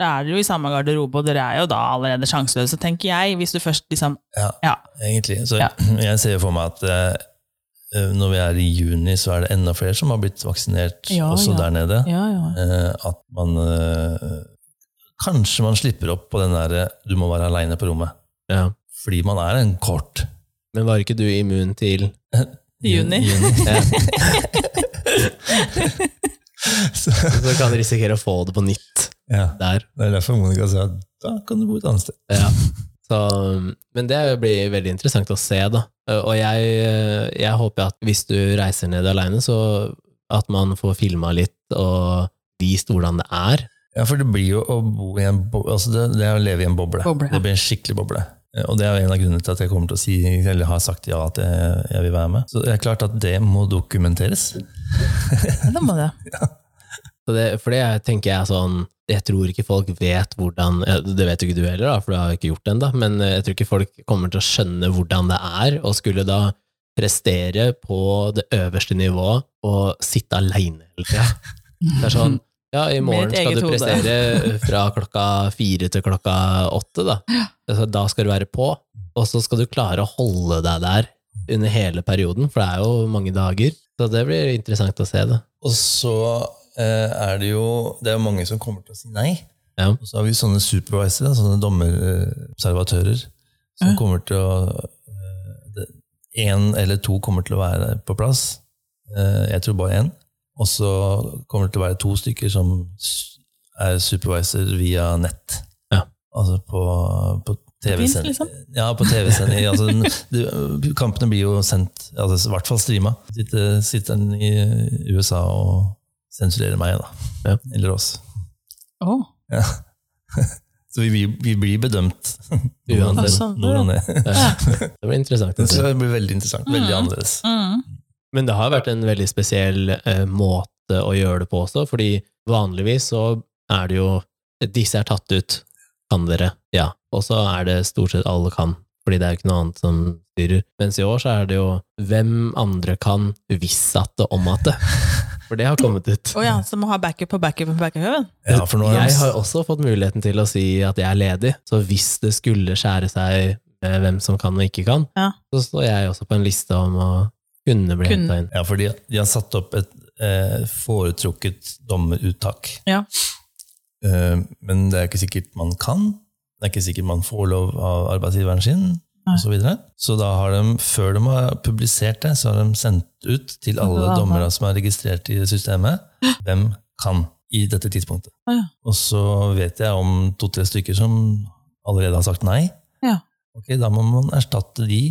S3: Da er dere jo i samme garderobe, og dere er jo da allerede sjanseløse, tenker jeg, hvis du først liksom
S2: Ja,
S3: Ja.
S2: egentlig. Så
S3: Ja.
S2: jeg ser for meg at eh, når vi er i juni, så er det enda flere som har blitt vaksinert
S3: Ja,
S2: også
S3: ja.
S2: der nede.
S3: Ja, ja.
S2: Eh, at man eh, Kanskje man slipper opp på den derre 'du må være aleine på rommet'.
S1: Ja.
S2: Fordi man er en kort
S1: Men var ikke du immun til
S3: Juni.
S1: ja,
S2: Så,
S1: Så kan du risikere å få det på nytt
S2: ja,
S1: der.
S2: det er derfor Monica sa at da kan du bo et annet sted.
S1: Ja. Så, men det blir veldig interessant å se, da. Og jeg, jeg håper at hvis du reiser ned aleine, så at man får filma litt og vist hvordan det er.
S2: Ja, for det blir jo å bo i en bo altså det, det er å leve i en boble.
S3: Boble, ja.
S2: Det blir en skikkelig boble. Eh, Og det er jo en av grunnene til at jeg kommer til å si, eller har sagt ja at jeg, jeg vil være med. Så det er klart at det må dokumenteres.
S3: Da må det.
S1: Så det, for det tenker jeg sånn Jeg tror ikke folk vet hvordan ja, Det vet jo ikke du eh, heller, da, for du har jo ikke gjort det ennå, men jeg tror ikke folk kommer til å skjønne hvordan det er, og skulle da prestere på det øverste nivået og sitte aleine hele tida. Det er sånn ja, i morgen
S3: Med et
S1: skal
S3: eget
S1: du
S3: hode.
S1: prestere fra klokka fire til klokka åtte, da. Altså, Da skal du være på, og så skal du klare å holde deg der under hele perioden, for det er jo mange dager. Så det blir interessant å se, da.
S2: Og så eh, er det jo det er jo mange som kommer til å si nei.
S1: Ja.
S2: Og så har vi sånne supervisere, sånne dommerobservatører, som
S3: Ja.
S2: kommer til å eh, det- En eller to kommer til å være på plass. Eh, jeg tror bare én. Og så kommer det til å være to stykker som s- er supervisor via nett.
S1: Ja.
S2: Altså på, på TV-sending.
S3: liksom?
S2: Ja, på TV-sending. altså, n- du- kampene blir jo sendt, altså, i hvert fall streama. Sitter, sitter den i USA og sensurerer meg, da.
S1: Ja.
S2: Eller oss.
S3: Åh,
S2: Så vi, blir- vi blir bedømt.
S1: Uansett.
S3: Altså,
S2: Nord og ned.
S1: Ja. Det blir interessant å se.
S2: Så det blir veldig interessant. Veldig
S3: Mm.
S2: annerledes.
S3: mm.
S1: Men det har vært en veldig spesiell eh, måte å gjøre det på også, fordi vanligvis så er det jo Disse er tatt ut, kan dere? Ja. Og så er det stort sett alle kan, fordi det er jo ikke noe annet som styrer. Mens i år så er det jo hvem andre kan hvis at det om at det. For det har kommet ut.
S3: Å ja, så må ha backup på backup på backup.
S2: Ja, for nå er
S1: Jeg har også fått muligheten til å si at jeg er ledig, så hvis det skulle skjære seg med hvem som kan og ikke kan,
S3: Ja.
S1: så står jeg også på en liste om å kunne bli
S3: Kunne.
S1: henta inn.
S2: ja, for de, de har satt opp et eh, foretrukket dommeruttak.
S3: Ja.
S2: Eh, men det er ikke sikkert man kan. Det er ikke sikkert man får lov av arbeidsgiveren sin.
S3: Nei.
S2: Og så, videre. så da har de, før de har publisert det, så har de sendt ut til alle
S3: alle.
S2: dommere som er registrert i systemet, hvem kan i dette tidspunktet.
S3: Å ja.
S2: Og så vet jeg om to-tre stykker som allerede har sagt nei.
S3: Ja.
S2: Ok, da må man erstatte de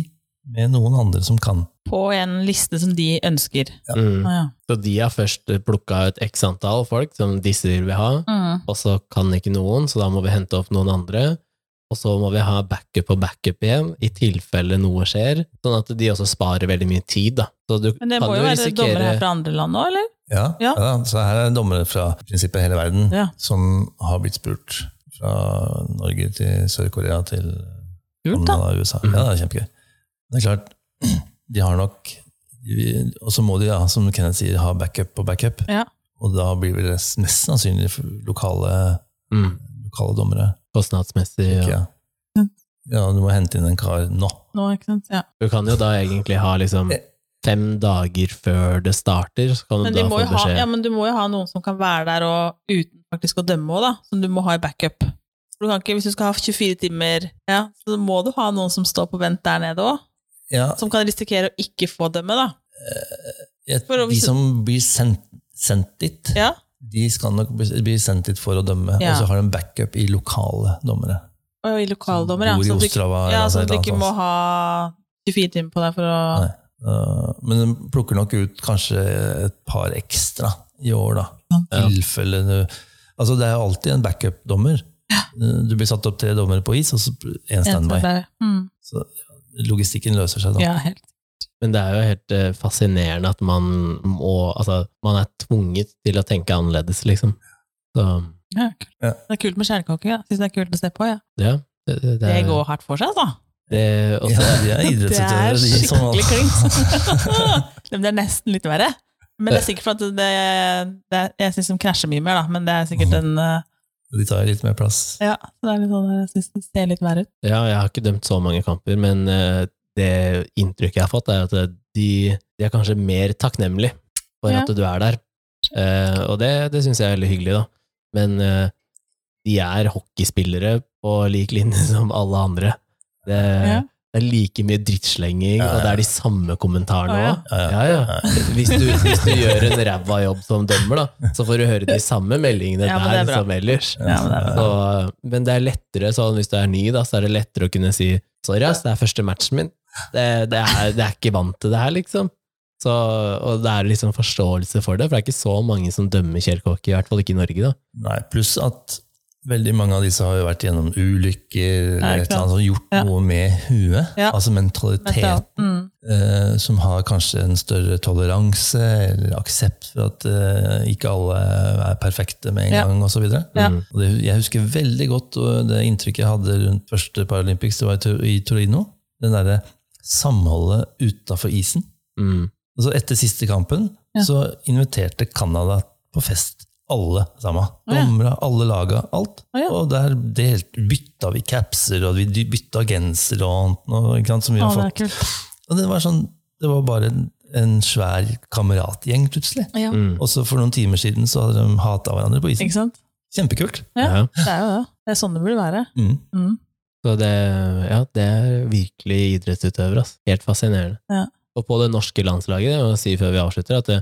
S2: med noen andre som kan.
S3: På en liste som de ønsker.
S1: Mm.
S3: Å ja.
S1: Så de har først plukka ut x antall folk som disse vil vi ha,
S3: Mm.
S1: og så kan ikke noen, så da må vi hente opp noen andre. Og så må vi ha backup og backup igjen, i tilfelle noe skjer. Sånn at de også sparer veldig mye tid, da. Så du
S3: Men det
S1: kan
S3: må jo
S1: jo
S3: være dommere
S1: risikere
S3: her fra andre land òg, eller?
S2: Ja, ja.
S3: Ja.
S2: da. Så her er dommere fra i prinsippet hele verden
S3: Ja.
S2: som har blitt spurt. Fra Norge til Sør-Korea til
S3: Kult, da.
S2: Canada og USA. Ja, det er kjempegøy. Det er klart, de har nok de- Og så må de, ja, som Kenneth sier, ha backup på backup.
S3: Ja.
S2: Og da blir vel det mest sannsynlig for lokale,
S1: mm,
S2: lokale dommere.
S1: kostnadsmessig.
S2: tenker
S1: Ja.
S2: jeg. Ja, du må hente inn en kar nå.
S3: Nå, ikke sant? Ja.
S1: Du kan jo da egentlig ha liksom fem dager før det starter, så kan du
S3: Men, de
S1: da
S3: må
S1: få
S3: jo ha,
S1: beskjed.
S3: ja, men du må jo ha noen som kan være der og uten faktisk å dømme òg, da. Som du må ha i backup. Du kan ikke, hvis du skal ha 24 timer, ja, så må du ha noen som står på vent der nede òg.
S2: Ja,
S3: Som kan risikere å ikke få dømme, da.
S2: jeg,
S3: For om-
S2: de som blir sendt, sendt dit,
S3: Ja,
S2: de skal nok bli bli sendt dit for å dømme.
S3: Ja.
S2: Og så har de backup i lokale dommere.
S3: Og i lokaldommer, ja.
S2: Bor i
S3: Så du, ikke-
S2: Ostrava
S3: ja,
S2: eller
S3: så
S2: et
S3: du
S2: eller
S3: ikke
S2: annet
S3: må
S2: sånt.
S3: ha 24 timer på deg for å
S2: Nei. Uh, men de plukker nok ut kanskje et par ekstra i år, da.
S1: Ja.
S2: Tilfelle du- Altså, det er jo alltid en backup-dommer. Uh, Du blir satt opp tre dommere på is, og så én standby.
S3: der. Mm.
S2: Så logistikken løser seg da.
S3: Ja, helt.
S1: Men det er jo helt eh, fascinerende at man må Altså, man er tvunget til å tenke annerledes, liksom. Så
S3: Ja, kult.
S2: Ja.
S3: Det er kult med skjærkoking. Ja. Syns det er kult å se på. Ja.
S1: ja. Det, det,
S3: Det
S1: er-
S3: går hardt for seg, altså.
S1: Det, og
S2: Ja,
S1: så-
S2: de er sånn-
S3: Det
S2: idrettsutøvere,
S3: er
S2: de som alle.
S3: skikkelig klingt. Men det er nesten litt verre. Men det er sikkert for at det, det er, Jeg syns de krasjer mye mer, da, men det er sikkert en eh,
S2: De tar litt mer plass.
S3: Ja, så det er litt sånn der, jeg syns det ser litt verre ut.
S1: Ja, jeg har ikke dømt så mange kamper, men eh, det inntrykket jeg har fått, er at eh, de, de er kanskje mer takknemlige for
S3: Ja.
S1: at du er der. Eh, og det, det syns jeg er veldig hyggelig, da. Men eh, de er hockeyspillere på lik linje som alle andre. Det,
S3: Ja.
S1: det er like mye drittslenging,
S2: Ja, ja.
S1: og det er de samme kommentarene
S3: Å, ja.
S1: òg. Ja, ja. Hvis du, hvis du gjør en ræva jobb som dømmer, da, så får du høre de samme meldingene
S3: Ja, men det er
S1: der
S3: bra.
S1: som ellers.
S3: Ja, men det er
S1: Så, eh, men det er lettere sånn, hvis du er ny, da, så er det lettere å kunne si sorry, ass, det er første matchen min. Det, det, er, det er ikke vant til det her, liksom. Så, og det er liksom forståelse for det, for det er ikke så mange som dømmer kjelkehockey, i hvert fall ikke i Norge. da.
S2: Nei, pluss at veldig mange av disse har jo vært gjennom ulykker
S3: Ja,
S2: eller et
S3: klart.
S2: eller annet, og gjort
S3: Ja.
S2: noe med huet.
S3: Ja.
S2: Altså
S3: Men det er-
S2: mentalitet,
S3: Mm.
S2: eh, som har kanskje en større toleranse eller aksept for at eh, ikke alle er perfekte med en
S3: Ja.
S2: gang, og så videre.
S3: Ja.
S1: Mm,
S2: Og det, jeg husker veldig godt og det inntrykket jeg hadde rundt første Paralympics, det var i Tor- i Torino. Den derre samholdet utafor isen.
S1: Mm.
S2: Altså etter siste kampen
S3: Ja.
S2: så inviterte Canada på fest. Alle sammen.
S3: Å, ja.
S2: Dommere, alle laga, alt.
S3: Å, ja.
S2: Og der delt, bytta vi capser, og vi dy- bytta genser og annet, noe, ikke sant, som vi
S3: Å,
S2: har
S3: det er
S2: fått.
S3: kult.
S2: Og det var sånn, det var bare en, en svær kameratgjeng plutselig.
S3: Ja.
S1: Mm.
S2: Og så for noen timer siden så hadde de hata hverandre på isen.
S3: Ikke sant?
S2: Kjempekult.
S3: Ja.
S1: Ja.
S3: Det er jo det. Det er sånn det burde være.
S2: Mm.
S3: Mm.
S1: Så det, ja, det er virkelig idrettsutøvere. ass. Helt fascinerende.
S3: Ja.
S1: Og på det norske landslaget, jeg må si før vi avslutter, at det,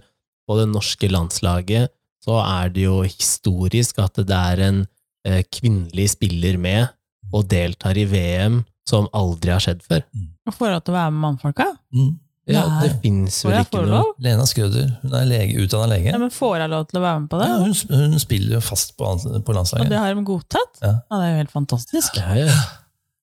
S1: på det norske landslaget så er det jo historisk at det er en eh, kvinnelig spiller med og deltar i VM som aldri har skjedd før.
S3: Og får lov til å være med mannfolka?
S2: Mm.
S1: Ja,
S3: Nei.
S1: det fins
S3: Får
S1: vel
S3: jeg
S1: ikke
S3: får
S1: noe
S3: lov?
S2: Lena Skrøder, hun er lege, utdanna lege.
S3: Ja, men får jeg lov til å være med på det?
S2: Ja, hun, hun spiller jo fast på, ans- på landslaget.
S3: Og det har de godtatt?
S2: Ja.
S3: det er jo helt fantastisk.
S1: ja, ja.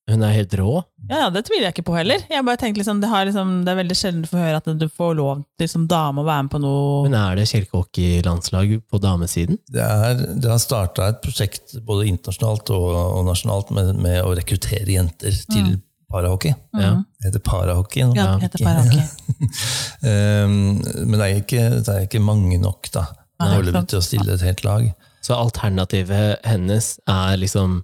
S1: Hun er helt rå.
S3: Ja, ja, det tviler jeg ikke på heller. Jeg bare tenkte liksom, det, har liksom, det er veldig sjelden du får høre at du får lov til som dame å være med på noe
S1: Men er det kjelkehockeylandslag på damesiden?
S2: Det, er, det har starta et prosjekt både internasjonalt og, og nasjonalt med, med å rekruttere jenter til parahockey.
S1: Ja.
S3: Mhm.
S2: Det heter parahockey. nå.
S3: Mm. Ja, det heter parahockey.
S2: Um, men det er, ikke, det er ikke mange nok da,
S3: Nei,
S2: foreløpig
S3: sant.
S2: til å stille et helt lag.
S1: Så alternativet hennes er liksom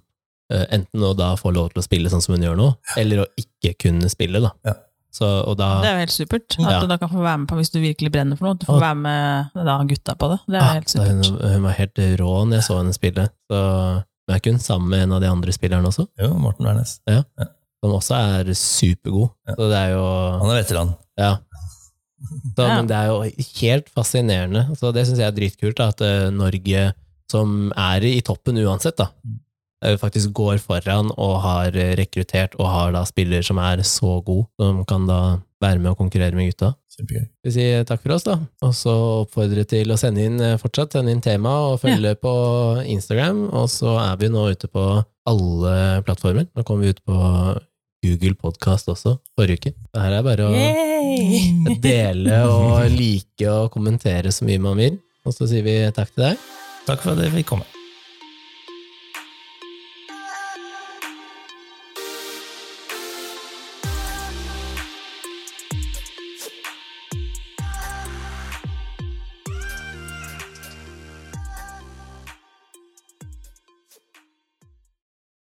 S1: eh, enten å da få lov til å spille sånn som hun gjør nå, eller å ikke kunne spille, da.
S2: Ja.
S1: Så, og da
S3: Det er jo helt supert.
S1: Ja.
S3: At du da kan få være med på hvis du virkelig brenner for noe. at Du får
S1: Og-
S3: være med da, gutta på det. Det er
S1: Ah,
S3: jo helt
S1: da
S3: supert.
S1: hun, hun var helt rå når jeg så henne spille. Så hun er ikke hun sammen med en av de andre spillerne også,
S2: Jo, Morten Wærnes.
S1: som også er supergod.
S2: Ja.
S1: Så det er jo
S2: Han er veteran.
S1: Ja. Så,
S3: Ja.
S1: Men det er jo helt fascinerende. Så det syns jeg er dritkult, da, at eh, Norge, som er i toppen uansett, da,
S3: Mm.
S1: eh, faktisk går foran og har eh, rekruttert og har da spiller som er så god, som kan da være med og konkurrere med gutta.
S2: Kjempegøy.
S1: Vi sier takk for oss, da. Og så oppfordre til å sende inn eh, fortsatt sende inn tema og følge på Instagram. Og så er vi nå ute på alle plattformer. Nå kom vi ut på Google Podcast også, forrige uke. Det her er bare å
S3: Yay!
S1: dele og like og kommentere så mye man vil. Og så sier vi takk til deg.
S2: Takk for at jeg fikk komme.